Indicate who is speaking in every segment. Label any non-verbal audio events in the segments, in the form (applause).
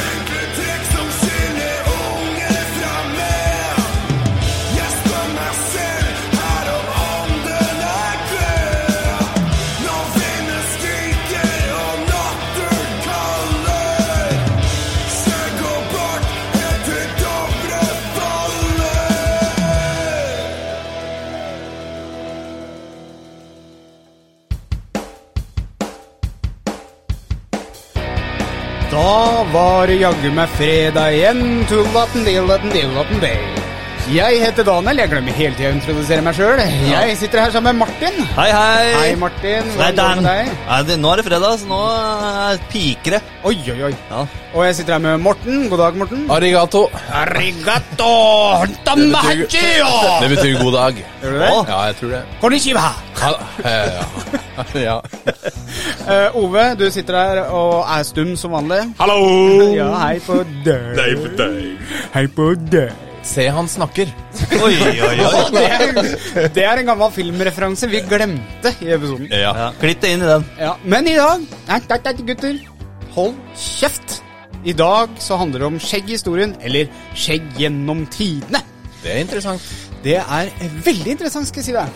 Speaker 1: Enkle trekk som skiller unge fra meg. Jeg spør meg selv her om ånden er død. Når vinden skriker og natten kaller. Skal gå bort etter Dovre faller.
Speaker 2: Da var det jaggu meg fredag igjen. Tullatten, dillatten, dillatten, day. Jeg heter Daniel. Jeg glemmer hele tida å introdusere meg sjøl. Jeg sitter her sammen med Martin.
Speaker 3: Hei, hei!
Speaker 2: Hei, Martin.
Speaker 3: Nei,
Speaker 2: Hvordan går det
Speaker 3: Dan.
Speaker 2: med deg?
Speaker 3: Nei, det, nå er det fredag, så nå eh, piker det.
Speaker 2: Oi, oi, oi.
Speaker 3: Ja.
Speaker 2: Og jeg sitter her med Morten. God dag, Morten.
Speaker 4: Ah, Arigato.
Speaker 2: Arigato!
Speaker 4: betyr- Det betyr god dag.
Speaker 2: Gjør du det?
Speaker 4: Ja, jeg tror det.
Speaker 2: Konnichiwa!
Speaker 4: Ja, ja. (laughs) ja.
Speaker 2: Eh, Ove, du sitter her og er stum som vanlig.
Speaker 4: Hallo!
Speaker 2: (laughs) Ja, hei på deg. Hei på deg.
Speaker 4: Se, han snakker.
Speaker 3: Oi,
Speaker 2: (laughs)
Speaker 3: oi, oi.
Speaker 2: Det er, det er en gammel filmreferanse vi glemte i episoden.
Speaker 3: Ja, Klipp det inn i den.
Speaker 2: Ja, men i dag Nei, nei, nei, gutter. Hold kjeft! I dag så handler det om skjegghistorien, eller skjegg gjennom tidene.
Speaker 4: Det er interessant.
Speaker 2: Det er veldig interessant, skal jeg si deg.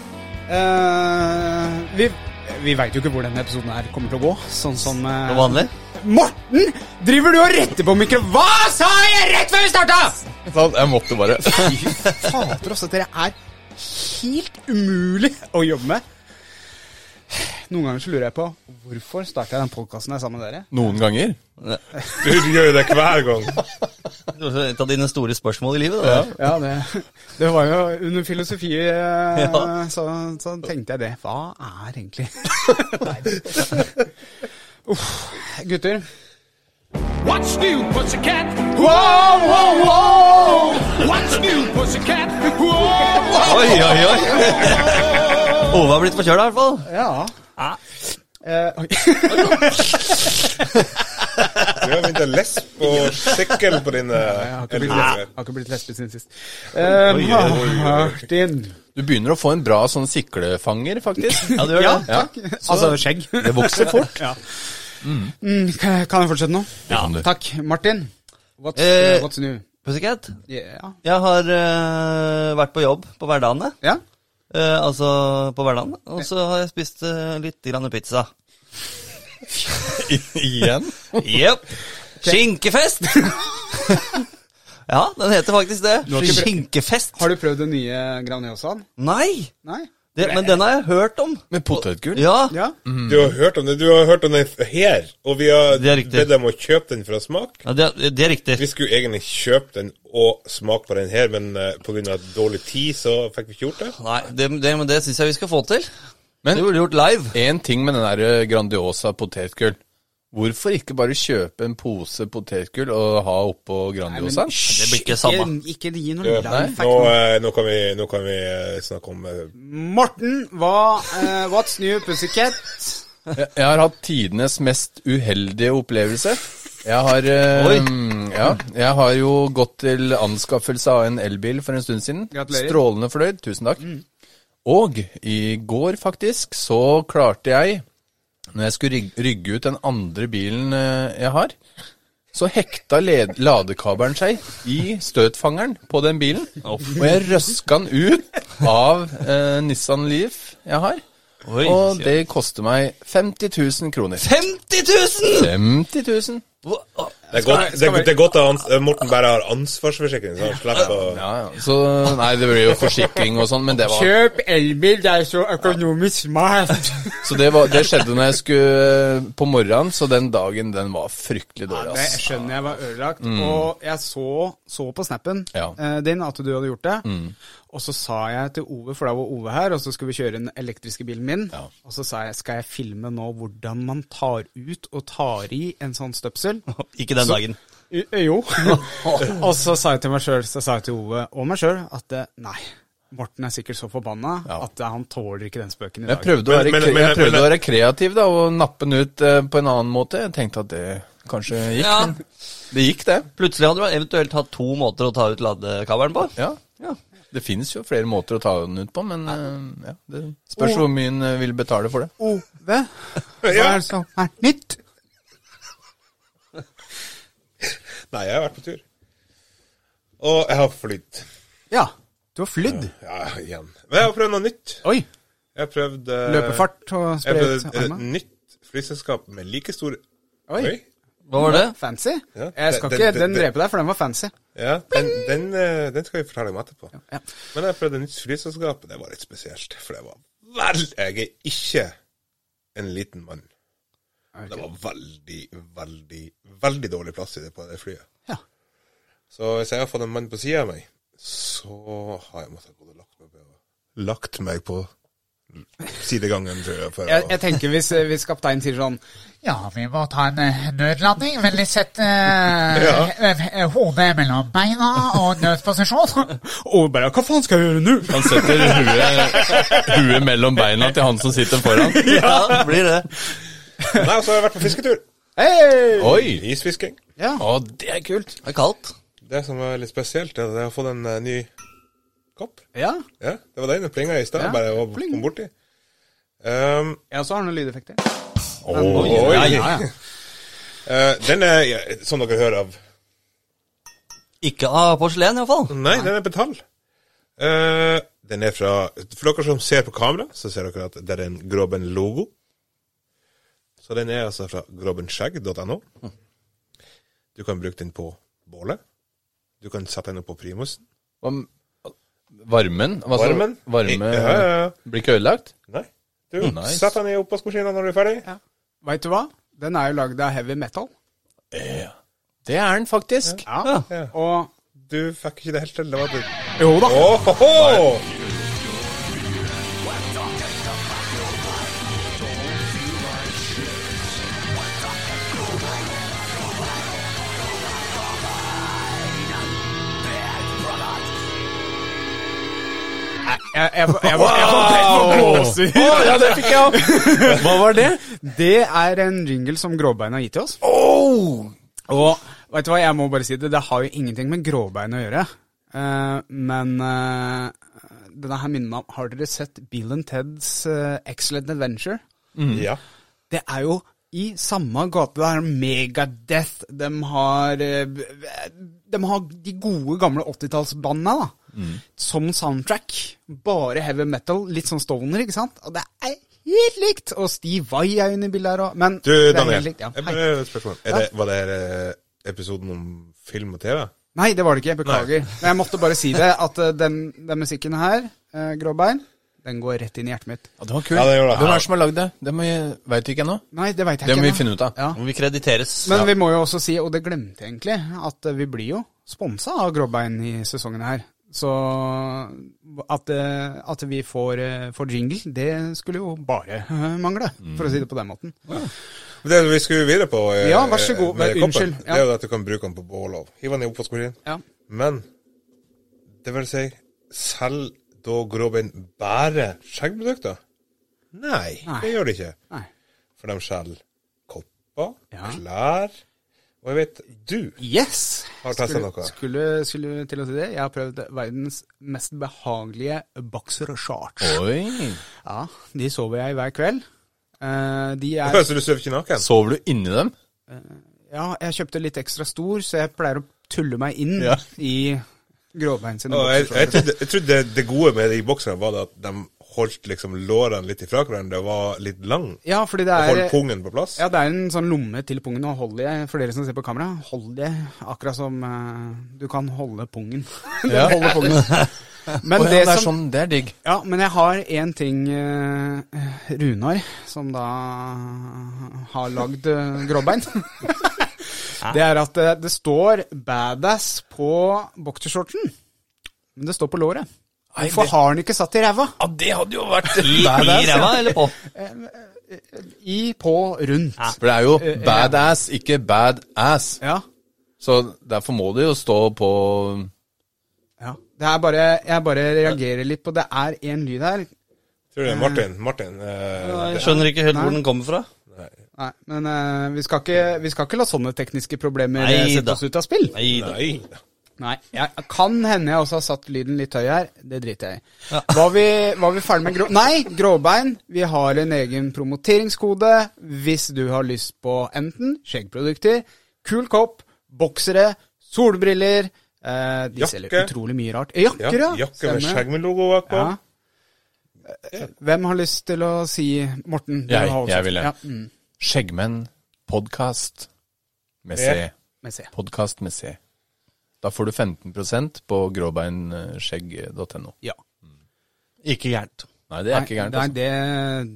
Speaker 2: Eh, vi vi veit jo ikke hvor denne episoden her kommer til å gå. Sånn som eh,
Speaker 3: Som vanlig.
Speaker 2: Morten! Driver du og retter på mikro... Hva sa jeg rett før vi starta?!
Speaker 4: Sånn, jeg måtte bare
Speaker 2: Fader også, dere er helt umulig å jobbe med. Noen ganger så lurer jeg på hvorfor starta jeg den podkasten sammen med dere.
Speaker 4: Noen ganger.
Speaker 5: Du gjør jo det hver gang.
Speaker 3: (laughs) Et av dine store spørsmål i livet. Da.
Speaker 2: Ja, det, det var jo under filosofi eh,
Speaker 3: Ja.
Speaker 2: så, så tenkte jeg det. Hva er egentlig Nei. Uff, gutter.
Speaker 5: What's new, pussycat?
Speaker 2: Wow, wow, wow!
Speaker 5: What's new, pussycat? Wow!
Speaker 3: Oi, oi, oi! Ove har blitt forkjøla, i hvert fall.
Speaker 2: Ja. Eh, oi.
Speaker 5: Du har begynt å lespe og sikkel på dine
Speaker 2: jeg har ikke blitt,
Speaker 5: elver.
Speaker 2: Ah. jeg har ikke blitt lesbisk siden sist. Eh,
Speaker 3: Oi, oi, oi,
Speaker 2: Martin.
Speaker 4: Du begynner å få en bra sånn siklefanger, faktisk.
Speaker 3: Ja, du gjør
Speaker 2: Ja,
Speaker 3: det.
Speaker 2: takk. Altså skjegg.
Speaker 4: Det vokser fort.
Speaker 2: Mm, kan kan jeg fortsette nå?
Speaker 4: Det kan du.
Speaker 2: Takk. Martin, what's,
Speaker 3: Eh.
Speaker 2: what's new?
Speaker 3: Pussycat,
Speaker 2: Ja.
Speaker 3: jeg har eh, vært på jobb på hverdagene.
Speaker 2: ja?
Speaker 3: Eh, altså på hverdagene. Og så har jeg spist eh, litt grann pizza.
Speaker 4: Igjen.
Speaker 3: Jepp.
Speaker 2: (laughs)
Speaker 3: Skinkefest! ja, den heter faktisk
Speaker 2: har
Speaker 3: det.
Speaker 2: ikke prøvd-
Speaker 3: Skinkefest.
Speaker 2: Har du prøvd den nye Graniosaen?
Speaker 3: Nei!
Speaker 2: Nei?
Speaker 3: Det, men den har jeg hørt om.
Speaker 4: Med potetgull.
Speaker 3: Ja.
Speaker 2: Ja?
Speaker 5: Du har hørt om det. Du har hørt om den her, og vi har
Speaker 3: Mm. Det er riktig.
Speaker 5: bedt dem å kjøpe den for å smake.
Speaker 3: Ja, det, er- det er riktig.
Speaker 5: Vi skulle egentlig kjøpe den og smake på den her, men eh, på grunn av dårlig tid så fikk vi ikke gjort det.
Speaker 3: Nei, det, det, men det syns jeg vi skal få til.
Speaker 4: Men-
Speaker 3: det burde gjort live.
Speaker 4: En ting med den der eh, Grandiosa potetgull. Hvorfor ikke bare kjøpe en pose potetgull og ha oppå Grandiosaen?
Speaker 3: Det blir ikke samme.
Speaker 2: Ikke, ikke gi noe
Speaker 5: Ja,
Speaker 2: live
Speaker 5: Nå,
Speaker 2: fact.
Speaker 5: eh, nå, kan vi, nå kan vi eh, snakke om eh,
Speaker 2: Morten, hva, eh, what's new, pussycat?
Speaker 4: Jeg, jeg har hatt tidenes mest uheldige opplevelse. Jeg har, eh,
Speaker 3: Oi.
Speaker 4: mm, ja, jeg har jo gått til anskaffelse av en elbil for en stund siden.
Speaker 2: Gratulerer.
Speaker 4: Strålende fornøyd. Tusen takk.
Speaker 3: Mm.
Speaker 4: Og i går, faktisk, så klarte jeg, når jeg skulle rig- rygge ut den andre bilen eh, jeg har, så hekta led ladekabelen seg i støtfangeren på den bilen. Og jeg røska den ut av eh, Nissan Leaf jeg har.
Speaker 3: Oi,
Speaker 4: Og
Speaker 3: sier jeg.
Speaker 4: det koster meg 50 000 kroner.
Speaker 3: 50 000!
Speaker 4: 50 000?
Speaker 3: Hvor- å,
Speaker 5: det er, godt, det, det er godt at han- Morten bare har ansvarsforsikring, så han slipper å
Speaker 4: Ja, ja. Så nei, det blir jo forsikring og sånn, men det var
Speaker 2: Kjøp elbil, det er så økonomisk (laughs) smart.
Speaker 4: Så det, var, det skjedde når jeg skulle eh, på morgenen, så den dagen, den var fryktelig dårlig,
Speaker 2: Det
Speaker 4: ass.
Speaker 2: skjønner jeg var ødelagt, og jeg så, så på snappen
Speaker 4: Ja.
Speaker 2: eh, din at du hadde gjort det. Og så sa jeg til Ove, for da var Ove her, og så skulle vi kjøre den elektriske bilen min.
Speaker 4: Ja.
Speaker 2: Og så sa jeg, skal jeg filme nå hvordan man tar ut og tar i en sånn støpsel?
Speaker 3: Ikke den
Speaker 2: Så-
Speaker 3: dagen.
Speaker 2: I- eh, Jo. (laughs) og så sa jeg til meg sjøl, så sa jeg til Ove og meg sjøl, at eh, nei, Morten er sikkert så forbanna
Speaker 4: Ja.
Speaker 2: at eh, han tåler ikke den spøken i
Speaker 4: Jeg
Speaker 2: dag.
Speaker 4: prøvde, å være,
Speaker 5: Men-
Speaker 4: kre-
Speaker 5: men-
Speaker 4: jeg
Speaker 5: men-
Speaker 4: prøvde
Speaker 5: men-
Speaker 4: å være kreativ da, og nappe den ut eh, på en annen måte. Jeg tenkte at det kanskje gikk.
Speaker 3: Ja.
Speaker 4: Det gikk, det.
Speaker 3: Plutselig hadde du eventuelt hatt to måter å ta ut ladekabelen på.
Speaker 4: Ja. Det finnes jo flere måter å ta den ut på, men eh, ja, det spørs hvor mye en eh, vil betale for det.
Speaker 2: Ove, hva er det som er nytt?
Speaker 5: Nei, jeg har vært på tur. Og jeg har flydd.
Speaker 2: Ja, du har flydd.
Speaker 5: Ja, igjen. Men jeg har prøvd noe nytt.
Speaker 2: Oi,
Speaker 5: Jeg har prøvd eh,
Speaker 2: løpefart og
Speaker 5: Jeg har
Speaker 2: spredt
Speaker 5: prøvd et
Speaker 2: armene.
Speaker 5: nytt flyselskap med like stor
Speaker 2: Oi,
Speaker 5: Oi.
Speaker 3: Hva var det?
Speaker 2: fancy.
Speaker 5: Ja,
Speaker 2: Jeg
Speaker 5: det-
Speaker 2: skal
Speaker 5: det-
Speaker 2: ikke,
Speaker 5: det-
Speaker 2: den
Speaker 5: det-
Speaker 2: dreper deg, for den var fancy.
Speaker 5: Ja, den, den, eh, den skal vi fortelle om etterpå.
Speaker 2: ja.
Speaker 5: Men jeg prøvde et nytt flyselskap, og det var litt spesielt. For det var vel Jeg er ikke en liten mann. Det var veldig, veldig, veldig dårlig plass i det på det flyet.
Speaker 2: Ja.
Speaker 5: Så hvis jeg har fått en mann på sida av meg, så har jeg måttet gå og lagt meg på, lagt meg på sidegangen, tror jeg. For
Speaker 2: Jeg,
Speaker 5: å-
Speaker 2: jeg tenker hvis, eh, hvis kapteinen sier sånn
Speaker 6: Ja, vi må ta en eh, nødlanding. Vennlig sett eh,
Speaker 5: Ja.
Speaker 6: eh, eh, hodet mellom beina og nødposisjon.
Speaker 2: Og bare, hva faen skal jeg gjøre nå?
Speaker 4: Han setter huet, huet mellom beina til han som sitter foran.
Speaker 3: (laughs) Ja, det blir det.
Speaker 5: Nei, så har jeg vært på fisketur.
Speaker 2: Hei!
Speaker 4: Oi!
Speaker 5: Isfisking.
Speaker 2: Ja.
Speaker 4: Å, det er kult.
Speaker 3: Det er kaldt.
Speaker 5: Det som er litt spesielt, er at jeg har fått en eh, ny kopp.
Speaker 2: ja.
Speaker 5: Ja, det var den. Den plinga i stad.
Speaker 2: Ja,
Speaker 5: Bare å
Speaker 2: pling.
Speaker 5: komme borti. Um,
Speaker 2: Jeg også har noen lydeffekter.
Speaker 5: oi,
Speaker 2: Ja, ja, ja.
Speaker 5: Eh, den er, ja, som dere hører av
Speaker 3: Ikke av porselen, iallfall.
Speaker 5: Nei, den er betall. Eh, den er fra For dere som ser på kamera, så ser dere at det er en Groben-logo. Så den er altså fra grobenskjegg.no. Du kan bruke den på bålet. Du kan sette den opp på primusen.
Speaker 4: Hva- Varmen? Hva sa du?
Speaker 5: Varmen?
Speaker 4: Varme
Speaker 5: Ja, ja, ja.
Speaker 4: blir ikke ødelagt?
Speaker 5: Nei. Du,
Speaker 4: Mm, nice.
Speaker 5: Sett den i oppvaskmaskinen når du er ferdig.
Speaker 2: Veit du hva? Den er jo lagd av heavy metal.
Speaker 4: Det er den faktisk.
Speaker 2: Ja. Og
Speaker 5: Du fikk ikke det helt til. Det var det.
Speaker 2: Jo da.
Speaker 5: Åhåhå!
Speaker 2: Jeg, jeg, jeg, jeg, jeg, jeg, jeg, jeg,
Speaker 4: Å, ja, det fikk jeg òg! Hva var det?
Speaker 2: Det er en jingle som Gråbein har gitt til oss. Og vet du hva, jeg må bare si det, det har jo ingenting med Gråbein å gjøre. Eh, men eh, denne her minner meg om Har dere sett Bill and Teds eh, Excellent Adventure?
Speaker 5: Ja.
Speaker 2: Det er jo i samme gate. Det er Megadeth. De har, eh, b- de har de gode, gamle 80-tallsbandene da.
Speaker 5: Mm.
Speaker 2: som soundtrack. Bare heavy metal, litt sånn Stoner, ikke sant? Og det er helt likt! Og Steve Vai er jo inne i bildet her òg. Men
Speaker 5: Du,
Speaker 2: det er
Speaker 5: Daniel.
Speaker 2: helt likt, ja.
Speaker 5: jeg
Speaker 2: Hei.
Speaker 5: bare har et spørsmål. Er det, var det eh, episoden om film og TV?
Speaker 2: Nei, det var det ikke. Jeg beklager. Men jeg måtte bare si det, at eh, den, den musikken her, uh, Gråbein, den går rett inn i hjertet mitt.
Speaker 4: Ja, det var kult.
Speaker 5: Ja, det gjorde det.
Speaker 4: Hvem er det som har lagd det? Det må jeg, vet vi ikke ennå.
Speaker 2: Nei, det veit jeg
Speaker 4: Det
Speaker 2: ikke.
Speaker 4: må vi
Speaker 2: ennå.
Speaker 4: finne ut av.
Speaker 2: Ja.
Speaker 3: Om vi krediteres.
Speaker 2: Men vi må jo også si, og det glemte jeg egentlig, at eh, vi blir jo sponsa av Gråbein i sesongen her. Så at, eh, at vi får, eh, får jingle, det skulle jo bare (laughs) eh, mangle, for å si det på den måten.
Speaker 5: Det vi skulle videre på eh,
Speaker 2: Ja, vær så god.
Speaker 5: med
Speaker 2: Vær-
Speaker 5: koppen,
Speaker 2: unnskyld, ja.
Speaker 5: Det er jo at du kan bruke den på bål og hive den i oppvaskmaskinen.
Speaker 2: Ja.
Speaker 5: Men det vil si, selv da Gråbein bærer skjeggprodukter? Nei,
Speaker 2: Nei.
Speaker 5: det gjør de ikke.
Speaker 2: Nei.
Speaker 5: For de selger kopper,
Speaker 2: Ja.
Speaker 5: klær Og jeg vet du
Speaker 2: Yes!
Speaker 5: har testa
Speaker 2: Skulle,
Speaker 5: noe.
Speaker 2: skulle, skulle til å si det. Jeg har prøvd verdens mest behagelige boxer shorts.
Speaker 4: Oi.
Speaker 2: Ja, de sover jeg i hver kveld. Eh, de er
Speaker 5: (laughs) Så du sover ikke naken?
Speaker 4: Sover du inni dem?
Speaker 2: Ja, jeg kjøpte litt ekstra stor, så jeg pleier å tulle meg inn
Speaker 4: Ja.
Speaker 2: i Gråbein sine
Speaker 5: Og jeg, jeg
Speaker 2: boksershorts.
Speaker 5: trodde, jeg trodde det, det gode med de bokserne var det at de holdt liksom lårene litt ifra hverandre og var litt lang
Speaker 2: Ja, fordi det
Speaker 5: Og holdt
Speaker 2: er
Speaker 5: pungen på plass.
Speaker 2: ja, det er en sånn lomme til pungen, og holder jeg, for dere som ser på kamera, holder jeg akkurat som eh, du kan holde pungen.
Speaker 4: (laughs) Ja. Å,
Speaker 2: Men
Speaker 4: ja,
Speaker 2: det,
Speaker 4: det, er
Speaker 2: som,
Speaker 4: sånn, det er digg.
Speaker 2: Ja, men jeg har én ting, eh, Runar, som da har lagd eh, gråbein. (laughs) det er at eh, det står 'badass' på boksershortsen, men det står på låret.
Speaker 4: Nei,
Speaker 2: Hvorfor
Speaker 4: det-
Speaker 2: har han ikke satt i ræva?
Speaker 4: Ja, det hadde jo vært
Speaker 3: I, i
Speaker 4: badass.
Speaker 3: ræva eller på?
Speaker 2: I, på, rundt.
Speaker 4: For det er jo badass, ikke badass.
Speaker 2: Ja.
Speaker 4: Så derfor må det jo stå på
Speaker 2: ja. Det er bare, jeg bare reagerer litt på Det er én lyd her.
Speaker 5: Tror du det er Martin?
Speaker 2: Mm.
Speaker 5: Martin eh,
Speaker 3: Jeg skjønner ikke helt hvor den kommer fra.
Speaker 2: Nei, men eh, vi, skal ikke, vi skal ikke la sånne tekniske problemer
Speaker 3: Nei
Speaker 2: eh, sette
Speaker 3: da.
Speaker 2: oss ut av spill.
Speaker 3: Nei, da.
Speaker 5: Nei.
Speaker 2: Nei, jeg kan hende jeg også har satt lyden litt høy her. Det driter jeg i. Var, vi, var vi ferdig med grå... Nei, gråbein. Vi har en egen promoteringskode hvis du har lyst på enten skjeggprodukter, kul kopp, boksere, solbriller eh, De
Speaker 5: Jakke.
Speaker 2: selger utrolig mye rart. Eh,
Speaker 5: Ja,
Speaker 2: Jakker, ja.
Speaker 5: jakke med
Speaker 2: Stemmer.
Speaker 5: skjegg med logo bakpå.
Speaker 2: Ja. Eh, Hvem har lyst til å si Morten? du
Speaker 4: Jeg-
Speaker 2: har også-
Speaker 4: jeg vil det.
Speaker 2: Ja, mm,
Speaker 4: Skjeggmenn podkast med
Speaker 5: Ja.
Speaker 4: C.
Speaker 2: med C.
Speaker 4: Podkast med C. Da får du 15 på eh, gråbeinskjegg.no.
Speaker 2: Ja.
Speaker 3: Ikke gærent.
Speaker 4: Nei, det er ikke gærent.
Speaker 2: Nei,
Speaker 4: Altså.
Speaker 2: det,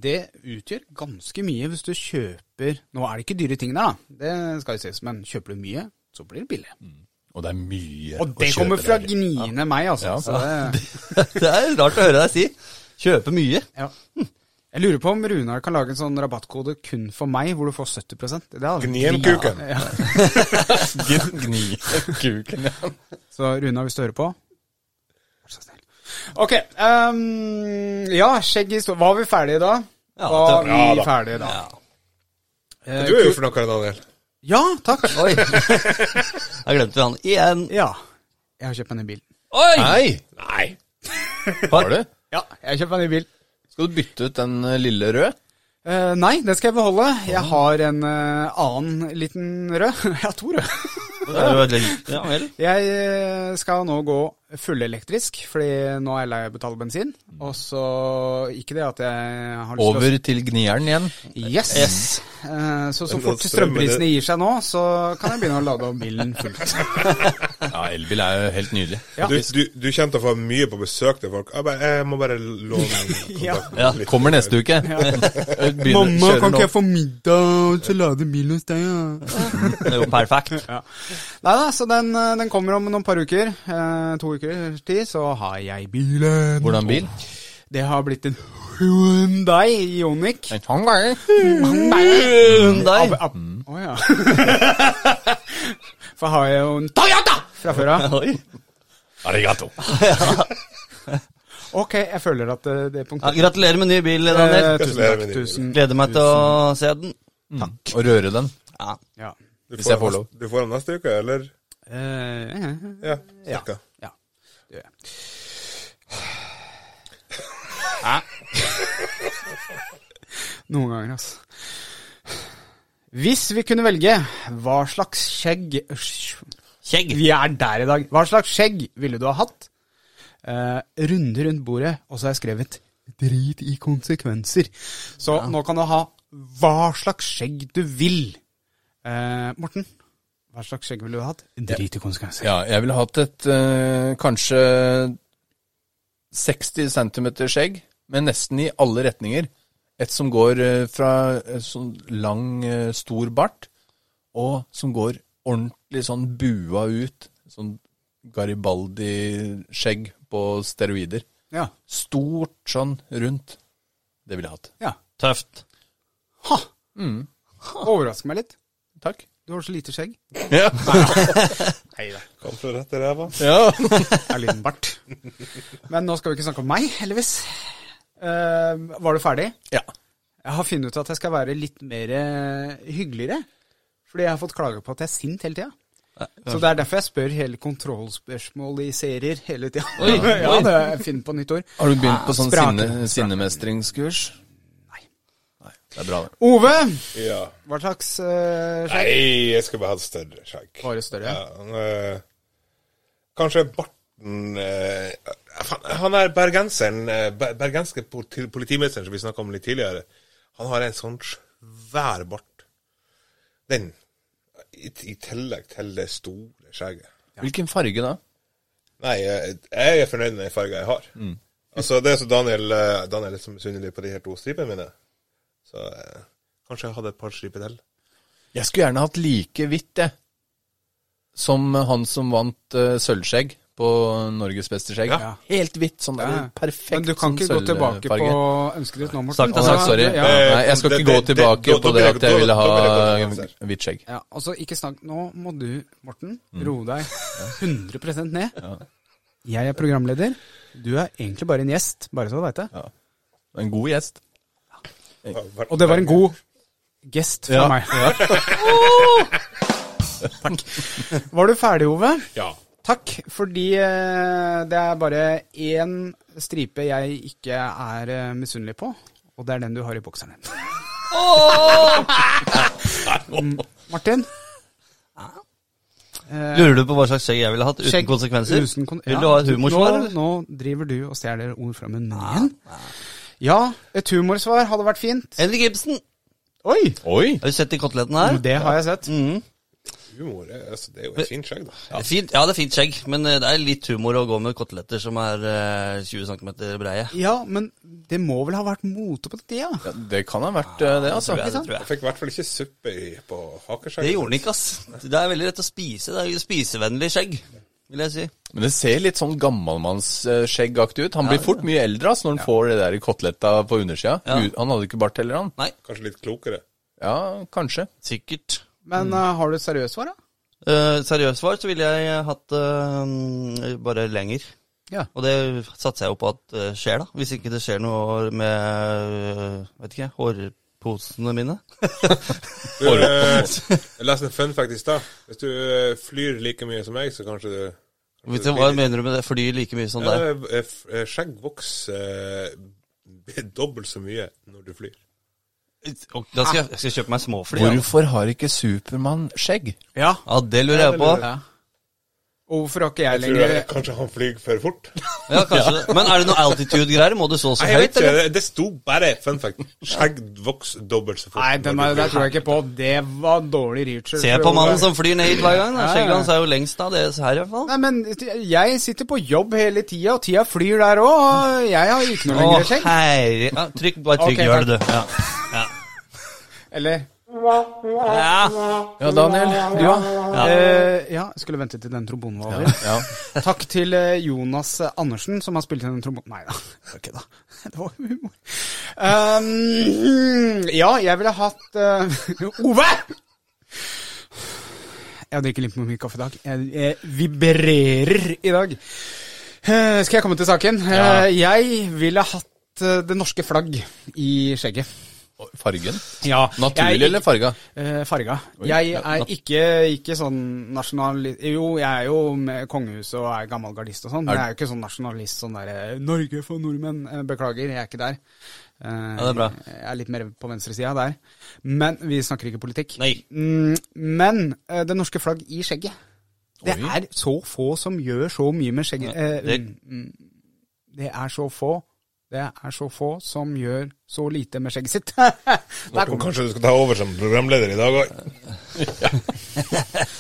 Speaker 2: det utgjør ganske mye hvis du kjøper Nå er det ikke dyre ting der, da. Det skal jo ses, men kjøper du mye, så blir det billig.
Speaker 4: Mm. Og det er mye
Speaker 2: Og det
Speaker 4: å kjøpe
Speaker 2: kommer fra
Speaker 4: der. (laughs)
Speaker 2: gniende meg, altså.
Speaker 4: Ja.
Speaker 2: Så det,
Speaker 3: (laughs) Det er rart å høre deg si. Kjøpe mye.
Speaker 2: ja. Jeg lurer på om Runar kan lage en sånn rabattkode kun for meg, hvor du får 70 Det hadde vært
Speaker 5: Gnien
Speaker 2: drit-
Speaker 5: kuken.
Speaker 2: Ja.
Speaker 4: Gni- Gni kuken, ja.
Speaker 2: Så Runar, hvis du hører på Vær så snill. Ok. ehm, ja, skjegg i stå... Var vi ferdige da?
Speaker 3: Ja,
Speaker 2: var
Speaker 3: det-
Speaker 2: vi
Speaker 5: Ja da.
Speaker 2: ferdige da? Eh,
Speaker 5: Du er jo for noe, Daniel.
Speaker 2: Ja, takk.
Speaker 3: Oi. (laughs) Jeg glemte han igjen.
Speaker 2: Ja. Jeg har kjøpt meg ny bil.
Speaker 3: Oi!
Speaker 4: Nei!
Speaker 5: Nei.
Speaker 4: Har du?
Speaker 2: Ja, jeg kjøper meg ny bil.
Speaker 4: Skal du bytte ut den eh, lille røde?
Speaker 2: Eh, nei, den skal jeg beholde. Jeg har en eh, annen liten rød. (laughs) jeg har to røde.
Speaker 3: Det er jo et lenge- Ja vel.
Speaker 2: Jeg eh, skal nå gå fullelektrisk, fordi nå er jeg lei av å betale bensin. Og så Ikke det at jeg har lyst
Speaker 4: Over til gnieren igjen.
Speaker 2: til å Yes. Eh, så så
Speaker 5: Men
Speaker 2: fort
Speaker 5: da
Speaker 2: strømprisene
Speaker 5: strømmer
Speaker 2: gir seg nå, så kan jeg begynne å lade om bilen fullt.
Speaker 4: Ja, elbil er jo helt nydelig.
Speaker 2: Ja.
Speaker 5: Du, du, du kommer til å få mye på besøk til folk. Jeg, bare, jeg må bare
Speaker 2: (laughs)
Speaker 5: låne kontakten
Speaker 2: Ja.
Speaker 3: Ja,
Speaker 5: litt.
Speaker 4: Kommer neste uke. (laughs) (laughs) Begynner- kjører nå.
Speaker 2: få middag til å lade bilen hos deg? Ja.
Speaker 3: Det er jo perfekt.
Speaker 2: Nei da, så den, eh, den kommer om noen par uker. Eh, to uker tid, så har jeg bilen.
Speaker 4: Hvordan bil?
Speaker 2: Det har blitt en Hyundai Ioniq.
Speaker 4: En sånn gang.
Speaker 3: Hyundai.
Speaker 2: Ab- ab-
Speaker 4: Mm.
Speaker 2: Å ja. (laughs) For har jeg jo en Toyota fra før av.
Speaker 3: (laughs) Oi.
Speaker 4: Arigato.
Speaker 2: Ok, jeg føler at det, det er
Speaker 3: Ja,
Speaker 2: punktert.
Speaker 3: gratulerer med ny bil,
Speaker 2: Eh,
Speaker 3: Daniel.
Speaker 2: tusen takk. Tusen.
Speaker 3: Gleder meg til å se den.
Speaker 4: Og røre den.
Speaker 3: Ja.
Speaker 2: Ja.
Speaker 5: Du
Speaker 4: Hvis jeg
Speaker 5: får
Speaker 4: får lov.
Speaker 5: den- Du får den neste uke, eller?
Speaker 2: Eh,
Speaker 5: Ja. cirka.
Speaker 2: ja. Det gjør jeg. Noen ganger, altså. Hvis vi kunne velge, hva slags skjegg
Speaker 3: Kjegg.
Speaker 2: Vi er der i dag. Hva slags skjegg ville du ha hatt? Eh, runde rundt bordet, og så har jeg skrevet 'drit i konsekvenser'. Så nå kan du ha hva slags skjegg du vil. Eh, Morten, hva slags skjegg ville du ha hatt? Drit i konsekvenser.
Speaker 4: Ja, jeg ville hatt et eh, kanskje 60 cm skjegg, men nesten i alle retninger. Et som går eh, fra eh, sånn lang, eh, stor bart, og som går ordentlig sånn bua ut. Sånn Garibaldi-skjegg på steroider.
Speaker 2: Ja.
Speaker 4: Stort sånn rundt. Det ville jeg hatt.
Speaker 2: ja.
Speaker 3: Tøft.
Speaker 2: Ha! Overrasker meg litt.
Speaker 4: Takk.
Speaker 2: Du har så lite skjegg.
Speaker 4: (laughs) Ja.
Speaker 5: Kom fra rett i ræva.
Speaker 2: Jeg har liten bart. Men nå skal vi ikke snakke om meg, heldigvis. Eh, var du ferdig?
Speaker 4: ja.
Speaker 2: Jeg har funnet ut at jeg skal være litt mer eh, hyggeligere. Fordi jeg har fått klager på at jeg er sint hele tida. Så det er derfor jeg spør hele kontrollspørsmål i serier hele tida. (laughs) ja, det jeg finner på nytt ord.
Speaker 4: Har du begynt på sånn
Speaker 2: Ah, Sprake.
Speaker 4: sinne, sinnemestringskurs?
Speaker 2: Nei.
Speaker 4: Nei. Det er bra, det.
Speaker 2: Ove!
Speaker 5: Ja.
Speaker 2: Hva slags eh, skjegg?
Speaker 5: Nei, jeg skulle bare hatt større skjegg.
Speaker 2: Bare større?
Speaker 5: Ja, han, eh, kanskje barten eh, faen, Han er bergenseren, eh, ber- bergenske politi- politimesteren som vi snakka om litt tidligere. Han har en sånn svær bart. Den, i, i tillegg til det store skjegget.
Speaker 4: Hvilken farge da?
Speaker 5: Nei, jeg, jeg er fornøyd med den farga jeg har. Altså, det er så Daniel, eh, Daniel er litt misunnelig på de her to stripene mine. Så eh, kanskje jeg hadde et par striper til.
Speaker 4: Jeg skulle gjerne hatt like hvitt, jeg. Som han som vant eh, sølvskjegg på Norges beste skjegg.
Speaker 5: Ja.
Speaker 4: Helt hvitt. Sånn der, perfekt
Speaker 2: Men du kan ikke gå
Speaker 4: sånn
Speaker 2: tilbake på ønsket ditt nå, Morten.
Speaker 4: Å, nei, sorry.
Speaker 2: Ja.
Speaker 4: Nei, jeg skal ikke
Speaker 5: Det-
Speaker 4: gå
Speaker 5: det- det-
Speaker 4: tilbake
Speaker 5: da-
Speaker 4: på
Speaker 5: da blir
Speaker 4: det
Speaker 5: jeg-
Speaker 4: at jeg
Speaker 5: da-
Speaker 4: ville
Speaker 5: da blir jeg
Speaker 4: ha
Speaker 5: kontroversiell.
Speaker 4: hvitt skjegg.
Speaker 2: Ja, altså, ikke snakk Nå må du, Morten,
Speaker 4: Mm.
Speaker 2: roe deg 100 ned. Jeg er programleder. Du er egentlig bare en gjest, bare så du veit det.
Speaker 4: En god gjest.
Speaker 2: Og det var en god gest fra (laughs)
Speaker 4: Ja.
Speaker 2: meg. Takk. Var du ferdig, Ove?
Speaker 5: Ja.
Speaker 2: Takk, fordi eh, det er bare én stripe jeg ikke er eh, misunnelig på, og det er den du har i bokseren din. (laughs) Mm, Martin?
Speaker 3: Lurer du på hva slags skjegg jeg ville hatt uten
Speaker 2: Eh, Skjegg
Speaker 3: konsekvenser?
Speaker 2: uten kon-
Speaker 3: Vil
Speaker 2: ja,
Speaker 3: du ha et humorsvar?
Speaker 2: Nå,
Speaker 3: eller? Ah,
Speaker 2: nå driver du og stjeler ord fra munnen min. Ja, et humorsvar hadde vært fint.
Speaker 3: Henrik Ibsen!
Speaker 2: Oi!
Speaker 4: Oi!
Speaker 3: Har du sett de kotelettene her?
Speaker 2: Det har jeg sett.
Speaker 3: Mm.
Speaker 5: Humor er, altså, det er jo et fint skjegg, da.
Speaker 3: Det er Fint, ja, det er fint skjegg, men eh, det er litt humor å gå med koteletter som er eh, 20 cm breie.
Speaker 2: Ja, men det må vel ha vært mote på den tida?
Speaker 4: Ja, det kan ha vært eh, det, altså.
Speaker 3: Tror jeg, det, tror
Speaker 5: Jeg
Speaker 3: jeg.
Speaker 5: fikk i hvert fall ikke suppe i, på hakeskjegget.
Speaker 3: det gjorde den ikke, ass. Det er veldig lett å spise. Det er jo spisevennlig skjegg, vil jeg si.
Speaker 4: Men det ser litt sånn gammalmannsskjeggaktig ut. Han blir fort mye eldre ass, når han får det der koteletta på undersida.
Speaker 3: Ja.
Speaker 4: U- Han hadde ikke bart heller, han.
Speaker 3: Nei,
Speaker 5: Kanskje litt klokere.
Speaker 4: Ja, kanskje.
Speaker 3: sikkert.
Speaker 2: Men eh, har du et seriøst svar, da?
Speaker 3: Uh, seriøst svar så ville jeg hatt eh, bare lenger.
Speaker 2: Ja.
Speaker 3: Og det satser jeg jo på at eh, skjer, da. Hvis ikke det skjer noe med eh, vet ikke, hårposene mine.
Speaker 5: Du, eh, jeg leste en fun fact i stad. Hvis du eh, flyr like mye som meg, så kanskje du
Speaker 3: Vet du, hva mener du med det? Fly like mye som deg?
Speaker 5: Ja, eh, f- eh, Skjegg vokser eh, (laughs) dobbelt så mye når du flyr.
Speaker 3: Og Da skal jeg, jeg skal kjøpe meg småfly. Ja.
Speaker 4: Hvorfor har ikke Supermann skjegg?
Speaker 2: Ja.
Speaker 3: ja, det lurer jeg på.
Speaker 2: ja. Og hvorfor har ikke jeg
Speaker 5: Tror
Speaker 2: lenger
Speaker 5: jeg, kanskje han flyr for
Speaker 2: (laughs)
Speaker 5: fort?
Speaker 3: Ja, kanskje det. Men er det noe altitude-greier? Må du så så
Speaker 5: Nei, jeg
Speaker 3: høyt,
Speaker 5: vet ikke.
Speaker 3: eller?
Speaker 5: Det, det sto bare fun fact. Skjegg vokser dobbelt så fort.
Speaker 2: Nei, den
Speaker 5: når
Speaker 2: er,
Speaker 5: du
Speaker 2: det
Speaker 5: flyr.
Speaker 2: tror jeg ikke på. Det var dårlig research.
Speaker 3: Se på mannen som flyr ned hit hver gang.
Speaker 2: Ja,
Speaker 3: da.
Speaker 2: ja, ja.
Speaker 3: Skjegget hans er jo lengst av deres her, i hvert fall.
Speaker 2: Nei, men jeg sitter på jobb hele tida, og tida flyr der òg, og jeg har ikke noe
Speaker 3: Å,
Speaker 2: lengre skjegg.
Speaker 3: herre ja, Trykk, bare trykk,
Speaker 2: Ok,
Speaker 3: gjør
Speaker 2: takk.
Speaker 3: det, du. Ja.
Speaker 2: Eller
Speaker 3: Ja.
Speaker 4: Ja, Daniel. Du, ja.
Speaker 2: Ja, eh, ja jeg skulle vente til den trombonen var over.
Speaker 4: ja.
Speaker 2: (laughs) Takk til eh, Jonas Andersen, som har spilt inn den trombonen Nei da, ok da. (laughs) Det var jo humor. Um, ja, jeg ville hatt eh, (laughs) Ove! Jeg drikker litt for mye kaffe i dag. Jeg, jeg vibrerer i dag. Eh, Skal jeg komme til saken?
Speaker 4: Ja.
Speaker 2: Eh, Jeg ville hatt eh, det norske flagg i skjegget.
Speaker 4: Fargen?
Speaker 2: Ja,
Speaker 4: Naturlig eller farga?
Speaker 2: Eh, farga.
Speaker 4: Oi,
Speaker 2: Jeg
Speaker 4: ja,
Speaker 2: er
Speaker 4: nat-
Speaker 2: ikke, ikke sånn nasjonalist Jo, jeg er jo med kongehuset og er gammel gardist og sånn, men
Speaker 4: Er-
Speaker 2: jeg er jo ikke sånn nasjonalist sånn derre 'Norge for nordmenn'. Eh, Beklager, jeg er ikke der. Eh,
Speaker 3: det er bra.
Speaker 2: Jeg er litt mer på venstresida der. Men vi snakker ikke politikk.
Speaker 3: Nei.
Speaker 2: Mm, men eh, det norske flagg i skjegget. Det
Speaker 4: Oi.
Speaker 2: er så få som gjør så mye med skjegget. Eh,
Speaker 3: det-
Speaker 2: mm, mm, det er så få. Det er så få som gjør så lite med skjegget sitt. (laughs) Der kom den.
Speaker 5: Kanskje du skal ta over som programleder i dag òg?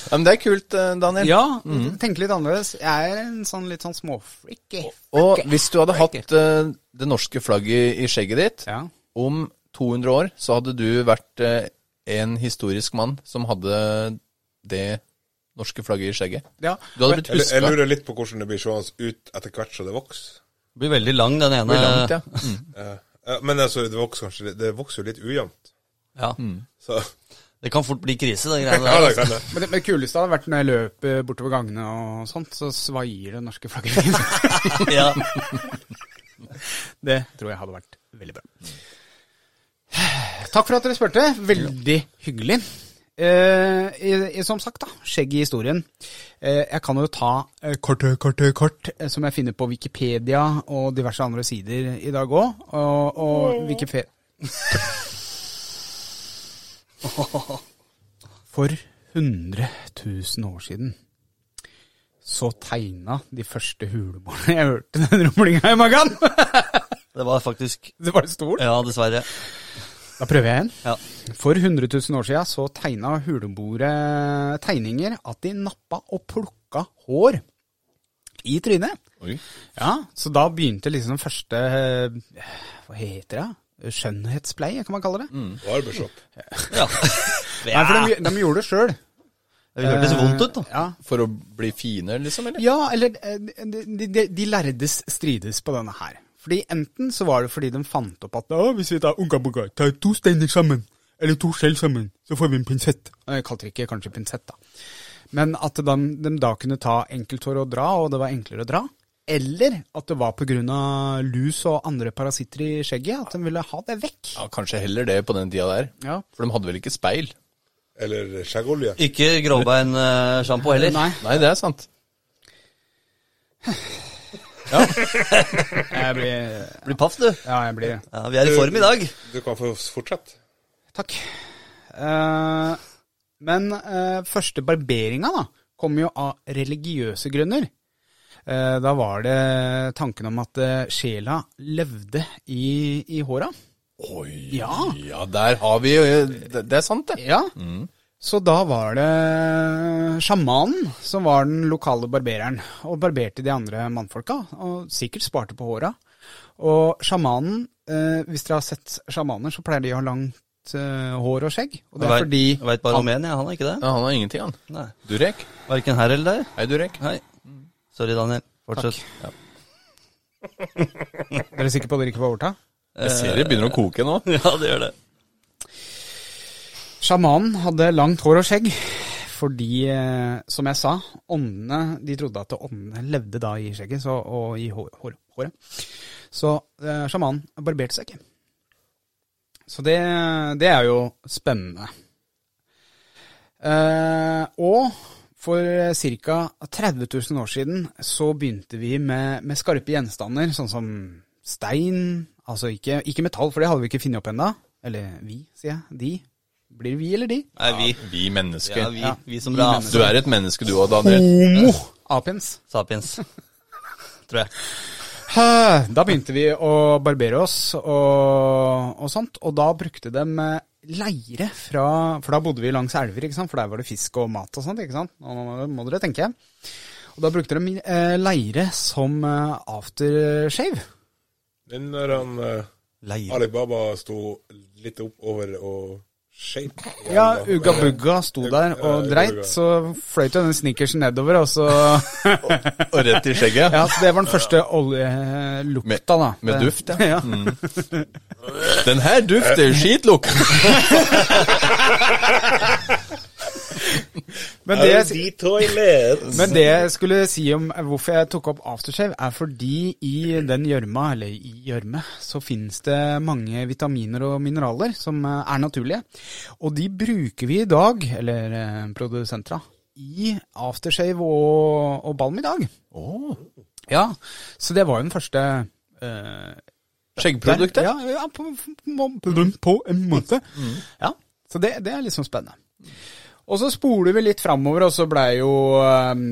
Speaker 4: Ja, men det er kult, eh, Daniel.
Speaker 2: Ja, Mm. tenke litt annerledes. Jeg er en sånn litt sånn småfreaky.
Speaker 4: Og hvis du hadde hatt eh, det norske flagget i skjegget ditt,
Speaker 2: Ja.
Speaker 4: om 200 år, så hadde du vært eh, en historisk mann som hadde det norske flagget i skjegget.
Speaker 2: ja.
Speaker 4: Du hadde blitt Eh,
Speaker 5: Jeg, jeg
Speaker 4: huska.
Speaker 5: lurer litt på hvordan det blir seende ut etter hvert som det vokser.
Speaker 3: Det blir veldig lang, den ene.
Speaker 4: Langt, ja. Mm.
Speaker 5: Eh, eh, men altså, det vokser kanskje litt- Det vokser jo litt ujevnt.
Speaker 3: Ja.
Speaker 5: Så
Speaker 3: Det kan fort bli krise, det
Speaker 5: ja,
Speaker 3: greiene
Speaker 5: det
Speaker 3: der.
Speaker 5: kan det.
Speaker 2: Men det, men det kuleste hadde vært når jeg løper bortover gangene og sånt, så svaier det norske flagget.
Speaker 3: altså. (laughs) Ja.
Speaker 2: det tror jeg hadde vært veldig bra. Takk for at dere spurte. Veldig hyggelig. Eh, i, i, som sagt, da, skjegg i historien. Eh, jeg kan jo ta eh, kort, kort, kort, eh, som jeg finner på Wikipedia og diverse andre sider i dag òg. Og, og Wikipedia (laughs) For 100 000 år siden så tegna de første huleboerne Jeg hørte den rumlinga i magen!
Speaker 3: Det var faktisk
Speaker 2: Det var stort.
Speaker 3: Ja, dessverre.
Speaker 2: Da prøver jeg igjen.
Speaker 3: Ja.
Speaker 2: For 100 000 år siden så tegna huleboere tegninger at de nappa og plukka hår i trynet.
Speaker 4: Oi.
Speaker 2: Ja, Så da begynte liksom den første eh, Hva heter det? Skjønnhetspleie, kan man kalle det.
Speaker 5: Barbershop.
Speaker 3: Ja.
Speaker 2: Nei, for de, de gjorde det sjøl.
Speaker 3: Det hørtes vondt ut, da.
Speaker 2: Ja.
Speaker 4: For å bli finere, liksom? eller?
Speaker 2: ja, eller eh, de, de, de lærdes strides på denne her. Fordi Enten så var det fordi de fant opp at «Å, hvis vi tar unga bunga, tar to steiner sammen, eller to skjell sammen, så får vi en pinsett. Jeg kalte det ikke kanskje pinsett, da. Men at de, de da kunne ta enkelthår og dra, og det var enklere å dra. Eller at det var pga. lus og andre parasitter i skjegget, at de ville ha det vekk.
Speaker 4: Ja, Kanskje heller det på den tida der.
Speaker 2: Ja.
Speaker 4: For de hadde vel ikke speil?
Speaker 5: Eller skjeggolje.
Speaker 3: Ikke gråbeinsjampo eh, heller.
Speaker 2: Nei.
Speaker 4: Nei, det er sant.
Speaker 2: Jeg blir
Speaker 3: Blir paff, du.
Speaker 2: Ja, jeg blir
Speaker 3: Ja, vi er i form i dag.
Speaker 5: Du kan få fortsette.
Speaker 2: Takk. Eh, men eh, første barberinga da, kom jo av religiøse grunner. Eh, da var det tanken om at eh, sjela levde i, i håra.
Speaker 4: Oi, ja.
Speaker 2: Ja.
Speaker 4: der har vi jo Det, det er sant, det.
Speaker 2: Ja. Så da var det sjamanen som var den lokale barbereren, og barberte de andre mannfolka, og sikkert sparte på håra. Og sjamanen, eh, hvis dere har sett sjamaner, så pleier de å ha langt eh, hår og skjegg. Og det er fordi
Speaker 3: Jeg veit bare om én, jeg. Han er ikke det.
Speaker 4: Ja, han har ingenting, han.
Speaker 3: Nei.
Speaker 4: Durek.
Speaker 3: Verken her eller der.
Speaker 4: Hei, Durek.
Speaker 3: Hei. Sorry, Daniel. Fortsett. Ja.
Speaker 2: Dere er sikre på at dere ikke får overta?
Speaker 4: Jeg ser det begynner å koke nå.
Speaker 3: ja, det gjør det.
Speaker 2: Sjamanen hadde langt hår og skjegg, fordi, eh, som jeg sa, åndene De trodde at åndene levde da i skjegget så, og i hår, hår, håret. Så eh, sjamanen barberte seg ikke. Så det, det er jo spennende. Eh, og for ca. 30 000 år siden så begynte vi med, med skarpe gjenstander, sånn som stein, altså ikke, ikke metall, for det hadde vi ikke funnet opp ennå. Eller vi, sier jeg. De. Blir det vi eller de?
Speaker 3: Nei, vi.
Speaker 4: Vi mennesker.
Speaker 3: Ja, vi,
Speaker 2: Ja.
Speaker 3: vi som
Speaker 2: Vi
Speaker 3: rase.
Speaker 4: Du er et menneske, du òg, Daniel.
Speaker 2: Homo apiens.
Speaker 3: Sapiens. (laughs) Tror jeg.
Speaker 2: Hæ, Da begynte vi å barbere oss og, og sånt, og da brukte de eh, leire fra For da bodde vi langs elver, ikke sant? for der var det fisk og mat og sånt. ikke sant? Nå må- må dere tenke. Og da brukte de eh, leire som eh, aftershave.
Speaker 5: Men når han eh,
Speaker 3: Leire.
Speaker 5: Ali Baba sto litt opp over og skjøt
Speaker 2: Ja, Uga Bugga sto der og dreit, så fløyt jo den snickersen nedover, og så (laughs)
Speaker 4: Og rett i skjegget.
Speaker 2: Ja, så det var den første oljelukta, da.
Speaker 4: med duft, ja.
Speaker 2: (laughs) ja.
Speaker 4: Den her dufter
Speaker 2: (laughs)
Speaker 4: skitlukt.
Speaker 2: Men det jeg
Speaker 5: toilet.
Speaker 2: Men det jeg skulle si om hvorfor jeg tok opp aftershave, er fordi i den gjørma, eller i gjørme, så finnes det mange vitaminer og mineraler som eh, er naturlige. Og de bruker vi i dag, eller eh, produsenter, da, i aftershave og, og balm i dag. Ja, så det var jo den første eh,
Speaker 4: Skjeggproduktet?
Speaker 2: Ja, ja på, på, på en måte. Ja, så det, det er liksom spennende. Og så spoler vi litt framover, og så blei jo um,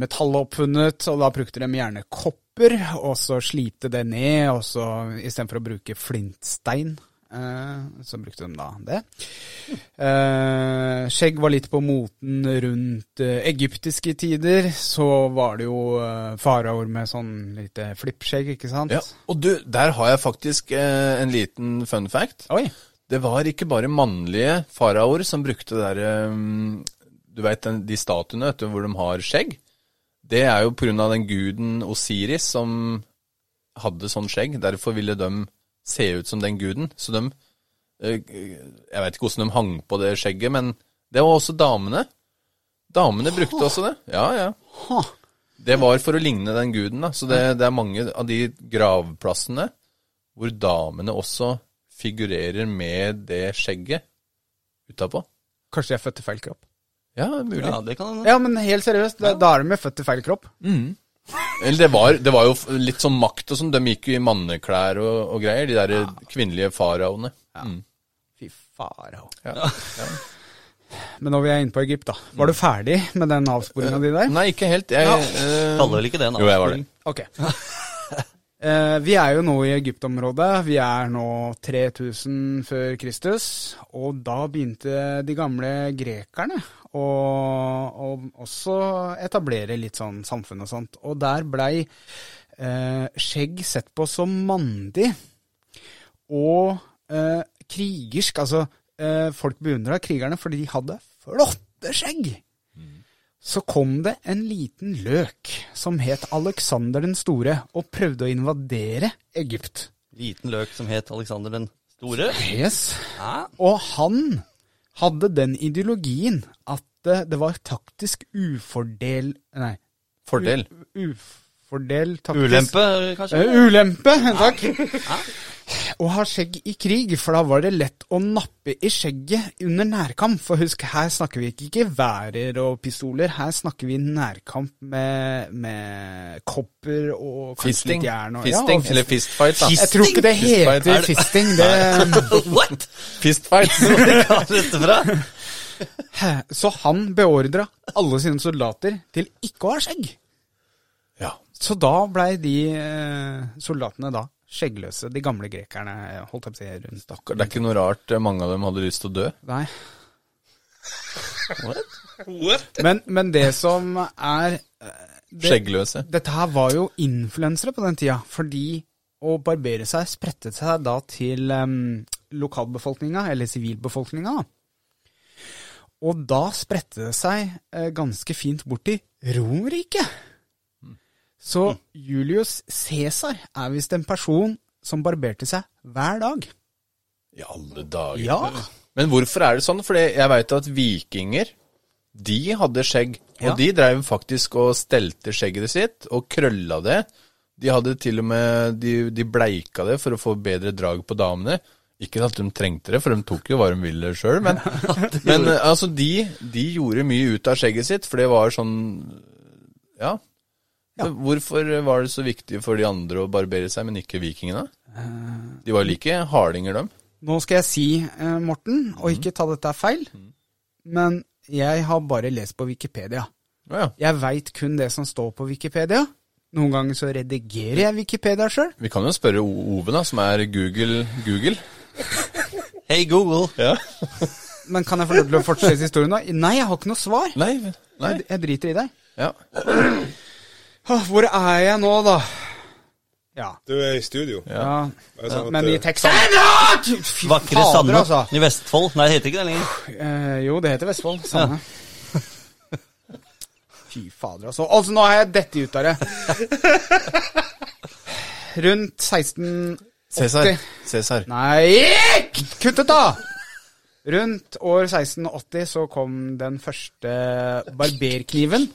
Speaker 2: metallet oppfunnet, og da brukte de gjerne kopper, og så slite det ned, og så istedenfor å bruke flintstein, eh, så brukte de da det. Eh, skjegg var litt på moten rundt eh, egyptiske tider, så var det jo eh, faraoer med sånn lite flippskjegg, ikke sant?
Speaker 4: Ja, og du, der har jeg faktisk eh, en liten fun fact.
Speaker 2: Oi.
Speaker 4: Det var ikke bare mannlige faraoer som brukte det der eh, Du veit den- de statuene vet du, hvor de har skjegg? Det er jo pga. den guden Osiris som hadde sånn skjegg. Derfor ville de se ut som den guden. Så de eh, Jeg veit ikke hvordan de hang på det skjegget, men det var også damene. Damene brukte også det. Ja, ja.
Speaker 2: Ha.
Speaker 4: Det var for å ligne den guden, da. Så det, det er mange av de gravplassene hvor damene også figurerer med det skjegget utapå.
Speaker 2: Kanskje de er født i feil kropp?
Speaker 4: Ja, det er mulig.
Speaker 3: Ja, det kan hende.
Speaker 2: Ja, men helt seriøst, da, da er de jo født i feil kropp.
Speaker 4: Eller det var, det var jo f- litt sånn makt og sånn. De gikk jo i manneklær og, og greier, de der kvinnelige faraoene. Mm.
Speaker 2: Fy farao.
Speaker 4: Ja.
Speaker 2: Men nå vil jeg inn på Egypt, da. Var du ferdig med den avsporinga di der?
Speaker 4: Nei, ikke helt. Jeg, eh,
Speaker 3: Kaller vel ikke det en
Speaker 4: jo, jeg var det.
Speaker 3: avsporing?
Speaker 2: Ok. Eh, vi er jo nå i Egyptområdet. Vi er nå 3000 før Kristus. Og da begynte de gamle grekerne å å også etablere litt sånn samfunn og sånt. Og der blei eh, skjegg sett på som mandig og eh, krigersk. Altså, eh, folk beundra krigerne fordi de hadde flotte skjegg så kom det en liten løk som het Alexander den store, og prøvde å invadere Egypt.
Speaker 3: Liten løk som het Alexander den store.
Speaker 2: Yes.
Speaker 3: Hæ?
Speaker 2: Og han hadde den ideologien at eh, det var taktisk ufordel Nei,
Speaker 4: Fordel.
Speaker 2: ufordel taktisk
Speaker 3: (laughs) Ulempe, kanskje?
Speaker 2: Eh, Ulempe, takk. å ha skjegg i krig, for da var det lett å nappe i skjegget under nærkamp. For husk, her snakker vi ikke geværer og pistoler, her snakker vi nærkamp med, med kopper og kanskje
Speaker 4: Fisting.
Speaker 2: litt jern. Og,
Speaker 4: Fisting,
Speaker 2: og-
Speaker 4: eller fistfight, da.
Speaker 2: Jeg tror ikke det heter
Speaker 4: Fistfight.
Speaker 2: fisting. Det,
Speaker 4: (laughs)
Speaker 3: What?!
Speaker 2: (laughs)
Speaker 4: Fistfight.
Speaker 3: Hvor kom dette fra?
Speaker 2: så han beordra alle sine soldater til ikke å ha skjegg.
Speaker 4: Ja.
Speaker 2: Så da blei de eh, soldatene da skjeggløse, de gamle grekerne, holdt jeg på å si, rundt da.
Speaker 4: Det er ikke noe rart eh, mange av dem hadde lyst til å dø.
Speaker 2: Nei.
Speaker 5: What?
Speaker 2: Men, men det som er eh, det-
Speaker 4: Skjeggløse.
Speaker 2: Dette her var jo influensere på den tida, fordi å barbere seg spredte seg da til um, lokalbefolkninga, eller sivilbefolkninga. da. Og da spredte det seg eh, ganske fint bort til Romerriket. Så Julius Cæsar er visst en person som barberte seg hver dag.
Speaker 4: I alle dager.
Speaker 2: Ja.
Speaker 4: Men hvorfor er det sånn? Fordi jeg veit at vikinger, de hadde skjegg. Og
Speaker 2: Ja.
Speaker 4: de dreiv faktisk og stelte skjegget sitt, og krølla det. De hadde til og med de, de bleika det for å få bedre drag på damene. Ikke at de trengte det, for de tok jo hva de ville sjøl, (laughs) men, men eh, altså, de, de gjorde mye ut av skjegget sitt, for det var sånn Ja. Så Hvorfor var det så viktig for de andre å barbere seg, men ikke vikingene? De var jo like hardinger, dem.
Speaker 2: Nå skal jeg si, eh, Morten, og ikke ta dette er feil, men jeg har bare lest på Wikipedia.
Speaker 4: Å ja.
Speaker 2: Jeg veit kun det som står på Wikipedia. Noen ganger så redigerer jeg Wikipedia sjøl.
Speaker 4: Vi kan jo spørre O- Ove, da, som er Google. Google.
Speaker 3: Hey Google.
Speaker 2: Men kan jeg få lov til å fortsette historien nå? Nei, jeg har ikke noe svar.
Speaker 4: Nei, nei.
Speaker 2: Jeg, jeg driter i deg.
Speaker 4: Ja.
Speaker 2: Åh, Hvor er jeg nå, da? Ja.
Speaker 5: Du er i studio.
Speaker 2: ja.
Speaker 5: Jeg sa at,
Speaker 2: Men i
Speaker 5: eh,
Speaker 2: Texas Fy
Speaker 3: Vakre
Speaker 2: fader,
Speaker 3: Sande
Speaker 2: altså.
Speaker 3: i Vestfold. Nei, det heter ikke det lenger.
Speaker 2: Eh, jo, det heter Vestfold. Samme. (laughs) Fy fader, altså. Altså, nå har jeg dette ut av det. (laughs) Rundt 16
Speaker 4: Cæsar.
Speaker 2: Åtti.
Speaker 4: Cæsar.
Speaker 2: Nei, kutt ut da! Rundt år 1680 så kom den første barberkniven.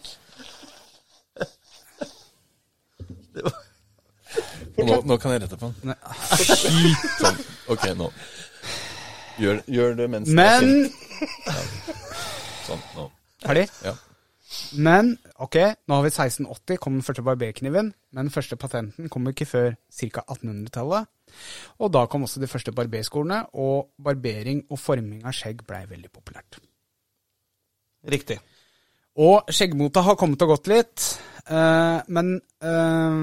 Speaker 4: Nå, nå kan jeg rette på den. Sånn. Ok, nå. Gjør, gjør det mens
Speaker 2: Men
Speaker 4: Sånn, nå.
Speaker 2: Ferdig?
Speaker 4: Ja.
Speaker 2: Men ok, nå har vi 1680, kom den første barberkniven. Men den første patenten kom ikke før ca. 1800-tallet. Og da kom også de første barberskolene, og barbering og forming av skjegg blei veldig populært.
Speaker 3: Riktig.
Speaker 2: Og skjeggmota har kommet og gått litt, eh, men eh,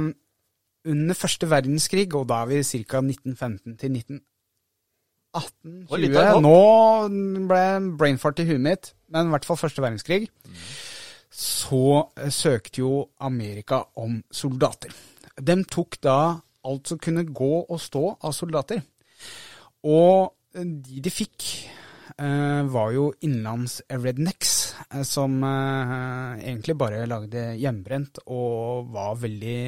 Speaker 2: under første verdenskrig, og da er vi ca. 1915 til 1918
Speaker 3: var litt av et hopp.
Speaker 2: Nå ble jeg brainfart i huet mitt, men i hvert fall første verdenskrig. Så eh, søkte jo Amerika om soldater. De tok da alt som kunne gå og stå av soldater. Og de de fikk, eh, var jo innlands-rednecks, eh, som eh, egentlig bare lagde hjemmebrent og var veldig,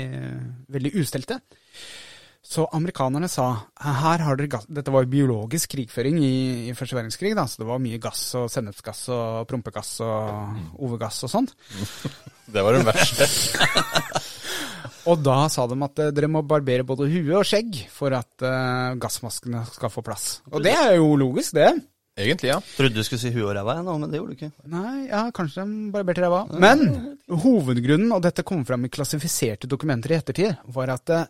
Speaker 2: veldig ustelte. Så amerikanerne sa her har dere gass Dette var jo biologisk krigføring i, i første verdenskrig, da, så det var mye gass og sennepsgass og prompegass og overgass og sånt.
Speaker 4: Det var den verste.
Speaker 2: Og da sa de at eh, dere må barbere både hue og skjegg for at eh, gassmaskene skal få plass. Og det er jo logisk, det.
Speaker 4: Egentlig, ja.
Speaker 3: Trodde du skulle si huet og ræva, jeg nå, men det gjorde du ikke.
Speaker 2: Nei, ja, kanskje de barberte ræva. Men hovedgrunnen, og dette kom fram i klassifiserte dokumenter i ettertid, var at eh,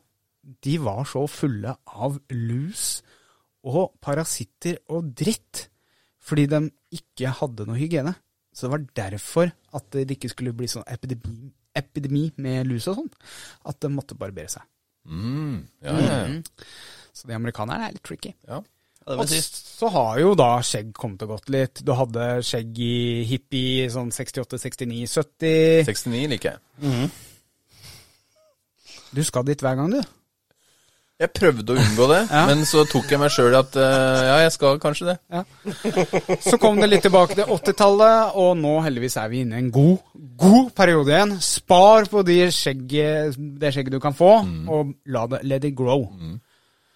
Speaker 2: de var så fulle av lus og parasitter og dritt fordi de ikke hadde noe hygiene. Så det var derfor at det ikke skulle bli sånn epidemi, epidemi med lus og sånn, at de måtte barbere seg.
Speaker 4: Mm, ja, ja, ja.
Speaker 2: Så de amerikanerne er litt tricky.
Speaker 4: ja.
Speaker 3: Ja, det
Speaker 2: Og
Speaker 3: var sist.
Speaker 2: så har jo da skjegg kommet og gått litt. Du hadde skjegg i hippie sånn 68, 69, 70.
Speaker 4: 69 liker jeg.
Speaker 2: Du skal dit hver gang, du.
Speaker 4: Jeg prøvde å unngå det, men så tok jeg meg sjøl i at eh, ja, jeg skal kanskje det.
Speaker 2: Så kom det litt tilbake til 80-tallet, og nå heldigvis er vi inne i en god, god periode igjen. Spar på de skjegget, det skjegget du kan få, og la det, let it grow.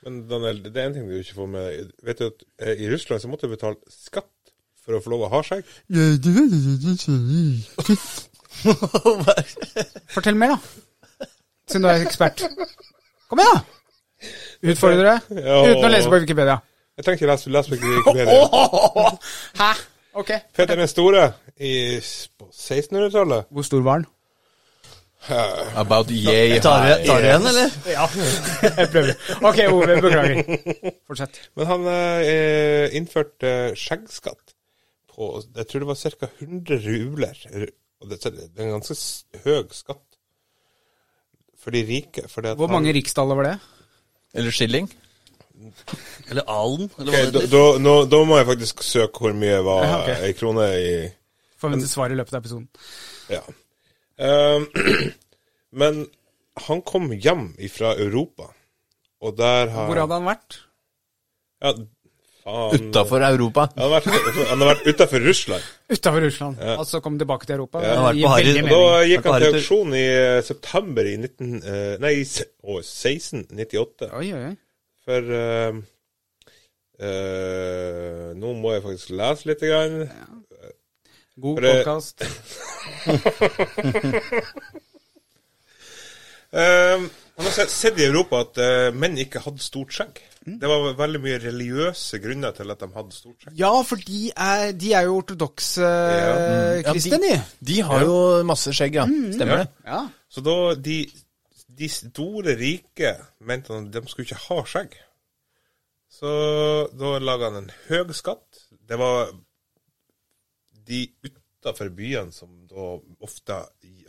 Speaker 5: Men Daniel, det er en ting du ikke får med deg. Vet du at eh, i Russland så måtte du betale skatt for å få lov å ha skjegg?
Speaker 2: Fortell mer, da. Siden du er ekspert. Kom igjen, da! Utfordrere?
Speaker 5: Ja.
Speaker 2: Uten å lese på Wikipedia.
Speaker 5: Jeg trenger ikke lese, lese på Wikipedia.
Speaker 2: (laughs) Hæ? Ok.
Speaker 5: Peter den store i, på 1600-tallet
Speaker 2: Hvor stor var den?
Speaker 4: About yay
Speaker 3: Tar du- tar du
Speaker 4: high.
Speaker 3: igjen, eller?
Speaker 2: Ja, jeg prøver. Ok, Ove, beklager. Fortsett.
Speaker 5: Men han eh, innførte skjeggskatt på Jeg tror det var ca. 100 rubler. Og det, det er en ganske s- høy skatt for de rike. Fordi at
Speaker 2: Hvor
Speaker 5: han-
Speaker 2: mange riksdaler var det?
Speaker 4: Eller skilling.
Speaker 3: Eller alen? Eller
Speaker 5: Ok,
Speaker 3: hva det
Speaker 5: da,
Speaker 3: heter?
Speaker 5: da, nå, da må jeg faktisk søke hvor mye var
Speaker 2: Ja, ok.
Speaker 5: ei krone i
Speaker 2: Forventet svar i løpet av episoden.
Speaker 5: Ja. Ehm, (clears throat) men han kom hjem fra Europa, og der har
Speaker 2: Hvor hadde han vært?
Speaker 5: Ja, faen.
Speaker 4: Utafor Europa.
Speaker 5: Han har vært, han har vært utafor Russland.
Speaker 2: Utafor Russland. Altså kom tilbake til Europa.
Speaker 5: Ja.
Speaker 2: Det
Speaker 3: Han har vært
Speaker 2: gir
Speaker 3: på Harry-
Speaker 2: veldig
Speaker 5: Og
Speaker 2: mening.
Speaker 5: da gikk han til
Speaker 3: Harry-
Speaker 5: auksjon i eh, september i 19, eh, nei, i se- å, 1698.
Speaker 2: Oi, oi, oi.
Speaker 5: For eh, eh, Nå må jeg faktisk lese litt. Grann.
Speaker 2: God
Speaker 5: For det-
Speaker 2: podkast.
Speaker 5: Eh, han har se- sett i Europa at eh, menn ikke hadde stort skjegg. Det var veldig mye religiøse grunner til at de hadde stort skjegg.
Speaker 2: Ja, for de er, de er jo ortodokse eh,
Speaker 4: Ja, Mm.
Speaker 2: kristne, de.
Speaker 4: de, de har jo masse skjegg, ja. Stemmer det.
Speaker 2: Ja.
Speaker 5: Så da de, de store rike mente han at de skulle ikke ha skjegg. Så da laga han en høg skatt. Det var de utafor byene som da ofte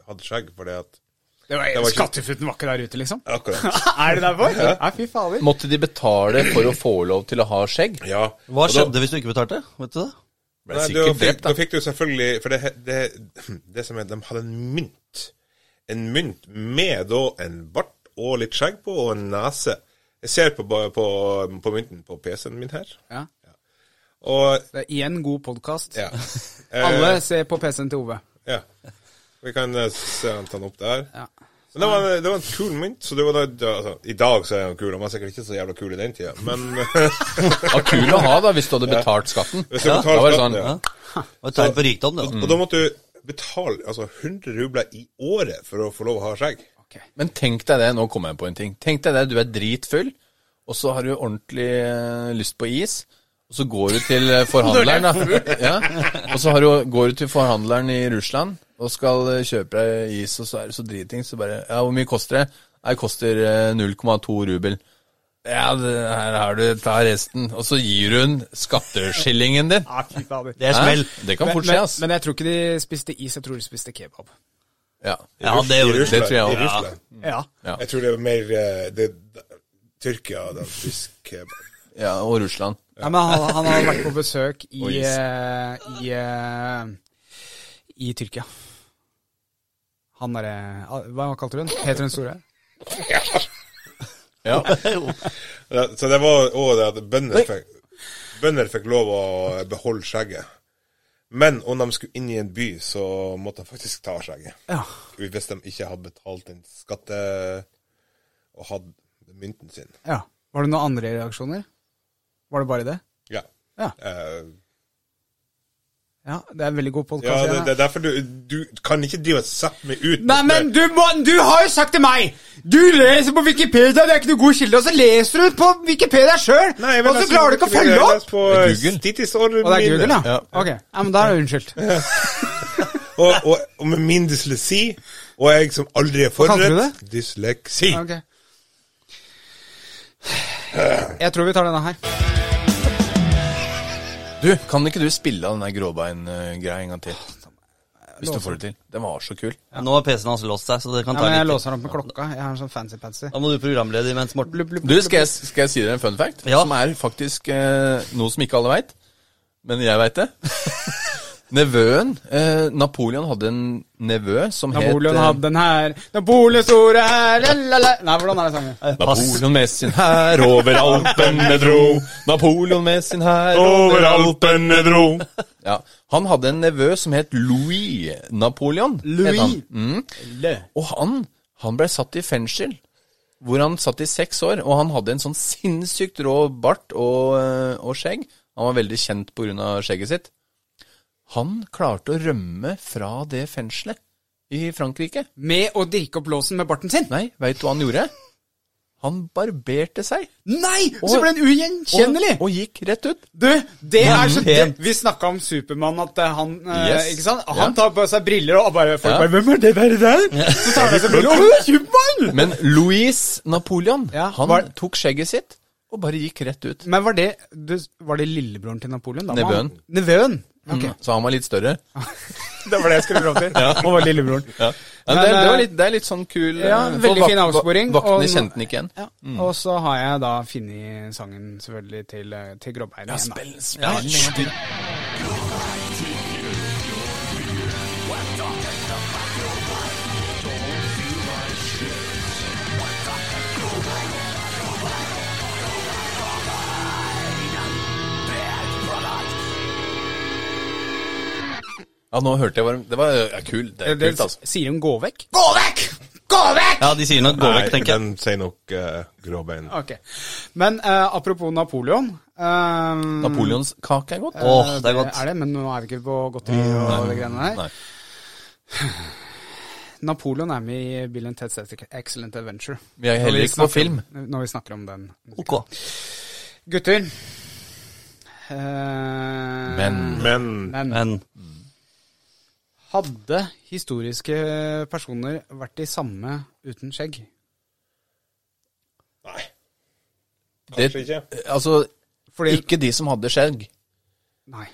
Speaker 5: hadde skjegg, fordi at
Speaker 2: Det var,
Speaker 5: var ikke-
Speaker 2: Skattefutten var ikke der ute, liksom. (laughs)
Speaker 5: Akkurat.
Speaker 2: er det derfor? Nei, fy fader.
Speaker 4: Måtte de betale for å få lov til å ha skjegg?
Speaker 5: Ja.
Speaker 3: Hva
Speaker 5: Og da-
Speaker 3: skjedde hvis du ikke betalte? Vet du det?
Speaker 4: Ble
Speaker 5: Nei, da
Speaker 4: sikkert
Speaker 5: fikk,
Speaker 4: drept,
Speaker 5: da
Speaker 4: da.
Speaker 5: fikk du selvfølgelig For det, det, det som er, de hadde en mynt. En mynt med da en bart og litt skjegg på, og en nese. Jeg ser på, ba- på, på mynten på PC-en min her.
Speaker 2: Ja.
Speaker 5: Og
Speaker 2: Det er igjen god podkast. (laughs)
Speaker 5: ja.
Speaker 2: Alle
Speaker 5: Eh,
Speaker 2: ser på PC-en til Ove.
Speaker 5: ja. Vi kan eh, se han ta den opp der.
Speaker 2: Ja.
Speaker 5: Men det var, det var en kul mynt. Så det var da, da- altså, I dag så er han kul. Han var sikkert ikke så jævla kul i den tida, men
Speaker 4: (laughs)
Speaker 5: (laughs)
Speaker 4: Ja, kul å ha, da, hvis du hadde betalt skatten.
Speaker 5: hvis du
Speaker 4: Ja, Mm.
Speaker 5: betaler
Speaker 4: da var det
Speaker 5: skatten,
Speaker 4: sånn,
Speaker 5: ja.
Speaker 3: Det var et tegn på rikdom, det.
Speaker 5: Og
Speaker 3: da. Mm.
Speaker 5: da måtte du betale altså 100 rubler i året for å få lov å ha skjegg.
Speaker 4: Men tenk deg det, nå kommer jeg på en ting. Tenk deg det, du er dritfull, og så har du ordentlig eh, lyst på is. Og så går du til eh, forhandleren, da. (laughs) Ja. Og så har du, går du til forhandleren i Russland og skal eh, kjøpe deg is, og så er du så driting, så bare Ja, hvor mye koster det? Nei, det koster eh, 0,2 rubel. Ja, det, her har du, ta resten. Og så gir hun skatteskillingen din.
Speaker 2: Ja, fy fader.
Speaker 3: Det er smell.
Speaker 4: Hæ? Det kan
Speaker 2: Men,
Speaker 4: fort skje,
Speaker 2: men,
Speaker 4: ass.
Speaker 2: men jeg tror ikke de spiste is, jeg tror de spiste kebab.
Speaker 4: Ja.
Speaker 3: Ja, det
Speaker 5: I
Speaker 3: gjorde
Speaker 5: Russland.
Speaker 4: det tror jeg også.
Speaker 5: I Russland.
Speaker 2: Ja.
Speaker 4: Ja.
Speaker 5: Jeg tror det er mer eh, det, Tyrkia og den tyske
Speaker 4: ja, og Russland.
Speaker 2: Nei, men han, han har vært på besøk i,
Speaker 5: (laughs)
Speaker 4: Og is.
Speaker 2: eh, i, eh, i Tyrkia. Han derre ah, Hva kalte du den? Heter den store?
Speaker 4: Ja.
Speaker 5: Ja, Så det var òg det at bønder fikk, bønder fikk lov å beholde skjegget. Men om de skulle inn i en by, så måtte de faktisk ta skjegget.
Speaker 2: Ja.
Speaker 5: Hvis de ikke hadde betalt en skatte og hadde mynten sin.
Speaker 2: ja. Var det noen andre reaksjoner? Var det bare det?
Speaker 5: Ja.
Speaker 2: Ja.
Speaker 5: Eh,
Speaker 2: Ja, det er en veldig god
Speaker 5: ja
Speaker 2: podkast.
Speaker 5: det, det er derfor du, du kan ikke drive og sette meg ut.
Speaker 2: Nei, men du, må, du har jo sagt til meg Du leser på Wikipedia, det er ikke noe god kilde, og så leser du på Wikipedia sjøl!
Speaker 5: Nei, altså, jeg vil
Speaker 2: Og så
Speaker 5: lese-
Speaker 2: klarer du ikke å følge
Speaker 5: jeg
Speaker 2: opp!
Speaker 5: leser på
Speaker 4: Det er Google.
Speaker 5: Stitisordmine.
Speaker 2: Og det er Google, ja?
Speaker 4: Ja.
Speaker 2: Ok, ja, men da er det
Speaker 5: (laughs)
Speaker 2: unnskyldt.
Speaker 5: og, og, og med min dysleksi, og jeg som aldri er
Speaker 2: kalte du
Speaker 5: forberedt Dysleksi.
Speaker 2: Ok. Jeg tror vi tar denne her.
Speaker 4: (laughs) Du, kan ikke du spille av den der gråbein-greia en gang til? Hvis du får det til. Den var så kul.
Speaker 3: Nå har PC-en hans låst seg, så det kan
Speaker 2: Ja,
Speaker 3: ta
Speaker 2: men jeg
Speaker 3: litt tid.
Speaker 2: låser opp med klokka. Jeg har en sånn fancy-pansy.
Speaker 3: Da må du programlede imens, Morten.
Speaker 4: Du, skal jeg, skal jeg si dere en fun fact?
Speaker 3: Ja.
Speaker 4: Som er faktisk eh, noe som ikke alle veit, men jeg veit det. (laughs) Nevøen eh, Napoleon hadde en nevø som
Speaker 2: Napoleon
Speaker 4: het eh,
Speaker 2: hadde den her, Napoleon store her la-la-la. Nei, hvordan er det
Speaker 4: Eh.
Speaker 2: sangen?
Speaker 4: Napoleon med sin hær over Alpene dro. Napoleon med sin hær
Speaker 5: Over Alpene dro.
Speaker 4: Ja, Han hadde en nevø som het Louis Napoleon. het han. Mm.
Speaker 2: Louis.
Speaker 4: Og han, han ble satt i fengsel, hvor han satt i seks år, og han hadde en sånn sinnssykt rå bart og, eh, og skjegg. Han var veldig kjent på grunn av skjegget sitt. Han klarte å rømme fra det fengselet i Frankrike.
Speaker 2: Med å dirke opp låsen med barten sin.
Speaker 4: Nei, veit du hva han gjorde? Han barberte seg.
Speaker 2: Nei! Så ble den ugjenkjennelig!
Speaker 4: Og, og gikk rett ut.
Speaker 2: Du, det er så
Speaker 3: pent.
Speaker 2: Vi snakka om Supermann, at eh, han eh,
Speaker 4: Mm, Yes.
Speaker 2: Ikke sant?
Speaker 4: Ja.
Speaker 2: Han tar på seg briller, og bare folk
Speaker 4: Ja.
Speaker 2: bare 'Hvem er det der?' der? Så tar han av seg briller, og Supermann!
Speaker 4: Men Louise Napoleon,
Speaker 2: Ja,
Speaker 4: han
Speaker 2: var-
Speaker 4: tok skjegget sitt og bare gikk rett ut.
Speaker 2: Men var det, du, var det lillebroren til Napoleon? da?
Speaker 4: Nevøen.
Speaker 2: Nevøen? Ok,
Speaker 4: Mm, Så han var litt større.
Speaker 2: (laughs) Det var det jeg skulle fram til. Han var lillebroren.
Speaker 4: Men,
Speaker 2: Men,
Speaker 4: det, det,
Speaker 2: eh,
Speaker 4: var litt, det er litt sånn kul eh,
Speaker 2: ja,
Speaker 4: for
Speaker 2: veldig
Speaker 4: vak-
Speaker 2: fin avsporing,
Speaker 4: va- Vaktene
Speaker 2: og-
Speaker 4: kjente den ikke igjen.
Speaker 2: Ja. Og så har jeg da funnet sangen selvfølgelig til, eh, til Gråbein. igjen, da.
Speaker 4: Ja, den en gang til. Ja, nå hørte jeg hva de- Det var ja, kul. Det er
Speaker 2: Eh, Det,
Speaker 4: kult, altså.
Speaker 2: sier hun 'gå vekk'? Gå vekk! Gå vekk!
Speaker 3: Ja, de sier nok gå vekk, tenker jeg.
Speaker 5: den sier nok eh, gråbein.
Speaker 2: Ok. Men eh, apropos Napoleon eh,
Speaker 4: Napoleons kake er godt. Mm,
Speaker 3: Åh, det er godt.
Speaker 2: Er det, men nå er vi ikke på godteri og de greiene der.
Speaker 4: Nei.
Speaker 2: (sighs) Napoleon er med i Bill and Ted's Excellent Adventure.
Speaker 4: Vi er
Speaker 2: Når
Speaker 4: heller ikke på
Speaker 2: snakker
Speaker 4: film.
Speaker 2: om- Når vi snakker om den.
Speaker 3: Ok.
Speaker 2: Gutter. eh,
Speaker 4: Men.
Speaker 5: Men
Speaker 2: men.
Speaker 3: Men
Speaker 2: Hadde historiske personer vært de samme uten skjegg?
Speaker 5: nei, kanskje
Speaker 4: Det,
Speaker 5: ikke.
Speaker 4: altså,
Speaker 2: Fordi
Speaker 4: ikke de som hadde skjegg.
Speaker 2: Nei.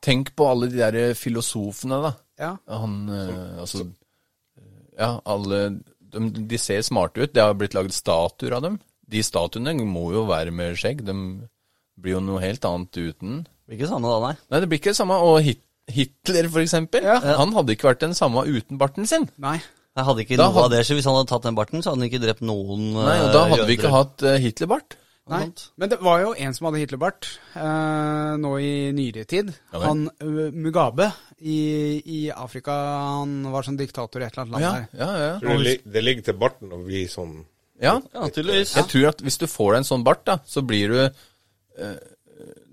Speaker 4: Tenk på alle de der filosofene, da.
Speaker 2: Ja.
Speaker 4: Han eh, Altså Ja, alle de, de ser smarte ut. Det har blitt lagd statuer av dem. De statuene må jo være med skjegg. De blir jo noe helt annet uten.
Speaker 3: blir ikke samme da, nei.
Speaker 4: Nei, det blir ikke det samme. Og Hit Hitler, for eksempel.
Speaker 2: Ja.
Speaker 4: Han hadde ikke vært den samme uten barten sin.
Speaker 2: Nei.
Speaker 3: Jeg hadde ikke noe
Speaker 4: Da
Speaker 3: av
Speaker 4: hadde-
Speaker 3: det, så hvis han hadde tatt den barten, så hadde han ikke drept noen
Speaker 4: Nei, og Da hadde vi ikke hatt eh, Hitler-bart.
Speaker 2: Nei, men det var jo en som hadde Hitlerbart eh, nå i nyere tid.
Speaker 4: Ja vel.
Speaker 2: han eh, Mugabe i, i Afrika, han var sånn diktator i et eller annet land
Speaker 4: Ja,
Speaker 2: der.
Speaker 4: ja, ja.
Speaker 5: Tror du Det, lig- det ligger til barten å bli sånn
Speaker 4: ja.
Speaker 3: Ja, tydeligvis.
Speaker 4: Jeg tror at hvis du får deg en sånn bart, da, så blir du, eh,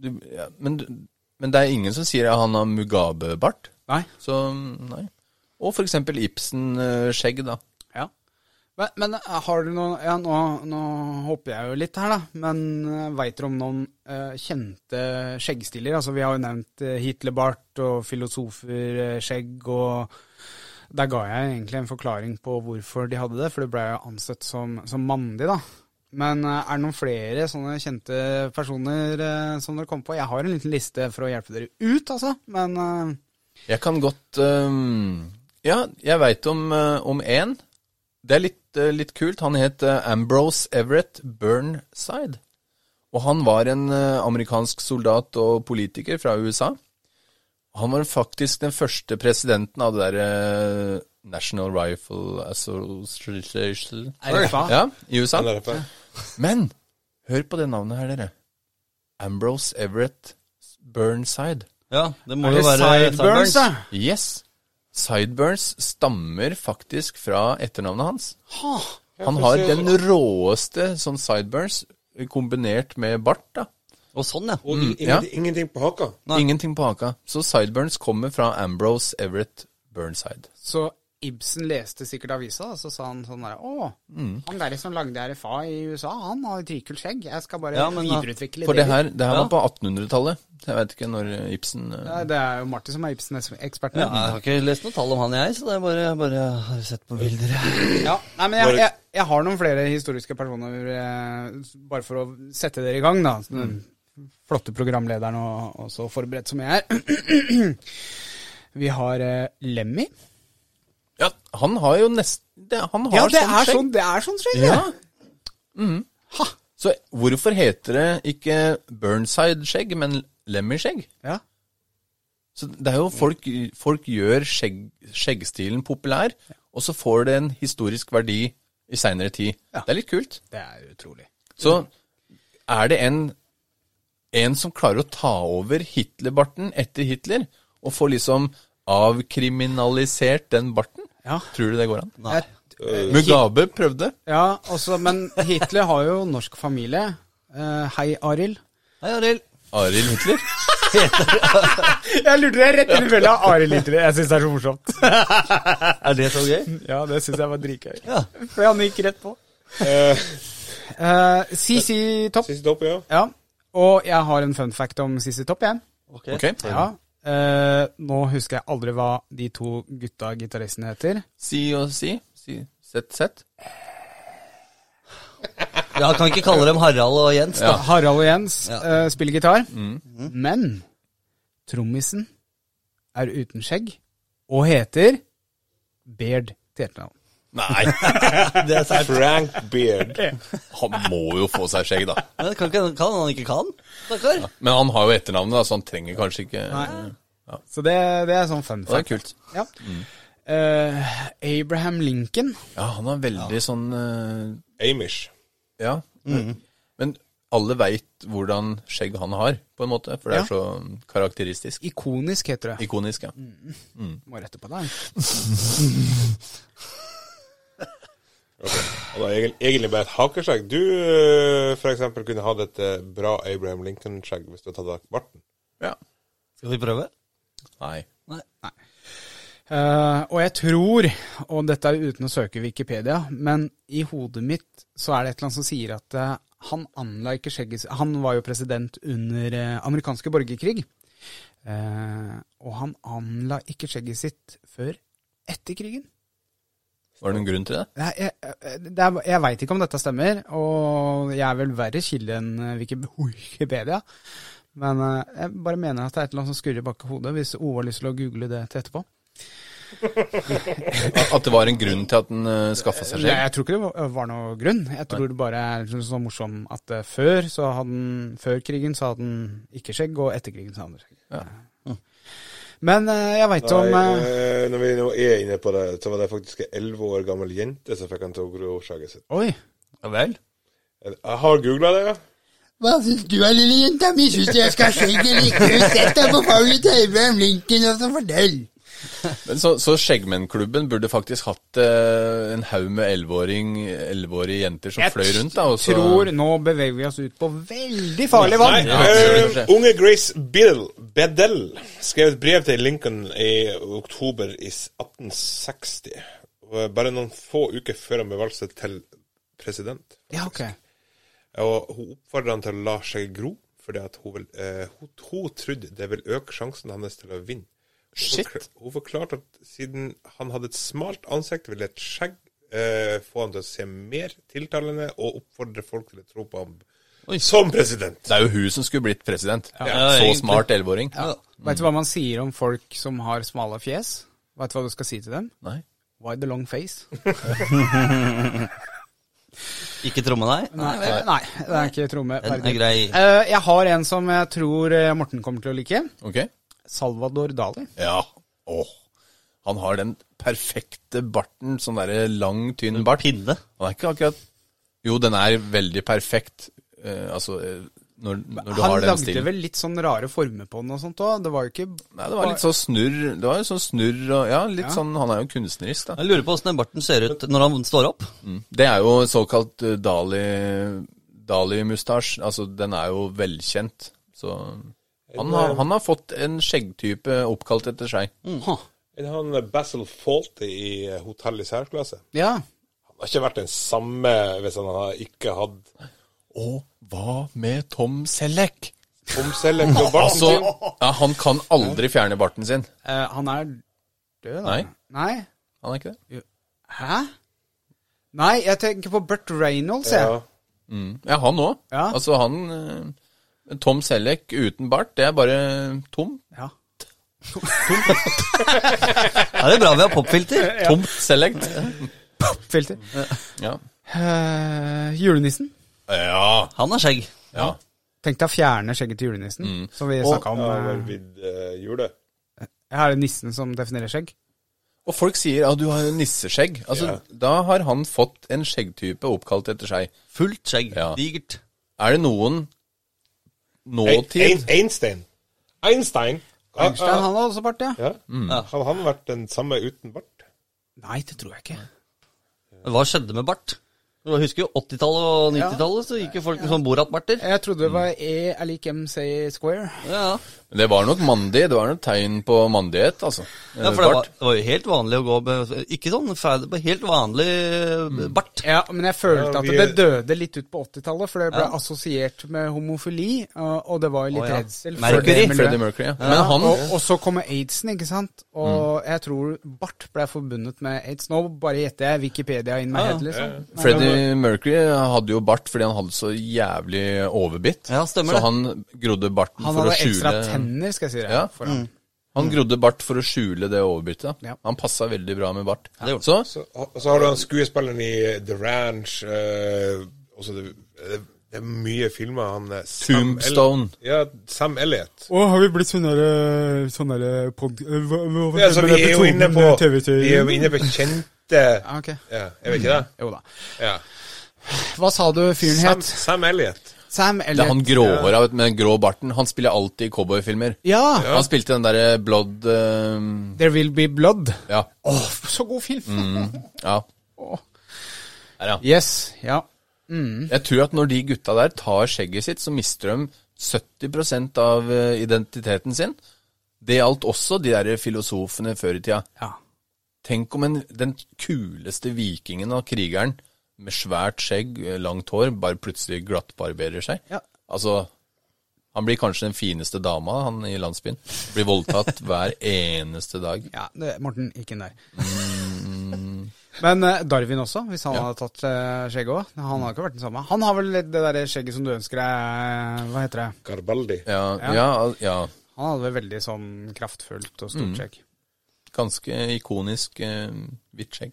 Speaker 4: du ja, men, du- men det er ingen som sier at han har Mugabe-bart.
Speaker 2: Nei,
Speaker 4: Så nei. Og for eksempel Ibsen-skjegg, da.
Speaker 2: ja. Men, men eh, har du noen Ja, nå, nå hopper jeg jo litt her, da. Men uh, veit dere om noen eh, kjente skjeggstiller? Altså, vi har jo nevnt eh, Hitlerbart og filosoferskjegg og Der ga jeg egentlig en forklaring på hvorfor de hadde det, for det ble jo ansett som, som mandig, da. Men eh, er det noen flere sånne kjente personer eh, som dere kom på? Jeg har en liten liste for å hjelpe dere ut, altså. Men eh,
Speaker 4: Jeg kan godt øhm, Ja, jeg veit om, øh, om én. Det er litt, øh, litt kult. Han het øh, Ambrose Everett Burnside. Og han var en øh, amerikansk soldat og politiker fra USA. Han var faktisk den første presidenten av det derre National Rifle Association
Speaker 2: RFA.
Speaker 4: Ja, i USA.
Speaker 5: Den der oppe.
Speaker 4: Men hør på det navnet her, dere. Ambrose Everett Burnside.
Speaker 3: Ja, det må
Speaker 2: er
Speaker 3: jo
Speaker 2: det
Speaker 3: være
Speaker 2: sideburns, da?
Speaker 4: Yes. Sideburns stammer faktisk fra etternavnet hans. Han har den råeste sånn sideburns eh, kombinert med bart, da.
Speaker 3: Og sånn, ja.
Speaker 5: Og ingen-
Speaker 4: ja.
Speaker 5: Ingenting på haka.
Speaker 4: Ingenting på haka. Så sideburns kommer fra Ambrose Everett Burnside.
Speaker 2: Så Ibsen leste sikkert avisa, og så sa han sånn der Å, han der som lagde RFA i USA, han har et rikkult skjegg. Jeg skal bare
Speaker 3: Ja, men da-
Speaker 2: videreutvikle
Speaker 4: For det her, det her
Speaker 3: Ja.
Speaker 4: var på 1800-tallet. Jeg veit ikke når Ibsen eh,
Speaker 2: Nei, Det er jo Martin som er Ibsen-eksperten.
Speaker 3: Ja, jeg har ikke lest noe tall om han, jeg, så det er bare, jeg bare har sett på bilder. jeg.
Speaker 2: Ja, nei, men jeg, jeg, jeg har noen flere historiske personer, eh, bare for å sette dere i gang, da. Så Den flotte programlederen og, og så forberedt som jeg er. (clears throat) Vi har eh, Lemmy.
Speaker 4: Ja, han har jo nesten det- Han har
Speaker 2: Ja, det er
Speaker 4: sånn skjegg.
Speaker 2: sånn, det er sånn skjegg,
Speaker 4: Ja.
Speaker 2: det.
Speaker 4: Så hvorfor heter det ikke Burnside-skjegg, men Lemmy-skjegg?
Speaker 2: Ja.
Speaker 4: Så det er jo folk, folk gjør skjegg, skjeggstilen populær, og så får det en historisk verdi i seinere tid. Det er litt kult.
Speaker 2: Det er utrolig.
Speaker 4: Så er det en, en som klarer å ta over Hitler-barten etter Hitler, og få liksom avkriminalisert den barten?
Speaker 2: Ja.
Speaker 4: Tror du det går an? Eh,
Speaker 3: Nei.
Speaker 2: Jeg
Speaker 4: Mugabe prøvde.
Speaker 2: Ja, også, men Hitler har jo norsk familie. Eh, hei, Arild.
Speaker 3: Hei, Arild.
Speaker 4: Arild Hitler.
Speaker 2: Jeg lurte deg rett inn i (laughs) fella. Arild Hitler. Jeg syns det er så morsomt.
Speaker 3: Er det så gøy?
Speaker 2: Ja, det syns jeg var dritgøy.
Speaker 3: Ja.
Speaker 2: For han gikk rett på. Eh, CC Topp.
Speaker 5: Siste dopp, ja.
Speaker 2: Ja. Og jeg har en fun fact om CC Topp igjen.
Speaker 3: Ok.
Speaker 4: Ok.
Speaker 2: Ja. Eh, nå husker jeg aldri hva de to gutta gitaristene heter.
Speaker 4: Si og si. si. Sett, sett.
Speaker 3: Ja, kan ikke kalle dem Harald og Jens, da.
Speaker 2: Harald og Jens
Speaker 3: Ja.
Speaker 2: eh, spiller gitar. Men trommisen er uten skjegg og heter Baird til etternavn.
Speaker 4: Nei,
Speaker 3: Det er sært.
Speaker 5: Frank Beard.
Speaker 4: han må jo få seg skjegg, da.
Speaker 3: Men Kan, ikke- kan han ikke kan? Stakkar.
Speaker 4: Men han har jo etternavnet, da, så han trenger kanskje ikke
Speaker 2: Så det, det er sånn fun
Speaker 4: Det er
Speaker 2: fact.
Speaker 4: kult.
Speaker 2: Ja. Eh, Abraham Lincoln
Speaker 4: Ja, han har veldig sånn eh,
Speaker 5: Amish.
Speaker 4: Ja. Men alle veit hvordan skjegg han har, på en måte. For det
Speaker 2: Ja.
Speaker 4: er så karakteristisk.
Speaker 2: Ikonisk heter det.
Speaker 4: Ikonisk, ja.
Speaker 2: Må rette på deg.
Speaker 5: Og det er egentlig- egentlig bare et hakeskjegg. Du eh, for eksempel kunne hatt et eh, bra Abraham Lincoln-skjegg hvis du hadde tatt av barten.
Speaker 4: ja.
Speaker 3: Skal vi prøve?
Speaker 4: Nei.
Speaker 3: Nei.
Speaker 2: Eh, og jeg tror, og dette er uten å søke Wikipedia, men i hodet mitt så er det et eller annet som sier at eh, han anla ikke skjegget sitt- Han var jo president under eh, amerikanske borgerkrig. Eh, og han anla ikke skjegget sitt før etter krigen.
Speaker 4: Var det noen grunn til det?
Speaker 2: Nei, Jeg, jeg, det er- jeg veit ikke om dette stemmer, og jeg er vel verre kilde enn eh, Wiki- (laughs) Wikipedia. Men eh, jeg bare mener at det er et eller annet som skurrer bak i hodet, hvis Ove har lyst til å google det til etterpå.
Speaker 4: At- At det var en grunn til at han uh, skaffa seg
Speaker 2: Nei,
Speaker 4: skjegg?
Speaker 2: jeg tror ikke det var- var noe grunn. Jeg tror det bare er liksom så morsom at eh, før, så hadde den, før krigen så hadde den ikke skjegg, og etter krigen så hadde den skjegg. Men eh, jeg veit om
Speaker 5: Nei,
Speaker 2: eh,
Speaker 5: eh, når vi nå er inne på det, så var det faktisk ei elleve år gammel jente som fikk han til å gro skjegget sitt.
Speaker 2: Oi.
Speaker 3: Ja vel.
Speaker 5: Jeg har googla det, ja.
Speaker 7: Hva syns du, lille jenta mi? Syns
Speaker 6: euh,
Speaker 7: du jeg skal ha skjegg eller ikke? Sett deg på fanget til Abraham Lincoln og så fortell.
Speaker 4: Men så, så Skjeggmennklubben burde faktisk hatt eh, en haug med 11-åring 11-årige jenter som
Speaker 2: Jeg
Speaker 4: fløy rundt, da. Og så,
Speaker 2: tror nå beveger vi oss ut på veldig farlig vann.
Speaker 5: Nei, eh, unge Grace Biddle, Bedell skrev et brev til Lincoln i oktober i 1860. og Bare noen få uker før han ble valgt til president.
Speaker 2: Ja, ok.
Speaker 5: Og hun oppfordra han til å la seg gro, fordi at hun, vil, eh, hun, hun trodde det vil øke sjansen hans til å vinne. Hun,
Speaker 4: Shit.
Speaker 5: forkla- hun forklarte at siden han hadde et smalt ansikt, ville et skjegg eh, få han til å se mer tiltalende og oppfordre folk til å tro på ham som president.
Speaker 4: Det er jo hun som skulle blitt president.
Speaker 3: Ja,
Speaker 4: så
Speaker 3: egentlig.
Speaker 4: smart 11-åring.
Speaker 3: Ja.
Speaker 2: Veit du hva man sier om folk som har smale fjes? Veit du hva du skal si til dem?
Speaker 4: Nei.
Speaker 2: Why the long face?
Speaker 3: Ikke tromme, nei?
Speaker 2: Nei, nei det er ikke tromme.
Speaker 3: Den
Speaker 2: verdig.
Speaker 3: er grei.
Speaker 2: Eh, Jeg har en som jeg tror eh, Morten kommer til å like.
Speaker 4: Ok?
Speaker 2: Salvador Dali.
Speaker 4: Ja. Åh. Han har den perfekte barten, sånn derre lang, tynn bart.
Speaker 3: Pinne.
Speaker 4: Han er ikke akkurat Jo, den er veldig perfekt, eh, altså eh, når, når du
Speaker 2: Han
Speaker 4: har den
Speaker 2: lagde
Speaker 4: stilen.
Speaker 2: vel litt sånn rare former på den og sånt òg. Det var jo ikke
Speaker 4: Nei, det var litt sånn snurr Det var jo sånn snurr og Ja, litt
Speaker 2: Ja.
Speaker 4: sånn Han er jo kunstnerisk, da.
Speaker 3: Jeg lurer på åssen den barten ser ut når han står opp.
Speaker 4: Det er jo såkalt eh, Dali Dali-mustasj. Altså, den er jo velkjent. Så han har, han har fått en skjeggtype oppkalt etter seg.
Speaker 2: Hå.
Speaker 5: Men han Basil Fawlty i eh, Hotell i særklasse
Speaker 2: Ja.
Speaker 5: Han har ikke vært den samme hvis han har ikke hatt
Speaker 4: Og hva med Tom Selleck?
Speaker 5: omselling
Speaker 4: (laughs)
Speaker 5: på barten
Speaker 4: Altså,
Speaker 5: sin.
Speaker 4: ja, han kan aldri fjerne barten sin.
Speaker 2: Eh, han er død, da.
Speaker 4: Nei.
Speaker 2: Nei?
Speaker 4: Han er ikke det?
Speaker 2: Hæ? Nei, jeg tenker på Burt Reynolds, jeg.
Speaker 5: Ja.
Speaker 4: Mm. Ja, han òg.
Speaker 2: Ja.
Speaker 4: Altså, han eh, Tom Selleck uten bart, det er bare tom.
Speaker 2: Ja.
Speaker 3: Er det bra vi har popfilter?
Speaker 4: Tomt Selleck.
Speaker 2: Filter.
Speaker 4: Ja.
Speaker 2: Eh, julenissen.
Speaker 4: ja.
Speaker 3: Han har skjegg.
Speaker 4: ja.
Speaker 2: Tenk deg å fjerne skjegget til julenissen,
Speaker 4: Mm.
Speaker 2: som vi snakka om.
Speaker 5: Ja,
Speaker 2: eh,
Speaker 5: vel vidd eh, jule.
Speaker 2: Jeg har nissen som definerer skjegg.
Speaker 4: Og folk sier at du har jo nisseskjegg. Altså, Da har han fått en skjeggtype oppkalt etter seg.
Speaker 3: Fullt skjegg.
Speaker 4: Ja.
Speaker 3: Digert.
Speaker 4: Er det noen
Speaker 5: Ein-
Speaker 4: nåtid
Speaker 5: Ein- Einstein. Einstein. Ja,
Speaker 2: Einstein, han har også bart, ja.
Speaker 5: ja. Hadde han vært den samme uten bart?
Speaker 2: Nei, det tror jeg ikke.
Speaker 3: Men Hva skjedde med bart? Du husker jo 80-tallet og 90-tallet, så gikk jo folk med sånn Borat-barter.
Speaker 2: Jeg trodde det var E er lik MC square.
Speaker 3: Ja.
Speaker 4: Men det var nok mandig. Det var nok tegn på mandighet, altså.
Speaker 3: Ja, for det var, det var jo helt vanlig å gå med Ikke sånn fæl, men helt vanlig eh,
Speaker 4: Mm.
Speaker 3: bart.
Speaker 2: Ja, men jeg følte
Speaker 5: Ja,
Speaker 2: at
Speaker 5: vi-
Speaker 2: det døde litt ut på 80-tallet, for det ble
Speaker 3: Ja.
Speaker 2: assosiert med homofili, og, og det var litt
Speaker 3: Å, ja.
Speaker 2: redsel.
Speaker 3: Mercury.
Speaker 2: for det miljøet.
Speaker 4: Freddie Mercury, ja. Men han Mm.
Speaker 2: og, og så kommer aidsen, ikke sant? Og jeg tror bart ble forbundet med aids. Nå bare gjetter jeg Wikipedia in my
Speaker 3: Ja, ja.
Speaker 2: head, liksom. Men-
Speaker 4: Freddie Mercury hadde jo bart fordi han hadde så jævlig overbitt.
Speaker 3: Ja, stemmer
Speaker 4: så
Speaker 3: det.
Speaker 4: han grodde barten
Speaker 2: Han
Speaker 4: for å
Speaker 2: hadde
Speaker 4: skjule
Speaker 2: ekstra tenner, skal jeg si deg.
Speaker 4: Ja.
Speaker 2: For
Speaker 3: Mm.
Speaker 2: han.
Speaker 4: Han grodde bart for å skjule det overbyttet.
Speaker 2: Ja.
Speaker 4: Han passa veldig bra med bart.
Speaker 3: det gjorde
Speaker 4: Så
Speaker 5: Så, og så har du han skuespilleren i eh, The Ranch eh, også det, det, det er mye filmer. Han eh, Sam Ell-
Speaker 4: Tombstone.
Speaker 5: Ja, Sam Elliot.
Speaker 2: Å, har vi blitt sånn derre sånn der pod... Hva, hva,
Speaker 5: Ja, så vi er jo inne på Vi er jo inne på kjente
Speaker 2: Ja, ok.
Speaker 5: ja, Jeg vet ikke det?
Speaker 2: Jo da.
Speaker 5: Ja.
Speaker 2: Hva sa du fyren
Speaker 5: Sam,
Speaker 2: het?
Speaker 5: Sam Elliot.
Speaker 2: Sam
Speaker 4: det er
Speaker 2: Elliot?
Speaker 4: han gråhåra vet du, med den grå barten. Han spiller alltid i cowboyfilmer.
Speaker 2: Ja!
Speaker 4: Han spilte den derre Blood eh,
Speaker 2: There Will Be Blood.
Speaker 4: Ja.
Speaker 2: Å, så god film!
Speaker 4: Mm. ja. Der, ja.
Speaker 2: Yes. Ja.
Speaker 4: Jeg tror at når de gutta der tar skjegget sitt, så mister de 70 av eh, identiteten sin. Det gjaldt også de der filosofene før i tida.
Speaker 2: ja.
Speaker 4: Tenk om en, den kuleste vikingen og krigeren med svært skjegg, eh, langt hår, bare plutselig glattbarberer seg.
Speaker 2: Ja.
Speaker 4: Altså, han blir kanskje den fineste dama han i landsbyen. Blir
Speaker 2: (laughs)
Speaker 4: voldtatt hver eneste dag.
Speaker 2: Ja, det, Morten gikk inn der.
Speaker 4: Mm.
Speaker 2: Men eh, Darwin også, hvis han hadde tatt eh, skjegget òg. Han har ikke vært den samme. Han har vel det der skjegget som du ønsker deg eh, Hva heter det?
Speaker 5: Garbaldi.
Speaker 2: Eh.
Speaker 4: Ja,
Speaker 2: Ja.
Speaker 4: ja, ja
Speaker 2: Han hadde vel veldig sånn kraftfullt og
Speaker 4: Mm.
Speaker 2: stort skjegg.
Speaker 4: ganske ikonisk eh, hvitt skjegg.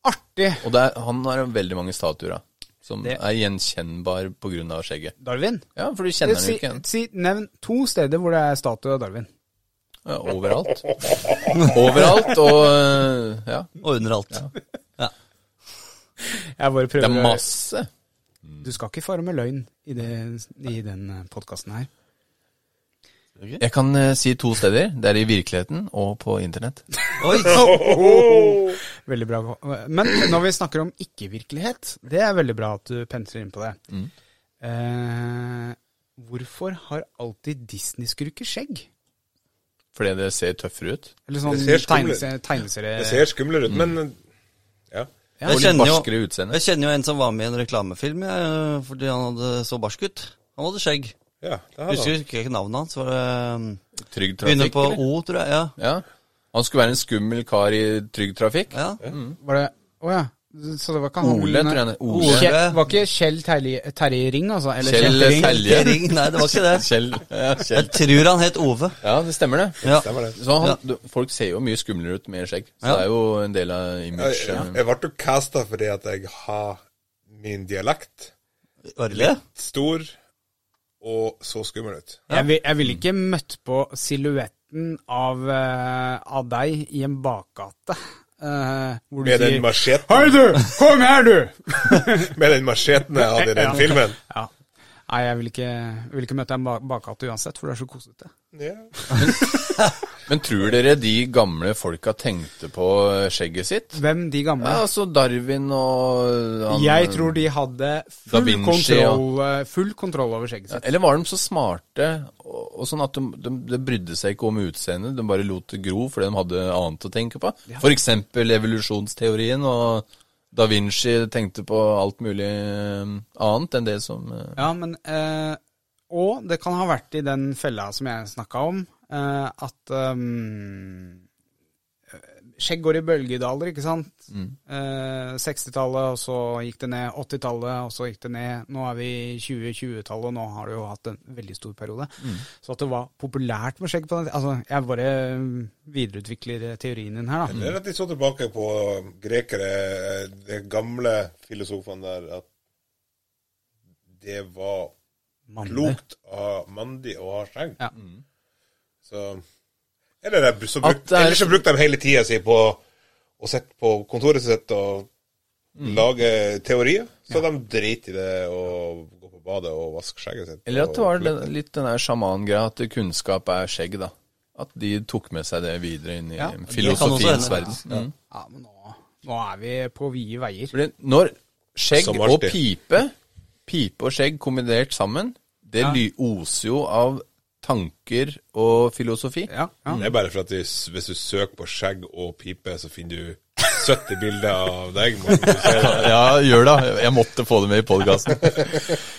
Speaker 2: Artig,
Speaker 4: Og det er, han har veldig mange statuer da, som
Speaker 2: Det-
Speaker 4: er gjenkjennbar på grunn av skjegget.
Speaker 2: Darwin. Eh,
Speaker 4: Ja, for du kjenner den
Speaker 2: Si,
Speaker 4: jo ikke igjen.
Speaker 2: si, nevn to steder hvor det er statue av Darwin.
Speaker 4: Ja, overalt. Overalt, og eh, ja,
Speaker 3: Og under alt.
Speaker 2: Jeg bare
Speaker 4: det
Speaker 2: prøver
Speaker 4: er
Speaker 2: å-
Speaker 4: masse.
Speaker 2: Du skal ikke fare med løgn i, det, i den podkasten her.
Speaker 4: Jeg kan eh, si to steder. Det er i virkeligheten og på internett. (laughs)
Speaker 3: Oi!
Speaker 2: Veldig bra. Men når vi snakker om ikke-virkelighet, det er veldig bra at du pensler inn på det. Eh, hvorfor har alltid Disney-skurker skjegg?
Speaker 4: Fordi det ser tøffere ut.
Speaker 2: Eller sånn
Speaker 5: Det ser skummelt
Speaker 2: tegneserie...
Speaker 5: Det
Speaker 2: tegneserie.
Speaker 5: ser skumlere ut, men
Speaker 2: Ja,
Speaker 4: Og
Speaker 3: Jeg
Speaker 4: litt
Speaker 3: kjenner, jo,
Speaker 4: barskere utseende.
Speaker 3: jeg kjenner jo en som var med i en reklamefilm jeg, eh, fordi han hadde så barsk ut. Han hadde skjegg.
Speaker 5: ja, det har
Speaker 3: Husker
Speaker 5: han.
Speaker 3: ikke navnet hans. Var det um,
Speaker 4: Trygg
Speaker 3: Begynner
Speaker 4: trafikk.
Speaker 3: på
Speaker 4: eller?
Speaker 3: O, tror jeg. Ja.
Speaker 4: Ja. Han skulle være en skummel kar i Trygg
Speaker 3: (laughs)
Speaker 4: trafikk.
Speaker 3: ja.
Speaker 2: Var det Å ja. Så det var ikke han
Speaker 4: Ole, tror jeg. han- Ole.
Speaker 2: Kjell, var ikke Kjell Terje, Terje Ring, altså? Eller Kjell,
Speaker 4: Kjell
Speaker 2: Ring?
Speaker 4: Telje.
Speaker 3: Ring. Nei, det var ikke det.
Speaker 4: (laughs) Kjell. Ja, Kjell.
Speaker 3: Jeg tror han het Ove.
Speaker 4: ja, det stemmer det.
Speaker 3: Ja.
Speaker 5: Stemmer det.
Speaker 4: Så han, du- Folk ser jo mye skumlere ut med skjegg. Så
Speaker 3: Ja.
Speaker 4: det er jo en del av
Speaker 5: Jeg,
Speaker 4: image. eh,
Speaker 5: jeg, jeg ble jo casta fordi at jeg har min dialekt
Speaker 3: Var det det?
Speaker 5: stor og så skummel ut.
Speaker 2: Jeg, vil, jeg ville ikke møtt på silhuetten av, eh, av deg i en bakgate. eh, hvor du
Speaker 5: Med den
Speaker 2: sier Hei,
Speaker 5: macheten,
Speaker 2: du! Kom her, du!
Speaker 5: med den macheten jeg hadde
Speaker 2: (laughs)
Speaker 5: i
Speaker 2: Ja.
Speaker 5: den filmen.
Speaker 2: Ja. Nei, jeg vil ikke, jeg vil ikke møte deg i en ba- bakgate uansett, for du er så kosete.
Speaker 5: Ja.
Speaker 4: Men tror dere de gamle folka tenkte på eh, skjegget sitt?
Speaker 2: Hvem de gamle?
Speaker 4: Ja, altså Darwin og han,
Speaker 2: jeg tror de hadde
Speaker 4: Da
Speaker 2: full,
Speaker 4: Vinci,
Speaker 2: kontroll, eh, full kontroll over skjegget sitt.
Speaker 4: Eller var de så smarte og, og sånn at de, de, de brydde seg ikke om utseendet, de bare lot det gro fordi de hadde annet å tenke på? For eksempel evolusjonsteorien, og da Vinci tenkte på alt mulig eh, annet enn det som eh,
Speaker 2: Ja, men eh, Og det kan ha vært i den fella som jeg snakka om, eh, at ehm, Skjegg går i bølgedaler, ikke sant? Eh, 60-tallet, og så gikk det ned. 80-tallet, og så gikk det ned. Nå er vi i 2020-tallet, og nå har det jo hatt en veldig stor periode. Så at det var populært med skjegg på den tida Altså, jeg bare mm, videreutvikler eh, teorien din her, da.
Speaker 5: Eller at de så tilbake på grekere, de gamle filosofene der, at det var
Speaker 2: Mandler.
Speaker 5: klokt av mandig å ha skjegg.
Speaker 2: Ja.
Speaker 5: Så Eller det er- så
Speaker 4: At
Speaker 5: bruk,
Speaker 4: det er-
Speaker 5: ellers så brukte de hele tida si på å sitte på kontoret sitt og
Speaker 2: Mm.
Speaker 5: lage teorier. Så de dreit i det og gå på badet og vaske skjegget sitt.
Speaker 4: Eller at det var
Speaker 5: og-
Speaker 4: den, litt den der sjamangreia at kunnskap er skjegg, da. At de tok med seg det videre inn i
Speaker 2: Ja, det
Speaker 3: kan
Speaker 4: filosofiens
Speaker 3: også hende.
Speaker 4: verden. Mm.
Speaker 2: Ja, men nå, nå er vi på vide veier.
Speaker 4: Fordi når skjegg
Speaker 5: Som
Speaker 4: og
Speaker 5: alltid.
Speaker 4: pipe, pipe og skjegg kombinert sammen, det ly oser jo av tanker og filosofi.
Speaker 2: Ja, ja.
Speaker 5: Det er bare for at du, s- hvis du søker på skjegg og pipe, så finner du 70 bilder av deg.
Speaker 4: (laughs)
Speaker 5: Morten. Du ser det.
Speaker 4: Ja, gjør det. Jeg måtte få det med i podkasten.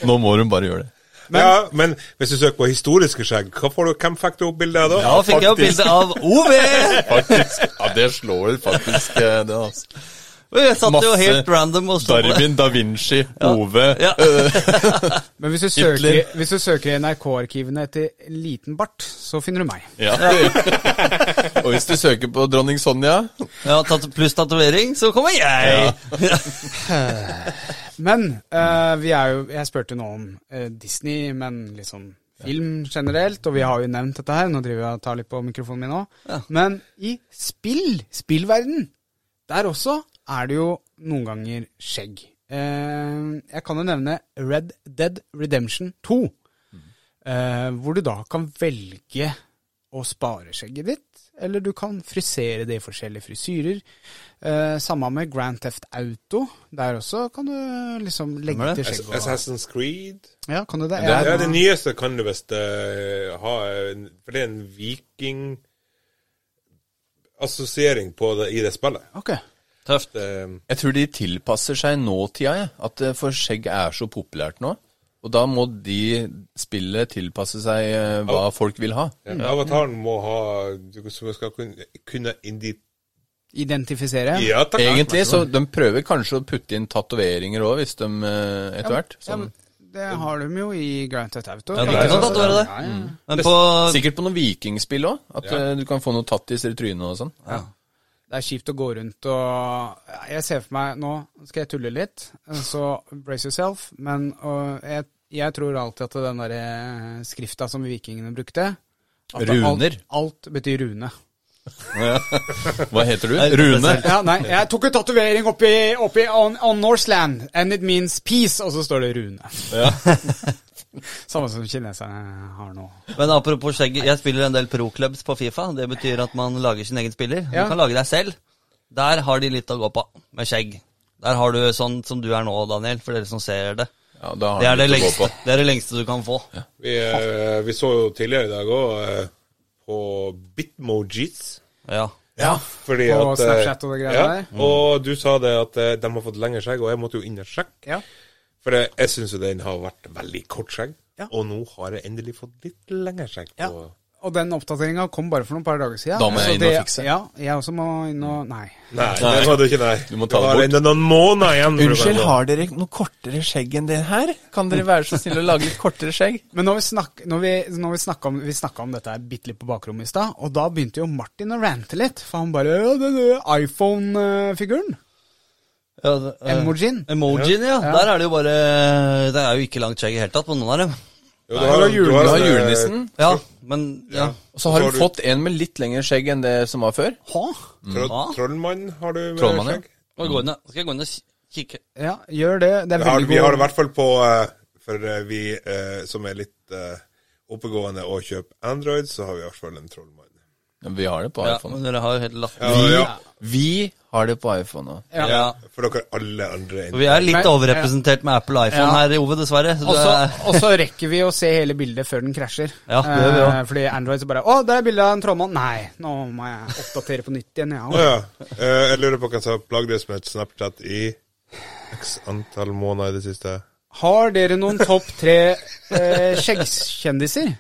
Speaker 4: Nå må hun bare gjøre det.
Speaker 5: ja, men hvis du søker på historiske skjegg, hva får du, hvem fikk du opp bilde av da?
Speaker 3: Da fikk jeg opp bilde av OV!
Speaker 4: (laughs) Faktisk. Ja, det slår faktisk eh, det, altså.
Speaker 3: Jeg satt jo
Speaker 4: Masse
Speaker 3: helt random og stod på det.
Speaker 4: Darwin, da Vinci, Ove
Speaker 3: Ja.
Speaker 2: Men hvis du
Speaker 4: Hitler.
Speaker 2: søker, hvis du søker i NRK-arkivene etter liten bart, så finner du meg.
Speaker 4: ja. (laughs) Og hvis du søker på dronning Sonja
Speaker 3: Ja, tat- Pluss tatovering, så kommer jeg!
Speaker 2: Men eh, vi er jo Jeg spurte nå om eh, Disney, men liksom film generelt, og vi har jo nevnt dette her. Nå driver jeg og tar litt på mikrofonen min òg. Men i spill, spillverden, der også er det jo noen ganger skjegg. Eh, jeg kan jo nevne Red Dead Redemption 2. eh, hvor du da kan velge å spare skjegget ditt, eller du kan frisere det i forskjellige frisyrer. Eh, samme med Grand Theft Auto. Der også kan du liksom legge
Speaker 3: Stemmer det?
Speaker 2: til skjegg. og-
Speaker 5: Assassin's Creed.
Speaker 2: Ja, kan du det?
Speaker 4: Det er-
Speaker 5: Ja,
Speaker 2: Jeg-
Speaker 5: det nyeste kan du visst eh, ha en, For det er en vikingassosiering på det i det spillet.
Speaker 2: Ok.
Speaker 3: Tøft.
Speaker 5: Det-
Speaker 4: Jeg tror de tilpasser seg nåtida, jeg. At eh, for skjegg er så populært nå. Og da må de spillet tilpasse seg eh, hva folk vil ha.
Speaker 5: ja,
Speaker 2: Mm.
Speaker 5: avataren må ha Du skal kunne, kunne indi...
Speaker 2: Identifisere?
Speaker 5: Ja, takk.
Speaker 4: Egentlig, så de prøver kanskje å putte inn tatoveringer òg, hvis de eh, etter hvert.
Speaker 2: Ja, men
Speaker 4: Sånn.
Speaker 2: det har de jo i Grand Theft Auto.
Speaker 3: Ja, du kan tatovere det. Mm.
Speaker 2: Ja, ja.
Speaker 3: Men på
Speaker 4: Sikkert på noen vikingspill òg. At eh, du kan få noen tattiser i trynet og
Speaker 3: (laughs)
Speaker 4: sånn.
Speaker 2: Det er kjipt å gå rundt og Jeg ser for meg Nå skal jeg tulle litt, så brace yourself. Men og jeg, jeg tror alltid at den derre skrifta som vikingene brukte at
Speaker 4: Runer.
Speaker 2: Alt, alt betyr rune.
Speaker 4: Hva heter du? Rune?
Speaker 2: Ja, nei, jeg tok en tatovering oppi, oppi on, on Norseland, and it means peace, og så står det rune. (laughs) Samme som kineserne har nå.
Speaker 3: Men apropos skjegg, jeg spiller en del pro-clubs på Fifa. Det betyr at man lager sin egen spiller.
Speaker 2: Ja.
Speaker 3: Du kan lage deg selv. Der har de litt å gå på med skjegg. Der har du sånn som du er nå, Daniel, for dere som ser det.
Speaker 4: Ja, da
Speaker 3: Det
Speaker 4: har
Speaker 3: er det
Speaker 4: han litt å gå
Speaker 3: lengste,
Speaker 4: på.
Speaker 3: det er det lengste du kan få.
Speaker 5: Vi, eh, vi så jo tidligere i dag òg på Bitmojis.
Speaker 3: Ja.
Speaker 4: Ja.
Speaker 5: Fordi
Speaker 2: På
Speaker 5: at, eh,
Speaker 2: Snapchat og det greia
Speaker 5: ja,
Speaker 2: der.
Speaker 5: Og du sa det at eh, de har fått lengre skjegg, og jeg måtte jo inn og sjekke.
Speaker 2: Ja.
Speaker 5: For det, jeg syns jo den har vært veldig kort skjegg,
Speaker 2: Ja.
Speaker 5: og nå har jeg endelig fått litt lengre skjegg.
Speaker 2: Ja.
Speaker 5: på-
Speaker 2: Og den oppdateringa kom bare for noen par dager siden.
Speaker 4: Da må jeg
Speaker 2: Så
Speaker 4: inn og
Speaker 2: det-
Speaker 4: fikse.
Speaker 2: Ja, jeg også må inn og Nei.
Speaker 5: Nei, det var det ikke, nei.
Speaker 4: Du må ta det
Speaker 5: var
Speaker 4: bort.
Speaker 5: enda noen måneder igjen. for å være sånn.
Speaker 4: dere noe kortere skjegg enn det her? Kan dere være så snille å lage litt kortere skjegg?
Speaker 2: Men når vi, snak, når vi, når vi snakka om, vi snakket om dette her bitte litt på bakrommet i stad, og da begynte jo Martin å rante litt. For han bare «Ja, den eh, iPhone-figuren.
Speaker 3: Ja, det- eh,
Speaker 2: Emojien.
Speaker 3: Emojien, ja.
Speaker 2: Ja.
Speaker 3: Der er det jo bare Det er jo ikke langt skjegg i det hele tatt på noen av dem.
Speaker 5: Jo,
Speaker 4: Du har,
Speaker 5: du har, eh,
Speaker 4: julenissen,
Speaker 3: Ja, men ja.
Speaker 4: og så har du fått en med litt lengre skjegg enn det som var før.
Speaker 2: Hå?
Speaker 5: Tro,
Speaker 3: Ja.
Speaker 5: trollmann har du med
Speaker 4: Trollmann, ja.
Speaker 5: skjegg?
Speaker 3: Skal jeg gå inn og- skal jeg gå inn og ki- kikke
Speaker 2: Ja, gjør det. Det er
Speaker 5: Vi har,
Speaker 2: veldig
Speaker 5: vi har
Speaker 2: god
Speaker 5: det i hvert fall på eh, For eh, vi eh, som er litt eh, oppegående og kjøper Android, så har vi i hvert fall en trollmann.
Speaker 4: Ja, Vi har det på
Speaker 3: Ja,
Speaker 4: iPhone.
Speaker 3: men dere har jo helt latt
Speaker 5: Ja,
Speaker 4: Vi,
Speaker 5: ja.
Speaker 4: vi har det på iPhone òg.
Speaker 2: Ja.
Speaker 3: Ja.
Speaker 5: For dere alle andre enn
Speaker 3: Vi er litt
Speaker 2: Men-
Speaker 3: overrepresentert med Apple iPhone
Speaker 2: Ja.
Speaker 3: her, Ove, dessverre. Så
Speaker 2: Og
Speaker 3: det er-
Speaker 2: så- og så rekker vi å se hele bildet før den krasjer.
Speaker 3: Ja, det gjør vi også.
Speaker 2: Eh, fordi Android så bare Å, der er bildet av en trollmann. Nei, nå må jeg oppdatere på nytt igjen.
Speaker 5: Å
Speaker 2: Ja.
Speaker 5: ja. Eh, jeg lurer på hva som har plagd oss med et Snapchat i x antall måneder i det siste.
Speaker 2: Har dere noen topp tre eh, skjeggkjendiser?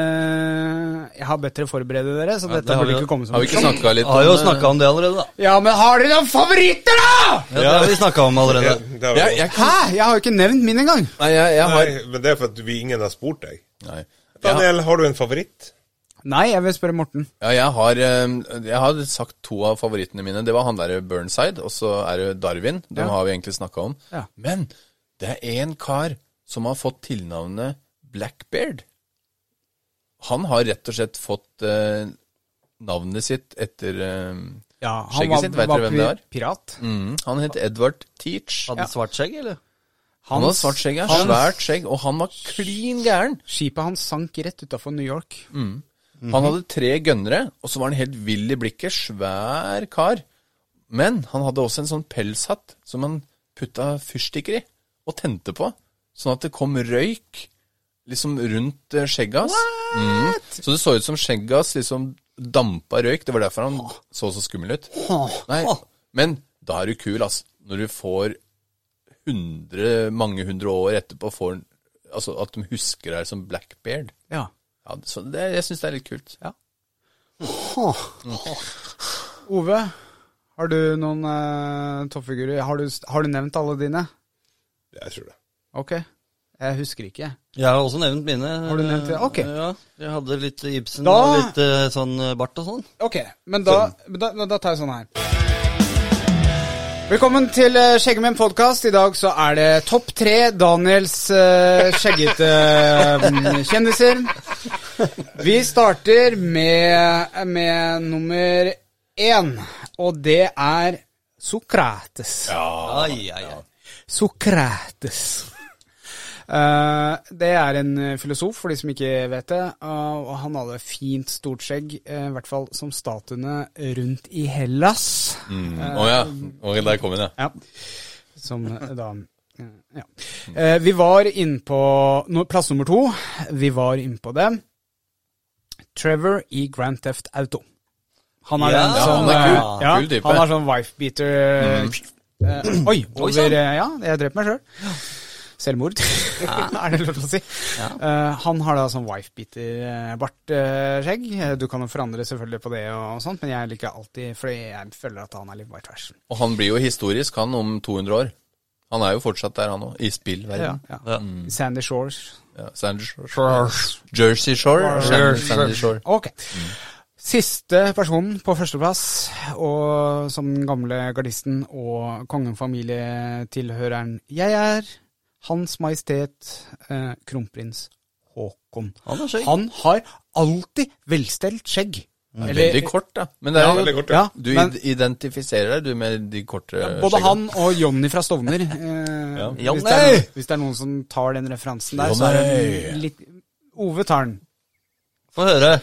Speaker 2: Eh, jeg har bedt dere forberede dere, så dette
Speaker 3: det har
Speaker 2: burde
Speaker 3: vi
Speaker 2: ikke komme som
Speaker 4: Har vi ikke snakka litt
Speaker 3: har jo
Speaker 4: eh,
Speaker 3: snakka om det allerede, da.
Speaker 2: Ja, men har dere noen favoritter, da?!
Speaker 3: Ja, det har vi snakket om
Speaker 5: Ja,
Speaker 3: allerede.
Speaker 5: det har vi
Speaker 4: jeg,
Speaker 5: også.
Speaker 4: jeg,
Speaker 2: Hæ? Jeg har jo ikke nevnt min engang.
Speaker 4: Nei, jeg, jeg har
Speaker 5: Nei, men det er for at vi ingen har spurt deg.
Speaker 4: Nei. Jeg,
Speaker 5: Daniel, har du en favoritt?
Speaker 2: Nei, jeg vil spørre Morten.
Speaker 4: ja, jeg, har, eh, jeg har sagt to av favorittene mine. Det var han der Burnside, og så er det Darwin. Dem
Speaker 2: Ja.
Speaker 4: har vi egentlig snakka om.
Speaker 2: Ja.
Speaker 4: Men det er en kar som har fått tilnavnet Blackbeard. Han har rett og slett fått eh, navnet sitt etter eh,
Speaker 2: Ja,
Speaker 4: Skjegget sitt, vet dere hvem det er?
Speaker 2: pirat.
Speaker 4: Mm, han het Edward Teach.
Speaker 3: Hadde han svart skjegg, eller?
Speaker 4: Han hadde svart skjegg, ja.
Speaker 2: hans-
Speaker 4: Svært skjegg. Og han var klin gæren.
Speaker 2: Skipet hans sank rett utafor New York.
Speaker 4: Mm. Han hadde tre gønnere, og så var han helt vill i blikket. Svær kar. Men han hadde også en sånn pelshatt som han putta fyrstikker i og tente på, sånn at det kom røyk liksom rundt eh, skjegget hans. Mm. Så det så ut som skjegget hans liksom dampa røyk. Det var derfor han så så skummel ut. Nei, men da er du kul, ass. Når du får hundre, mange hundre år etterpå får Altså at de husker deg som Blackbeard.
Speaker 2: Ja.
Speaker 4: Ja, så det, jeg syns det er litt kult. Ja.
Speaker 2: Ove, har du noen eh, toppfigurer? Har du, har du nevnt alle dine?
Speaker 5: Jeg tror det.
Speaker 2: Ok. Jeg husker ikke.
Speaker 3: Jeg har også nevnt mine.
Speaker 2: Har du nevnt det? Ok.
Speaker 3: Ja, jeg hadde litt Ibsen
Speaker 2: Da-
Speaker 3: og litt eh, sånn eh, bart og sånn.
Speaker 2: Ok, men da, men da, men da tar jeg sånn her. Velkommen til eh, Skjeggemenn podkast. I dag så er det topp tre Daniels eh, skjeggete mm, kjendiser. Vi starter med, med nummer én, og det er Sokrates.
Speaker 4: Ah,
Speaker 3: Ai, ai, ai.
Speaker 2: Sokrates. (laughs) Eh, det er en eh, filosof, for de som ikke vet det. eh, og han hadde fint, stort skjegg, eh, i hvert fall som statuene rundt i Hellas.
Speaker 4: Å ja. Og der kom hun, ja.
Speaker 2: Ja. Som eh, da eh, Ja. Eh, vi var inne på no, plass nummer to. Vi var inne på det. Trevor i Grand Theft Auto. Han er
Speaker 3: Ja,
Speaker 2: den som
Speaker 4: han er kul.
Speaker 2: eh, ja,
Speaker 4: Kul type. Mm.
Speaker 2: Han er sånn wife-beater eh, Oi!
Speaker 3: Oi,
Speaker 2: Over,
Speaker 4: sånn.
Speaker 3: sann.
Speaker 2: eh, ja, jeg drepte meg sjøl. Selvmord, (laughs) er det lov til å si. Eh, han har da sånn wife-beater-bart-skjegg. Eh, du kan jo forandre selvfølgelig på det, og sånt, men jeg liker alltid fordi jeg føler at han er litt white trash.
Speaker 4: Og han blir jo historisk, han, om 200 år. Han er jo fortsatt der, han òg. I spillverden.
Speaker 2: Ja, ja.
Speaker 4: Mm.
Speaker 2: Sandy Shores.
Speaker 4: Ja. Sandy Shore. Jersey Shore. Sandy, Sandy Shore.
Speaker 2: Ok. Siste personen på førsteplass, og som den gamle gardisten og kongen-familietilhøreren jeg er, Hans Majestet eh, Kronprins Haakon.
Speaker 3: Han har skjegg.
Speaker 2: Han har alltid velstelt skjegg. Eller-
Speaker 4: Veldig kort, da. Men det er jo
Speaker 5: veldig kort,
Speaker 2: ja,
Speaker 4: Du
Speaker 2: men
Speaker 4: id- identifiserer deg, du, med de korte
Speaker 2: både
Speaker 4: skjeggene.
Speaker 2: han og Jonny fra Stovner. Eh, hvis, det er,
Speaker 3: Johnny!
Speaker 2: hvis det er noen som tar den referansen der, så er det litt Ove tar den.
Speaker 3: Få høre.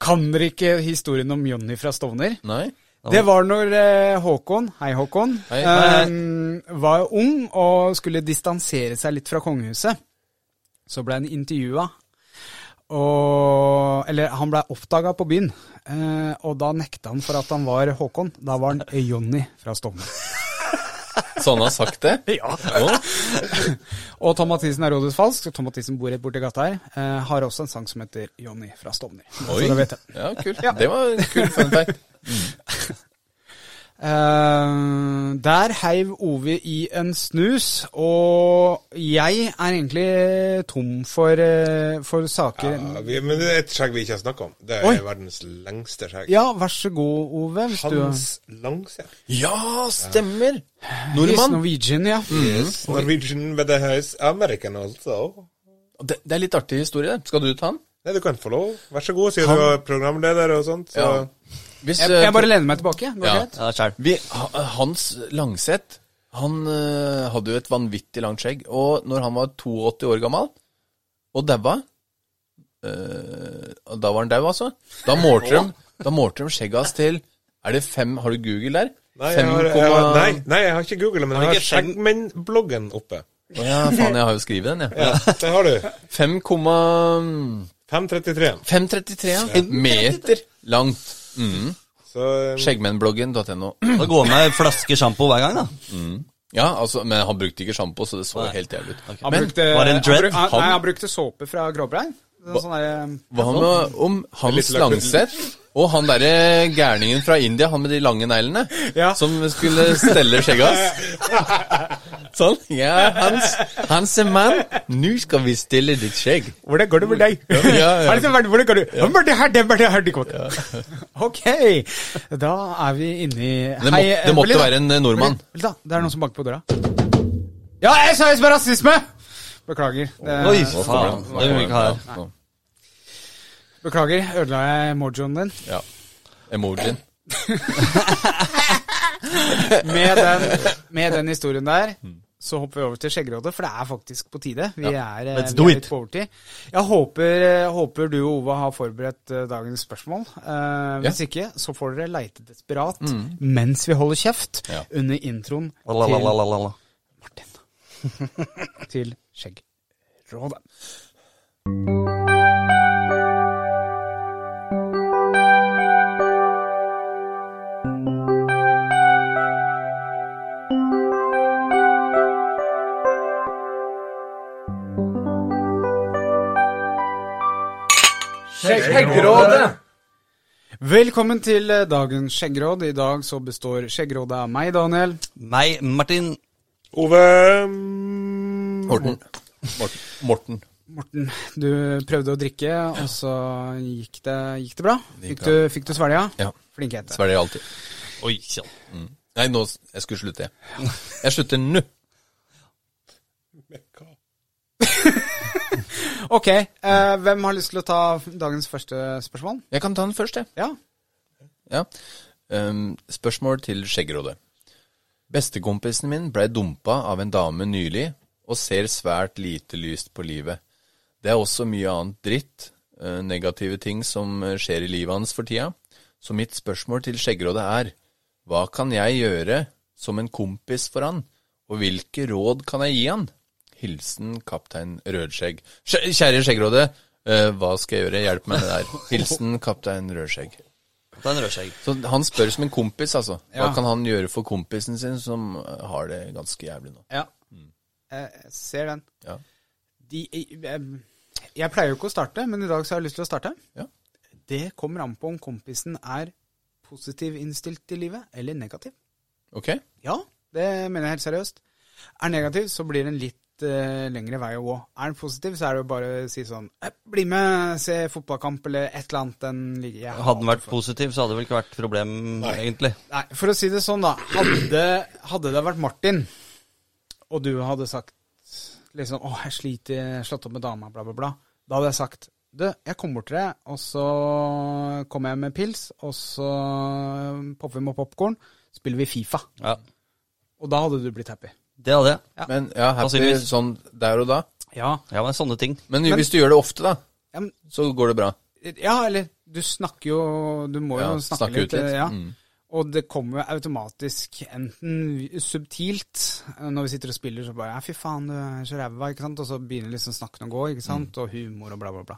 Speaker 2: Kan dere ikke historien om Jonny fra Stovner?
Speaker 4: Nei?
Speaker 2: Det var når eh, Håkon, hei Håkon,
Speaker 4: Hei.
Speaker 2: ehm, var ung og skulle distansere seg litt fra kongehuset. Så ble han intervjua. Og, eller han blei oppdaga på byen, eh, og da nekta han for at han var Håkon. Da var han Jonny fra Stovner.
Speaker 4: Så han Sånn har sagt det? (laughs) ja.
Speaker 2: (laughs) Og Tom Mathisen er Rådhus Falsk, Tom Mathisen bor rett borti gata her, eh, har også en sang som heter Jonny fra Stovner. Så da vet jeg.
Speaker 4: Ja, kult. Det var en kul fun fact.
Speaker 2: Eh, der heiv Ove i en snus, og jeg er egentlig tom for, eh, for saker.
Speaker 5: Ja, vi, men det er et skjegg vi ikke har snakka om. Det er
Speaker 2: Oi.
Speaker 5: verdens lengste skjegg.
Speaker 2: Ja, vær så god, Ove. Hvis du
Speaker 5: Hans Langseth.
Speaker 4: Ja, stemmer!
Speaker 2: He's
Speaker 4: Nordmann.
Speaker 2: Norwegian, ja.
Speaker 5: Mm. Norwegian with the house American also.
Speaker 4: Det, det er litt artig historie, det. Skal du ta den?
Speaker 5: Nei, du kan få lov. Vær så god, siden du er programleder og sånt. Så.
Speaker 4: Ja. Hvis,
Speaker 2: Jeg,
Speaker 4: eh,
Speaker 2: jeg bare lener meg tilbake. Går det
Speaker 4: Ja.
Speaker 2: greit?
Speaker 3: Ja, skjær.
Speaker 4: Vi, ha- Hans Langseth han eh, hadde jo et vanvittig langt skjegg. Og når han var 82 år gammel og daua eh, og Da var han dau, altså. Da målte de, da målte de skjegget hans til Er det fem Har du Google der?
Speaker 5: Nei, jeg har, jeg har, nei, nei, jeg har ikke Google, men
Speaker 3: Har du
Speaker 5: jeg har
Speaker 3: ikke
Speaker 5: Skjeggmenn-bloggen oppe.
Speaker 4: Å Ja, faen, jeg har jo skrevet den, jeg.
Speaker 5: Ja, der har du.
Speaker 4: 5,533
Speaker 5: 533.
Speaker 4: ja. meter langt. Mm.
Speaker 5: Så eh,
Speaker 4: Skjeggmennbloggen.no.
Speaker 3: Da går med ei flaske sjampo hver gang, da.
Speaker 4: Ja, altså, men han brukte ikke sjampo, så det så
Speaker 3: Nei.
Speaker 4: helt jævlig ut.
Speaker 2: Han
Speaker 4: Men-
Speaker 2: brukte,
Speaker 3: var det en dread?
Speaker 2: han, bruk- han,
Speaker 4: Han-
Speaker 2: nei, han brukte såpe fra gråbrein. Sånn, sånn der,
Speaker 4: Hva med om Hans
Speaker 5: Litt lakmusen.
Speaker 4: Langseth og han derre gærningen fra India, han med de lange neglene,
Speaker 2: Ja.
Speaker 4: som skulle stelle skjegget hans? Sånn. Ja, Hans, Hans er mann, nå skal vi stille ditt skjegg.
Speaker 2: Hvordan går det med deg?
Speaker 4: Ja, ja, ja.
Speaker 2: Er det så verdt- Hvordan går det? Hva med det her, det med det her, det går. (laughs) Ok, da er vi inne i
Speaker 4: Det, må, det måtte være en eh, nordmann.
Speaker 2: Vent da, det er noen som banker på døra. Ja, SOS med rasisme! Beklager. Det,
Speaker 3: Oi, faen. Det vil vi ikke ha her.
Speaker 4: Ja,
Speaker 2: Beklager, ødela jeg mojoen din
Speaker 4: Ja. Emojien.
Speaker 2: med den, med den historien der.
Speaker 3: Mm.
Speaker 2: Så hopper vi over til Skjeggerådet, for det er faktisk på tide. Vi er, eh,
Speaker 3: Let's
Speaker 2: vi
Speaker 3: do
Speaker 2: er
Speaker 3: it.
Speaker 2: litt på overtid. Jeg håper, eh, håper du og Ove har forberedt eh, dagens spørsmål. Eh, hvis ikke, så får dere leite desperat
Speaker 3: Mm.
Speaker 2: mens vi holder kjeft
Speaker 4: Ja.
Speaker 2: under introen til, (laughs)
Speaker 3: Lalalalala.
Speaker 2: til Skjeggrådet.
Speaker 4: Skjeggrådet!
Speaker 2: Velkommen til eh, dagens skjeggråd. I dag så består skjeggrådet av meg, Daniel.
Speaker 3: Meg, Martin.
Speaker 5: Ove
Speaker 4: Morten. Morten. Morten.
Speaker 2: Morten, du prøvde å drikke, og så gikk det, gikk det bra?
Speaker 4: gikk
Speaker 2: Fikk du, fikk du svelga?
Speaker 4: Ja.
Speaker 2: Flink jente.
Speaker 4: Svelger alltid.
Speaker 3: Oi sann.
Speaker 4: Nei, nå s- Jeg skulle slutte, jeg. Jeg slutter nå.
Speaker 2: Ok, eh, hvem har lyst til å ta dagens første spørsmål?
Speaker 4: Jeg kan ta den først, jeg.
Speaker 2: Ja.
Speaker 4: Ja. Ehm, spørsmål til Skjeggerådet. Bestekompisen min blei dumpa av en dame nylig, og ser svært lite lyst på livet. Det er også mye annet dritt, eh, negative ting som eh, skjer i livet hans for tida. Så mitt spørsmål til Skjeggerådet er, hva kan jeg gjøre som en kompis for han, og hvilke råd kan jeg gi han? Hilsen kaptein Rødskjegg. Skje- Kjære Skjeggerådet, eh, hva skal jeg gjøre? Hjelp meg med det der. Hilsen kaptein Rødskjegg.
Speaker 3: Ta en rødskjegg.
Speaker 4: Så han spør som en kompis, altså. Hva
Speaker 2: Ja.
Speaker 4: kan han gjøre for kompisen sin, som eh, har det ganske jævlig nå?
Speaker 2: ja. Eh, Jeg ser den.
Speaker 4: Ja.
Speaker 2: De, jeg, em, jeg pleier jo ikke å starte, men i dag så har jeg lyst til å starte.
Speaker 4: Ja.
Speaker 2: Det kommer an på om kompisen er positiv innstilt i livet, eller negativ.
Speaker 4: Ok?
Speaker 2: Ja, det mener jeg helt seriøst. Er negativ, så blir det en litt eh, lengre vei å gå. Er den positiv, så er det jo bare å si sånn «Eh, Bli med, se fotballkamp eller et eller annet enn ligge jeg
Speaker 3: Hadde den vært positiv, så hadde det vel ikke vært problem, egentlig.
Speaker 2: Nei, for å si det sånn, da. Hadde, hadde det vært Martin, og du hadde sagt liksom Å, jeg sliter, jeg har slått opp med dama, bla, bla, bla. Da hadde jeg sagt du, jeg kommer bort til deg, og så kommer jeg med pils, og så popper vi med popkorn, spiller vi Fifa.
Speaker 3: Ja,
Speaker 2: Og da hadde du blitt happy.
Speaker 3: Det hadde jeg.
Speaker 2: Ja.
Speaker 4: Men ja, happy
Speaker 3: Sannsynligvis.
Speaker 4: sånn der og da.
Speaker 2: Ja.
Speaker 3: Ja, men sånne ting.
Speaker 4: Men, hvis du gjør det ofte, da,
Speaker 2: ja men
Speaker 4: så går det bra.
Speaker 2: Ja, eller du snakker jo Du må
Speaker 4: Ja,
Speaker 2: jo snakke,
Speaker 4: snakke ut
Speaker 2: litt.
Speaker 4: litt.
Speaker 2: Ja.
Speaker 4: Mm.
Speaker 2: Og det kommer jo automatisk, enten subtilt eh, Når vi sitter og spiller, så bare Ja, fy faen, du er så ræva, ikke sant? Og så begynner liksom snakken å gå, ikke
Speaker 4: Mm.
Speaker 2: sant? Og humor og bla, bla, bla.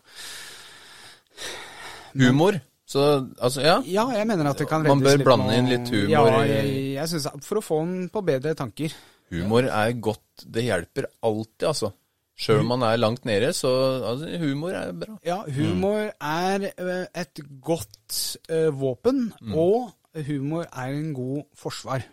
Speaker 4: Humor. Så altså, ja.
Speaker 2: Ja, jeg mener at det kan
Speaker 4: Man
Speaker 2: reddes
Speaker 4: bør
Speaker 2: litt
Speaker 4: blande
Speaker 2: med
Speaker 4: inn
Speaker 2: å-
Speaker 4: litt humor
Speaker 2: Ja,
Speaker 4: i-
Speaker 2: jeg, jeg synes, For å få den på bedre tanker.
Speaker 4: Humor er godt. Det hjelper alltid, altså. Sjøl om man er langt nede, så altså, humor er bra.
Speaker 2: Ja, humor er eh, et godt eh, våpen, og humor er en god forsvar.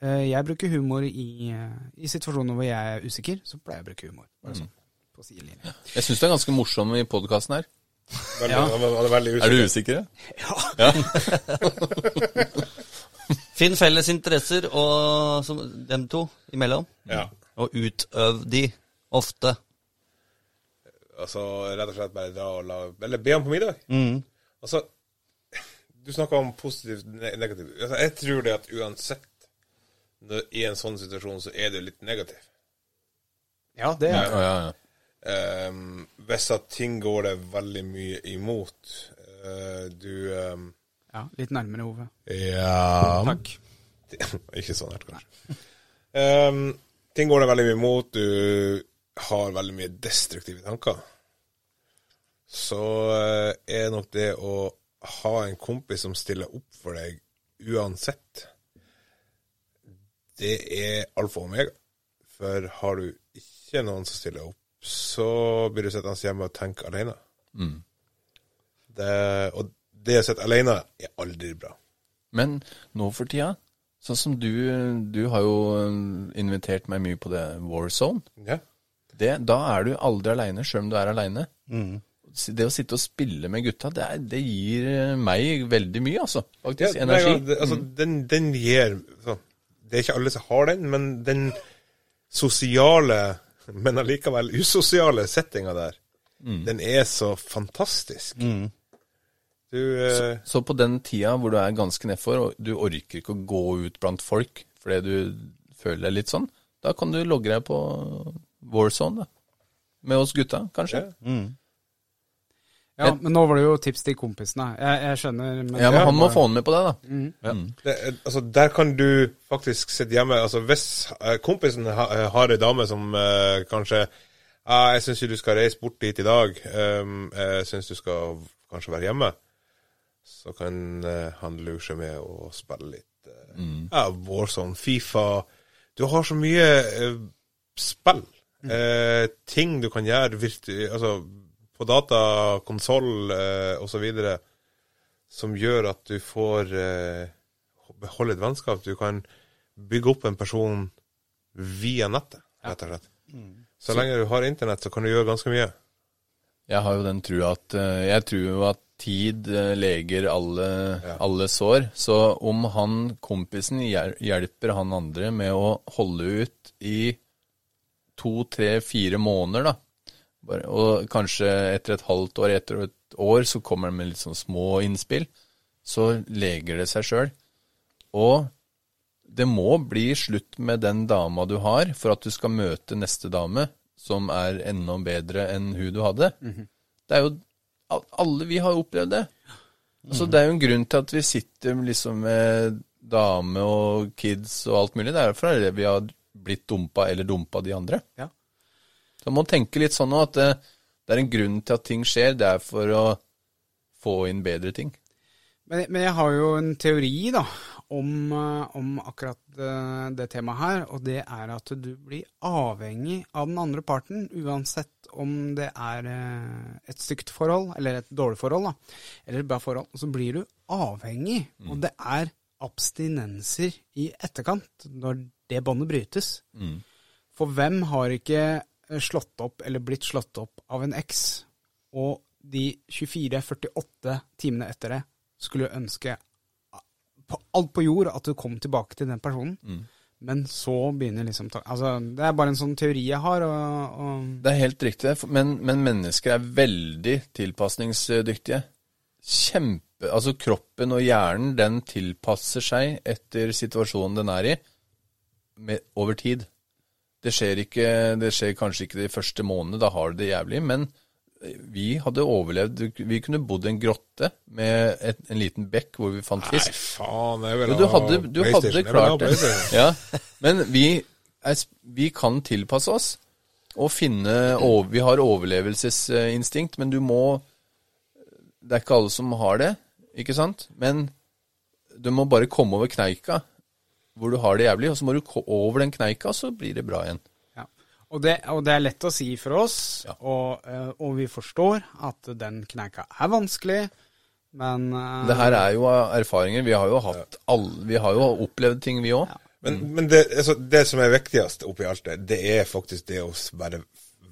Speaker 2: Eh, jeg bruker humor i, eh, i situasjoner hvor jeg er usikker, så pleier jeg å bruke humor. Bare sånn, på sidelinjen.
Speaker 4: Jeg syns du er ganske morsom i podkasten her.
Speaker 5: Veldig, han, var- han er veldig
Speaker 4: Er
Speaker 5: usikker.
Speaker 4: du usikker?
Speaker 3: Finn felles interesser og, som, dem to imellom,
Speaker 5: Ja.
Speaker 3: og utøv de ofte.
Speaker 5: Altså, rett og slett bare dra og la Eller be ham på middag. Altså, (laughs) du snakker om positivt ne- negativt. Altså, jeg tror det at uansett når, I en sånn situasjon så er du litt negativ.
Speaker 2: Ja, det er
Speaker 4: Ja, ja, ja.
Speaker 5: Ehm, hvis at ting går deg veldig mye imot eh, Du ehm,
Speaker 2: ja, litt nærmere Ove.
Speaker 5: Ja
Speaker 2: Takk.
Speaker 5: (laughs) Ikke sånn hardt, kanskje. Ehm, ting går deg veldig mye imot. Du har veldig mye destruktive tanker. Så eh, er nok det å ha en kompis som stiller opp for deg uansett, det er alfa og omega. For har du ikke noen som stiller opp, så blir du sittende hjemme og tenke alene. Det, og det å sitte alene er aldri bra.
Speaker 4: Men nå for tida, sånn som du Du har jo eh, invitert meg mye på det War Zone.
Speaker 5: Ja.
Speaker 4: det, da er du aldri aleine, sjøl om du er aleine.
Speaker 5: Mm.
Speaker 4: Det å sitte og spille med gutta, det, er, det gir eh, meg veldig mye, altså. Faktisk.
Speaker 5: Ja,
Speaker 4: energi. Mm.
Speaker 5: Nei, ja, det, altså, den, den gir så, Det er ikke alle som har den, men den sosiale, men allikevel usosiale settinga der,
Speaker 4: Mm.
Speaker 5: den er så fantastisk. Du eh,
Speaker 4: Så på den tida hvor du er ganske nedfor, og du orker ikke å gå ut blant folk fordi du føler deg litt sånn, da kan du logge deg på Warzone, da. Med oss gutta, kanskje.
Speaker 2: Ja, men nå var det jo tips til kompisene. Jeg, jeg skjønner, men
Speaker 4: Ja, men han må få han med på det, da.
Speaker 5: det, er- altså, der kan du faktisk sitte hjemme altså, Hvis eh, kompisen ha, har ei dame som eh, kanskje Ja, jeg syns du skal reise bort dit i dag. Ehm, jeg syns du skal v- kanskje være hjemme. Så kan eh, han lure seg med å spille litt eh, ja, Warzone, Fifa Du har så mye eh, spill. Eh, ting du kan gjøre virtu altså, på data, konsoll uh, osv. som gjør at du får eh, beholde et vennskap. Du kan bygge opp en person via nettet, rett og slett.
Speaker 4: Mm.
Speaker 5: Så lenge du har internett, så kan du gjøre ganske mye.
Speaker 4: Jeg har jo den trua at eh, Jeg tror jo at tid eh, leger alle, alle sår. Så om han kompisen hjel- hjelper han andre med å holde ut i to, tre, fire måneder, da Bare, Og kanskje etter et halvt år, etter et år, så kommer han med litt sånn små innspill. Så leger det seg sjøl. Og det må bli slutt med den dama du har, for at du skal møte neste dame som er enda bedre enn hun du hadde. Det er jo al- Alle vi har opplevd det. Altså, det er jo en grunn til at vi sitter liksom med dame og kids og alt mulig. Det er jo fordi vi har blitt dumpa eller dumpa de andre.
Speaker 2: Ja.
Speaker 4: Så man må tenke litt sånn nå at det, det er en grunn til at ting skjer. Det er for å få inn bedre ting.
Speaker 2: Men, men jeg har jo en teori da, om, eh, om akkurat eh, det temaet her, og det er at du blir avhengig av den andre parten, uansett om det er eh, et stygt forhold, eller et dårlig forhold, da, eller et bra forhold, så blir du avhengig, og det er abstinenser i etterkant, når det båndet brytes. For hvem har ikke eh, slått opp, eller blitt slått opp av en eks, og de 24-48 timene etter det skulle ønske på alt på jord at du kom tilbake til den personen.
Speaker 4: Mm.
Speaker 2: Men så begynner liksom ta- altså, Det er bare en sånn teori jeg har. Og, og
Speaker 4: Det er helt riktig, for- men, men mennesker er veldig tilpasningsdyktige. Kjempe, altså kroppen og hjernen, den tilpasser seg etter situasjonen den er i, med, over tid. Det skjer, ikke, det skjer kanskje ikke de første månedene, da har du det jævlig, men vi hadde overlevd, vi kunne bodd i en grotte med et, en liten bekk hvor vi fant fisk.
Speaker 5: faen, jeg vil
Speaker 4: Jo, du hadde, du hadde klart det. Ja. Men vi, er, sp- vi kan tilpasse oss og finne og Vi har overlevelsesinstinkt, men du må Det er ikke alle som har det, ikke sant? Men du må bare komme over kneika hvor du har det jævlig, og så må du ko- over den kneika, så blir det bra igjen.
Speaker 2: ja. og, det, og det er lett å si for oss, og, eh, og vi forstår at den kneika er vanskelig, men eh,
Speaker 4: Det her er jo erfaringer. Vi har jo hatt alle, Vi har jo opplevd ting, vi òg.
Speaker 5: Men, (laughs) men det, altså, det som er viktigst oppi alt det, det er faktisk det å s- bare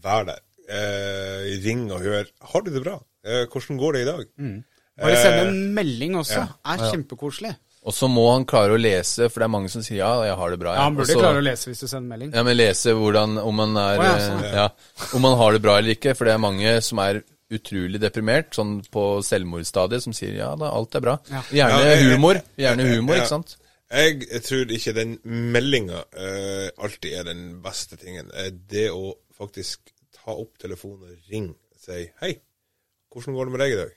Speaker 5: være der. Eh, ring og hør. Har du det bra? Eh, hvordan går det i dag?
Speaker 4: Mm.
Speaker 2: Bare sende en
Speaker 4: eh,
Speaker 2: melding også. Er kjempekoselig.
Speaker 4: Og så må han klare å lese, for det er mange som sier 'ja, jeg har det bra'.
Speaker 2: Ja, han
Speaker 4: Og
Speaker 2: burde
Speaker 4: så-
Speaker 2: klare å lese hvis du sender melding.
Speaker 4: Ja, men lese hvordan, om man er
Speaker 2: Å, ja, sånn.
Speaker 4: eh, ja, Om man har det bra eller ikke, for det er mange som er utrolig deprimert, sånn på selvmordsstadiet, som sier ja da, alt er bra. Gjerne
Speaker 5: Ja, jeg-
Speaker 4: humor. Gjerne
Speaker 5: jeg-
Speaker 4: humor,
Speaker 5: jeg-
Speaker 4: ikke sant?
Speaker 5: Jeg tror ikke den meldinga eh, alltid er den beste tingen. Eh, det å faktisk ta opp telefonen og ringe og si 'hei, hvordan går det med deg i dag'?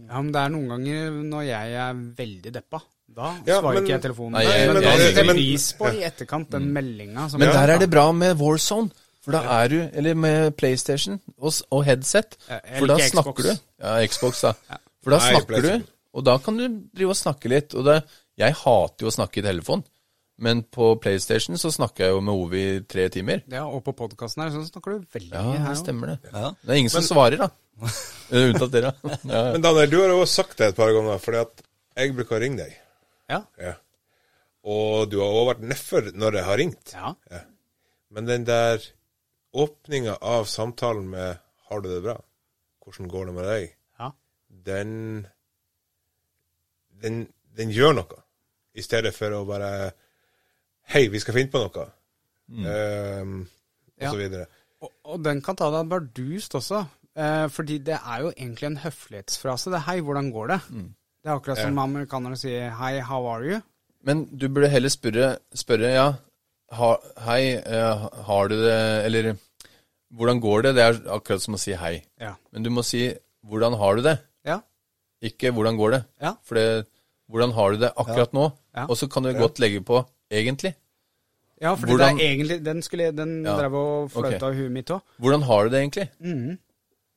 Speaker 2: Ja, men det er noen ganger når jeg er veldig deppa. Da
Speaker 5: Ja,
Speaker 2: svarer
Speaker 5: men-
Speaker 2: ikke jeg telefonen.
Speaker 4: Nei, jeg-
Speaker 2: men da
Speaker 4: jeg- Mm.
Speaker 2: setter jeg
Speaker 5: men-
Speaker 2: pris på i etterkant den meldinga.
Speaker 4: Men der er det bra med Warzone. For da er du Eller med PlayStation og, s- og headset.
Speaker 2: Ja, jeg
Speaker 4: For da
Speaker 2: liker Xbox.
Speaker 4: snakker du. Ja, Xbox, da. For da
Speaker 5: Nei,
Speaker 4: snakker
Speaker 5: PlayStation.
Speaker 4: du, og da kan du drive og snakke litt. Og det, jeg hater jo å snakke i telefon, men på PlayStation så snakker jeg jo med Ovi i tre timer.
Speaker 2: Ja, og på podkasten her så snakker du veldig
Speaker 4: Ja,
Speaker 2: mye her
Speaker 4: det
Speaker 2: også.
Speaker 4: stemmer det.
Speaker 3: Ja.
Speaker 4: Det er ingen som svarer, (laughs) da. Eh, Unntatt dere. Ja, ja.
Speaker 5: Men Daniel, du har jo også sagt det et par ganger, fordi at jeg bruker å ringe deg.
Speaker 2: Ja.
Speaker 5: Ja. Og du har også vært nedfor når jeg har ringt.
Speaker 2: Ja.
Speaker 5: Men den der åpninga av samtalen med 'har du det bra', 'hvordan går det med deg',
Speaker 2: Ja.
Speaker 5: den, den Den gjør noe. I stedet for å bare 'hei, vi skal finne på noe',
Speaker 4: Mm.
Speaker 5: ehm, og
Speaker 2: Ja.
Speaker 5: så videre.
Speaker 2: Og, og den kan ta deg bardust også, eh, fordi det er jo egentlig en høflighetsfrase. Det er 'hei, hvordan går det?'
Speaker 4: Mm.
Speaker 2: Det er akkurat som amerikanerne sier 'hei, how are you?'
Speaker 4: Men du burde heller spørre, spørre ja, ha, hei, eh, har du det, eller hvordan går det? Det er akkurat som å si hei.
Speaker 2: Ja.
Speaker 4: Men du må si hvordan har du det,
Speaker 2: Ja.
Speaker 4: ikke hvordan går det.
Speaker 2: Ja.
Speaker 4: For det, hvordan har du det akkurat nå?
Speaker 2: Ja.
Speaker 4: Og så kan du godt legge på egentlig.
Speaker 2: Ja, for
Speaker 4: Hvordan-
Speaker 2: det er egentlig Den, skulle, den
Speaker 4: Ja,
Speaker 2: drev og fløyta
Speaker 4: ok.
Speaker 2: i huet mitt òg.
Speaker 4: Hvordan har du det egentlig?
Speaker 2: Mm.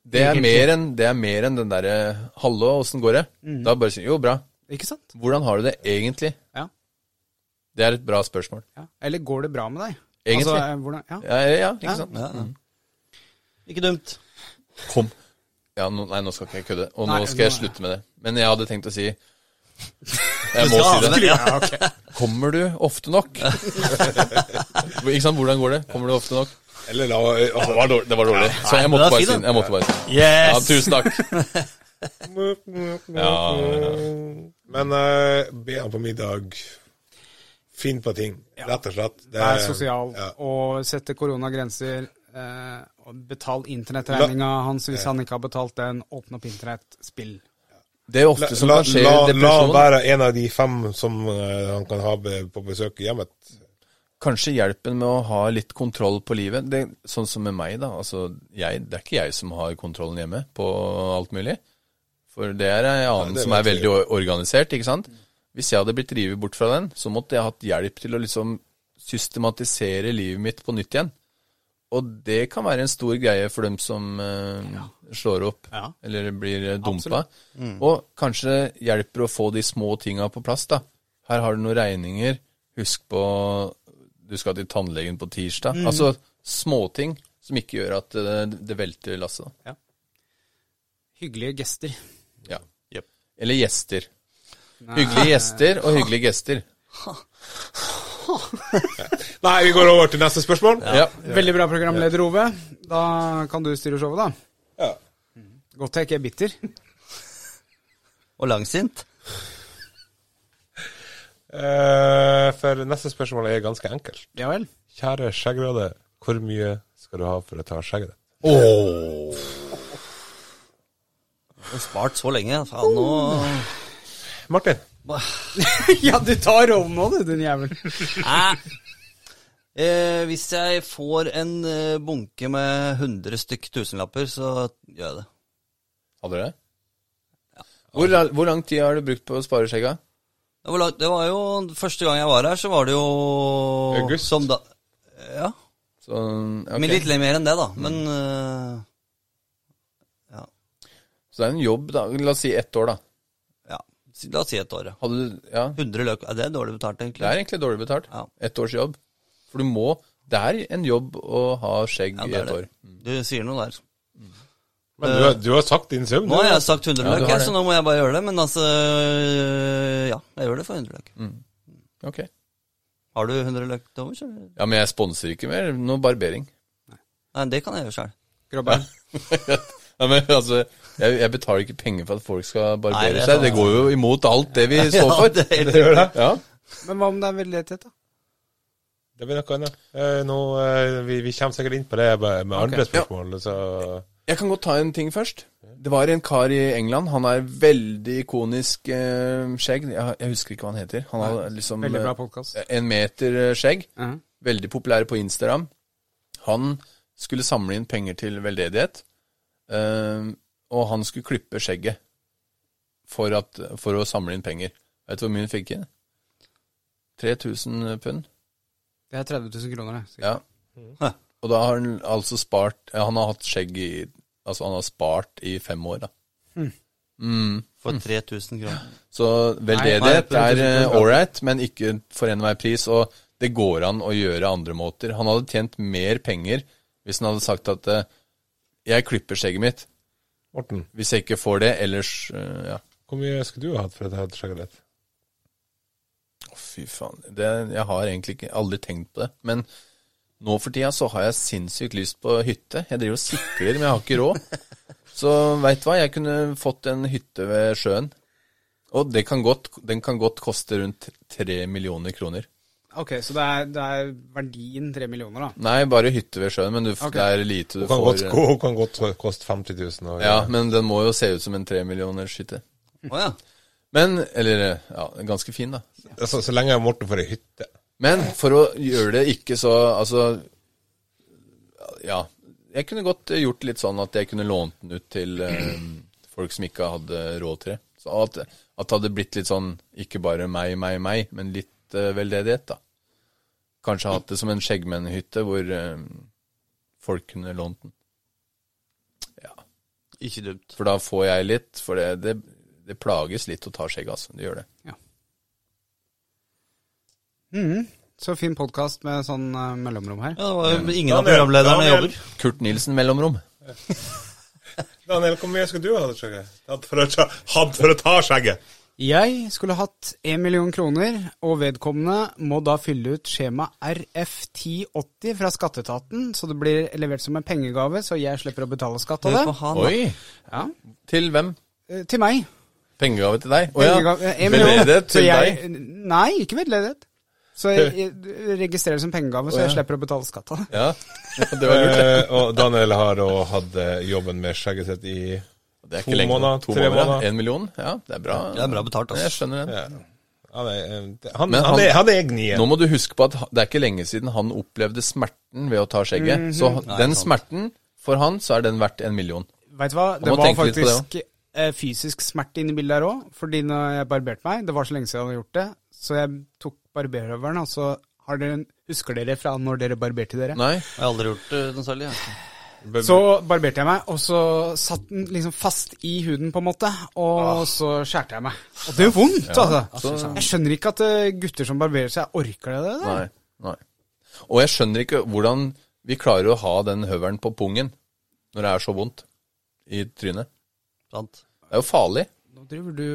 Speaker 4: Det, er mer enn, det er mer enn den derre 'hallo, åssen går det?'
Speaker 2: Mm.
Speaker 4: Da bare sier 'jo, bra'.
Speaker 2: Ikke sant?
Speaker 4: Hvordan har du det egentlig?
Speaker 2: Ja,
Speaker 4: Det er et bra spørsmål.
Speaker 2: ja. Eller går det bra med deg?
Speaker 4: Egentlig.
Speaker 2: Altså, eh, hvordan, ja.
Speaker 4: Ja, ja, ja ikke
Speaker 2: Ja.
Speaker 4: sant? Mm.
Speaker 3: Ja, ja. Ikke dumt.
Speaker 4: Kom. Ja, nå, nei, nå skal ikke jeg kødde, og
Speaker 2: Nei,
Speaker 4: nå skal jeg
Speaker 2: nå-
Speaker 4: slutte med det. Men jeg hadde tenkt å si Jeg må si det.
Speaker 5: Ja, ok.
Speaker 4: Kommer du ofte nok? ikke sant, hvordan går det? Kommer du ofte nok?
Speaker 5: Eller la altså,
Speaker 4: Det var dårlig. Det var dårlig. Så jeg
Speaker 3: men
Speaker 4: måtte
Speaker 3: da si
Speaker 4: bare si
Speaker 3: det.
Speaker 4: den. Jeg måtte bare si den. Ja,
Speaker 3: Yes!
Speaker 4: tusen takk. Ja,
Speaker 5: Men eh, be han på middag. Finn på ting, rett og slett. Det-
Speaker 2: Vær
Speaker 4: Eh,
Speaker 2: sosial
Speaker 5: Ja.
Speaker 2: og sette koronagrenser. Eh, og betal internettregninga hans hvis han ikke har betalt den. Åpne opp internett, spill.
Speaker 4: Det er
Speaker 5: La,
Speaker 4: ofte som
Speaker 5: la,
Speaker 4: kan skje i
Speaker 5: la, la han
Speaker 4: depresjon.
Speaker 5: være en av de fem som eh, han kan ha be- på besøk i hjemmet.
Speaker 4: Kanskje hjelpen med å ha litt kontroll på livet. Det, sånn som med meg, da. Altså, jeg, det er ikke jeg som har kontrollen hjemme på alt mulig. For det er ei annen
Speaker 5: det
Speaker 4: som er
Speaker 5: vet vi
Speaker 4: veldig o- organisert, ikke sant. Hvis jeg hadde blitt revet bort fra den, så måtte jeg hatt hjelp til å liksom systematisere livet mitt på nytt igjen. Og det kan være en stor greie for dem som eh, slår opp
Speaker 2: Ja.
Speaker 4: eller blir eh, dumpa.
Speaker 3: Mm.
Speaker 4: Og kanskje hjelper å få de små tinga på plass. da. Her har du noen regninger. Husk på du skal til tannlegen på tirsdag.
Speaker 3: Mm.
Speaker 4: Altså småting som ikke gjør at det, det velter lasset. da.
Speaker 2: Hyggelige gester.
Speaker 4: Ja. Eller gjester. Hyggelige gjester og hyggelige gester.
Speaker 5: Nei, vi går over til neste spørsmål.
Speaker 4: Ja.
Speaker 2: Veldig bra programleder, Ove. Da kan du styre showet, da.
Speaker 5: Ja.
Speaker 2: Godt jeg ikke er
Speaker 4: (laughs)
Speaker 2: bitter.
Speaker 3: Og langsint.
Speaker 5: Eh, for neste spørsmål er ganske enkelt.
Speaker 2: Ja vel.
Speaker 5: Kjære skjeggrøde, hvor mye skal du ha for å ta skjegget ditt?
Speaker 3: Du har spart så lenge. Faen, nå
Speaker 5: Martin,
Speaker 2: (laughs) ja, du tar rollen nå, du, din jævel.
Speaker 3: Nei. Eh, hvis jeg får en eh, bunke med 100 stykk tusenlapper, så gjør jeg det.
Speaker 4: Hadde du det? Hvor, la- hvor lang tid har du brukt på å spare skjegga?
Speaker 3: Det var, langt- det var jo Første gang jeg var her, så var det jo
Speaker 5: August.
Speaker 3: Som da, ja.
Speaker 4: Sånn, ok. Mm.
Speaker 3: Men litt mer enn det, da. Men eh, ja.
Speaker 4: Så det er en jobb, da. La oss si ett år, da.
Speaker 3: ja. Si- La oss si et år, ja.
Speaker 4: Hadde du, ja,
Speaker 3: 100 løk. Ja, det er dårlig betalt, egentlig.
Speaker 4: Det er egentlig dårlig betalt.
Speaker 3: Ja.
Speaker 4: Ett års jobb. For du må Det er en jobb å ha skjegg
Speaker 3: Ja,
Speaker 4: i
Speaker 3: det er
Speaker 4: ett år.
Speaker 3: det. Du sier noe der.
Speaker 5: men du, har- du har sagt din sum.
Speaker 3: Nå
Speaker 5: du.
Speaker 3: har jeg sagt 100
Speaker 4: Ja, du
Speaker 3: løk,
Speaker 4: har
Speaker 3: jeg,
Speaker 4: det.
Speaker 3: så nå må jeg bare gjøre det. Men altså Ja, jeg gjør det for 100 løk.
Speaker 4: Mm. Ok.
Speaker 3: Har du 100 løk til overs? eller?
Speaker 4: Ja, men jeg sponser ikke mer. Noe barbering.
Speaker 3: Nei, det kan jeg gjøre sjøl.
Speaker 2: Grobbein.
Speaker 4: Ja, men (laughs) altså, jeg, jeg betaler ikke penger for at folk skal barbere
Speaker 3: Nei, det er
Speaker 4: seg.
Speaker 3: sant.
Speaker 4: Det går jo imot alt det
Speaker 3: (laughs)
Speaker 4: vi står
Speaker 3: Ja,
Speaker 4: for.
Speaker 3: det er helt
Speaker 4: gjør det. Ja.
Speaker 2: Men hva om det er veldedighet, da?
Speaker 5: Det blir noe annet. Eh, nå, eh, vi, vi kommer sikkert inn på det med med andre spørsmål. Så.
Speaker 4: Jeg kan godt ta en ting først. Det var en kar i England. Han er veldig ikonisk eh, skjegg. Jeg, jeg husker ikke hva han heter. Han har liksom
Speaker 2: Veldig bra
Speaker 4: eh,
Speaker 2: podkast.
Speaker 4: en meter eh, skjegg.
Speaker 2: Mhm.
Speaker 4: Veldig populær på Instagram. Han skulle samle inn penger til veldedighet, eh, og han skulle klippe skjegget for, at, for å samle inn penger. Vet du hvor mye han fikk inn? 3000 pund.
Speaker 2: Det er 30 000 kroner, det.
Speaker 4: Ja. Og da har han altså spart ja, Han har hatt skjegg i Altså, han har spart i fem år, da.
Speaker 3: For 3000 kroner.
Speaker 4: Så veldedighet er ålreit, men ikke for enhver pris. Og det går an å gjøre andre måter. Han hadde tjent mer penger hvis han hadde sagt at eh, jeg klipper skjegget mitt.
Speaker 5: Morten,
Speaker 4: Hvis jeg ikke får det, ellers eh, Ja.
Speaker 5: hvor mye skulle du ha hatt for å ta skjegget ditt?
Speaker 4: Å, fy faen. Det, jeg har egentlig ikke, aldri tenkt på det. Men nå for tida så har jeg sinnssykt lyst på hytte. Jeg driver og sikler, men jeg har ikke råd. Så veit du hva, jeg kunne fått en hytte ved sjøen. Og det kan godt, den kan godt koste rundt tre millioner kroner.
Speaker 2: Ok, så det er, det er verdien 3 millioner, da.
Speaker 4: Nei, bare hytte ved sjøen, men du,
Speaker 2: Ok.
Speaker 4: det er lite du
Speaker 5: Hun kan,
Speaker 4: får. eh,
Speaker 5: godt, gå- hun kan godt koste 50 000. Og,
Speaker 4: Ja, men den må jo se ut som en tremillioners hytte.
Speaker 3: Å ja.
Speaker 4: Men, eller eh, ja, ganske fin da.
Speaker 5: altså, så lenge Morten får ei hytte.
Speaker 4: Men for å gjøre det ikke så, altså, ja, jeg kunne godt eh, gjort litt sånn at jeg kunne lånt den ut til eh, folk som ikke hadde råd til det. Så at, at det hadde blitt litt sånn, ikke bare meg, meg, meg, men litt eh, veldedighet da. Kanskje hatt det som en skjeggmennhytte hvor eh, folk kunne lånt den.
Speaker 3: Ikke dumt.
Speaker 4: For da får jeg litt, for det, det, det plages litt å ta skjegg, altså. Det gjør det.
Speaker 2: Mhm. Så fin podkast med sånn eh, mellomrom her.
Speaker 3: Ja, det var jo ingen av
Speaker 5: Daniel,
Speaker 3: programlederne
Speaker 5: Daniel.
Speaker 3: jobber.
Speaker 4: Kurt Nilsen mellomrom.
Speaker 5: Daniel, hvor mye skulle du ha hatt skjegget? Hatt for å ta, hatt for å ta skjegget?
Speaker 2: Jeg skulle hatt 1 million kroner, og vedkommende må da fylle ut skjema RF1080 fra skatteetaten, så det blir levert som en pengegave, så jeg slipper å betale skatt av
Speaker 3: Hør
Speaker 2: det.
Speaker 3: på han, da.
Speaker 4: Oi!
Speaker 2: Ja.
Speaker 4: Til hvem?
Speaker 2: Eh, Til meg.
Speaker 4: Pengegave til deg? Å ja.
Speaker 2: Pengegave- eh, 1 million.
Speaker 4: Veldedighet
Speaker 2: Så
Speaker 4: til
Speaker 2: jeg-
Speaker 4: deg?
Speaker 2: Nei, ikke veldedighet. Så jeg, jeg registrerer det som pengegave, så jeg
Speaker 4: ja.
Speaker 2: slipper å betale skatt av det.
Speaker 4: Ja. Det var lurt. det.
Speaker 5: Eh, og Daniel har da hatt eh, jobben med skjegget sitt i
Speaker 4: Det er
Speaker 5: To
Speaker 4: ikke lenge.
Speaker 5: måneder,
Speaker 4: to
Speaker 5: tre
Speaker 4: måneder.
Speaker 5: måneder.
Speaker 4: En million? Ja, det er bra.
Speaker 3: Det er bra betalt, ass.
Speaker 4: Jeg skjønner det.
Speaker 5: ja. han, er, eh, han,
Speaker 4: Men
Speaker 5: han,
Speaker 4: han-
Speaker 5: er, han er gnien.
Speaker 4: Nå må du huske på at ha- det er ikke lenge siden han opplevde smerten ved å ta skjegget. Så ha-
Speaker 3: Mhm. Nei,
Speaker 4: den
Speaker 3: sant.
Speaker 4: smerten, for han, så er den verdt en million.
Speaker 2: Vet du hva, det
Speaker 4: må
Speaker 2: var
Speaker 4: tenke litt på det
Speaker 2: faktisk eh, fysisk smerte inne i bildet her òg. Fordi når jeg barberte meg, det var så lenge siden jeg hadde gjort det, så jeg tok barberhøvelen, og så har dere en Husker dere fra når dere barberte dere?
Speaker 4: Nei?
Speaker 3: Jeg har aldri gjort det noe særlig. jeg.
Speaker 2: Så barberte jeg meg, og så satt den liksom fast i huden, på en måte. Og så skjærte jeg meg. Og det gjør vondt, altså.
Speaker 4: Ah. så-
Speaker 2: Jeg skjønner ikke at eh, gutter som barberer seg, orker det der.
Speaker 4: Nei. Nei. Og jeg skjønner ikke hvordan vi klarer å ha den høvelen på pungen når det er så vondt i trynet.
Speaker 3: Sant?
Speaker 4: Det er jo farlig.
Speaker 2: Nå driver du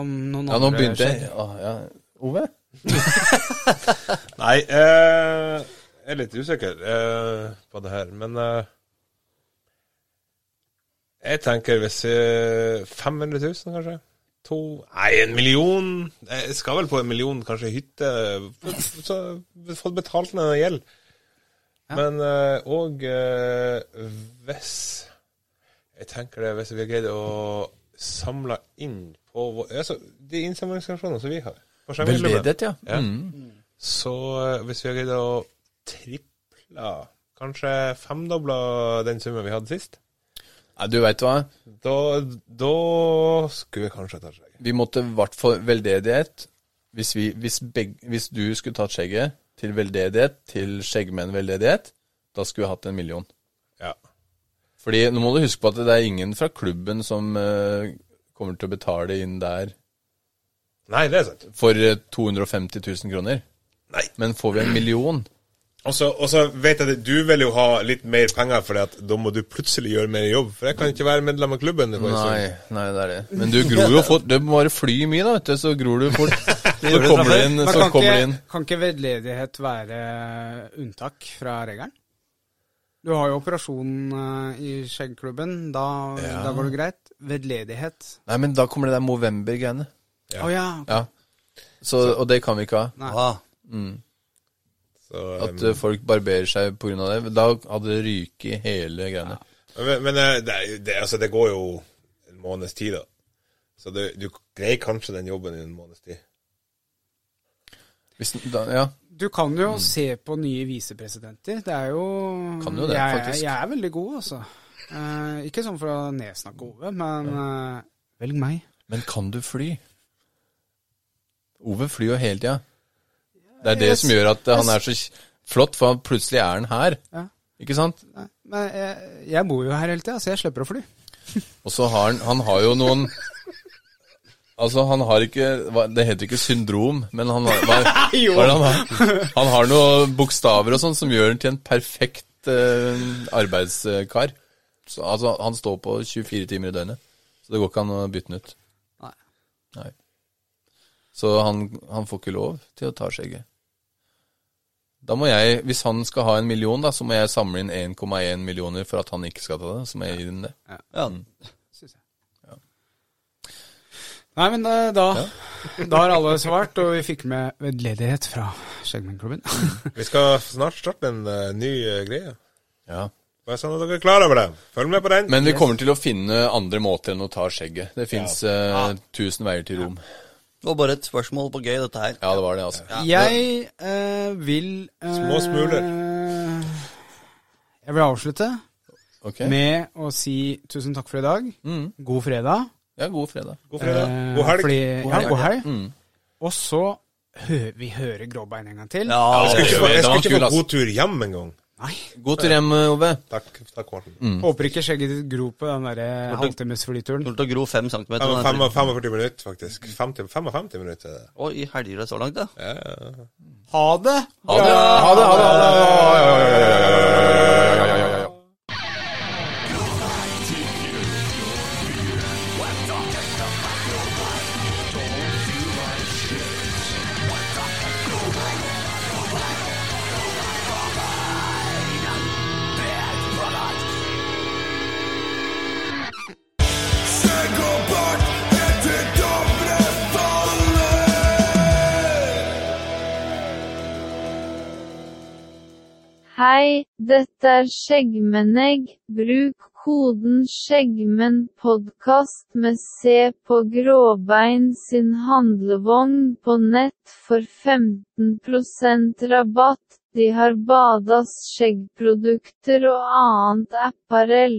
Speaker 2: om noen
Speaker 4: Ja, nå
Speaker 2: andre
Speaker 4: begynte
Speaker 2: skjer.
Speaker 4: jeg Å, ja. Ove?
Speaker 5: Nei, eh, jeg er litt usikker eh, på det her, men eh, Jeg tenker hvis eh, 500 000, kanskje? To Nei, en million? Eh, Jeg skal vel på en million, kanskje, hytte. Så få betalt ned den gjeld. Men òg hvis Jeg tenker det, hvis vi har greid å samle inn på vår, altså, de innsamlingsorganisasjonene som vi har på skjermklubben.
Speaker 4: Veldedighet, ja.
Speaker 5: Ja.
Speaker 4: Mm.
Speaker 5: Så eh, hvis vi har greid å triple, kanskje femdoble den summen vi hadde sist,
Speaker 4: Nei, du veit hva.
Speaker 5: da, da skulle vi kanskje ta skjegget.
Speaker 4: Vi måtte i hvert fall veldedighet hvis, vi, hvis, begge, hvis du skulle tatt skjegget til veldedighet, til skjeggmenn veldedighet, da skulle vi hatt en million.
Speaker 5: Ja.
Speaker 4: Fordi nå må du huske på at det er ingen fra klubben som eh, kommer til å betale inn der
Speaker 5: Nei, det er sant.
Speaker 4: for eh, 250 000 kroner.
Speaker 5: Nei.
Speaker 4: Men får vi en million?
Speaker 5: Og så og så vet jeg at du vil jo ha litt mer penger, for da må du plutselig gjøre mer jobb. For jeg kan ikke være medlem av klubben. for en stund.
Speaker 4: Nei, nei, det er det. Men du gror jo fort. Du må bare fly mye, da, vet du, så gror du fort. Så
Speaker 3: du fra
Speaker 4: kommer det
Speaker 3: før.
Speaker 4: inn.
Speaker 2: Men
Speaker 4: Så
Speaker 2: kan
Speaker 4: kommer det
Speaker 2: ikke,
Speaker 4: inn.
Speaker 2: kan ikke veldedighet være unntak fra regelen? Du har jo operasjon eh, i skjeggklubben, da, da går det greit. Vedledighet
Speaker 4: Nei, men da kommer det der Movember-greiene.
Speaker 2: Å ja.
Speaker 4: Ja. Så, og det kan vi ikke ha.
Speaker 3: Ah,
Speaker 5: Så, um,
Speaker 4: At eh, folk barberer seg pga. det. Da hadde det ryket i hele greiene.
Speaker 5: men men eh, det, er jo- det, altså, det går jo en måneds tid, da. Så du, du greier kanskje den jobben i en måneds tid.
Speaker 4: Hvis, da, ja.
Speaker 2: Du kan jo se på nye visepresidenter. Det er jo
Speaker 4: Mm. Kan jo det,
Speaker 2: jeg,
Speaker 4: faktisk.
Speaker 2: Jeg er veldig god, altså. Eh, ikke sånn for å nedsnakke Ove, men eh, velg meg.
Speaker 4: Men kan du fly? Ove flyr jo hele tida. Det er det
Speaker 2: jeg
Speaker 4: som
Speaker 2: s-
Speaker 4: gjør at eh, han er så kj- flott, for han plutselig er han her.
Speaker 2: Ja.
Speaker 4: Ikke sant?
Speaker 2: Nei, Men jeg, jeg bor jo her hele tida, så jeg slipper å fly.
Speaker 4: Og så har han Han har jo noen Altså, han har ikke hva- Det heter ikke syndrom, men han har hva,
Speaker 2: (laughs) Jo.
Speaker 4: hva er det han, har? han har noen bokstaver og sånn som gjør han til en perfekt eh, arbeidskar. Så, altså, han står på 24 timer i døgnet, så det går ikke an å bytte den ut.
Speaker 2: Nei.
Speaker 4: Nei. Så han, han får ikke lov til å ta skjegget. Da må jeg, Hvis han skal ha en million, da, så må jeg samle inn 1,1 millioner for at han ikke skal ta det. Så må jeg gi dem det.
Speaker 3: ja.
Speaker 2: synes jeg. Nei, men eh, da, (laughs) da har alle svart, og vi fikk med vedledighet fra Skjeggmennklubben.
Speaker 5: Vi skal snart starte en eh, ny eh, greie.
Speaker 4: Ja.
Speaker 5: Bare sånn at dere er klar over det. Følg med på den.
Speaker 4: Men vi kommer til å finne andre måter enn å ta skjegget. Det fins tusen veier til rom.
Speaker 3: Det var bare et spørsmål på gøy, dette her.
Speaker 4: Ja, det var det, altså.
Speaker 2: (laughs) Jeg eh, vil eh,
Speaker 5: Små smuler.
Speaker 2: Jeg vil avslutte
Speaker 4: Ok.
Speaker 2: med å si tusen takk for i dag.
Speaker 4: Mm.
Speaker 2: God fredag.
Speaker 4: Ja, god fredag.
Speaker 5: God fredag.
Speaker 2: Eh,
Speaker 5: God helg.
Speaker 2: Fordi,
Speaker 4: God
Speaker 2: ja,
Speaker 4: helg.
Speaker 2: god helg.
Speaker 4: Mm.
Speaker 2: Og så hø- vi hører Gråbein en gang til?
Speaker 3: Ja,
Speaker 5: Jeg skal
Speaker 4: det
Speaker 5: ikke
Speaker 4: var-
Speaker 5: få- jeg
Speaker 4: det var
Speaker 5: skal ikke
Speaker 4: kul,
Speaker 5: få
Speaker 4: ass.
Speaker 5: god tur hjem engang.
Speaker 2: Nei.
Speaker 4: Eh, God tur hjem, Ove.
Speaker 5: Takk, takk Morten.
Speaker 2: Håper ikke skjegget ditt gror på den der halvtimesflyturen.
Speaker 3: Tålte å gro fem centimeter.
Speaker 5: Fem-
Speaker 3: den
Speaker 5: fem-
Speaker 3: her.
Speaker 5: 45 minutter, faktisk. 50, 55 minutter. er det.
Speaker 3: Oi, helger det så langt, da.
Speaker 5: Ja, ja, ja.
Speaker 2: Ha det!
Speaker 4: Ha det, ha det, ha det.
Speaker 1: Gå bort etter doble faller.
Speaker 8: Hei, dette er Skjeggmennegg. Bruk koden skjeggmennpodkast med C på Gråbein sin handlevogn på nett for 15 rabatt. De har Badas skjeggprodukter og annet apparell.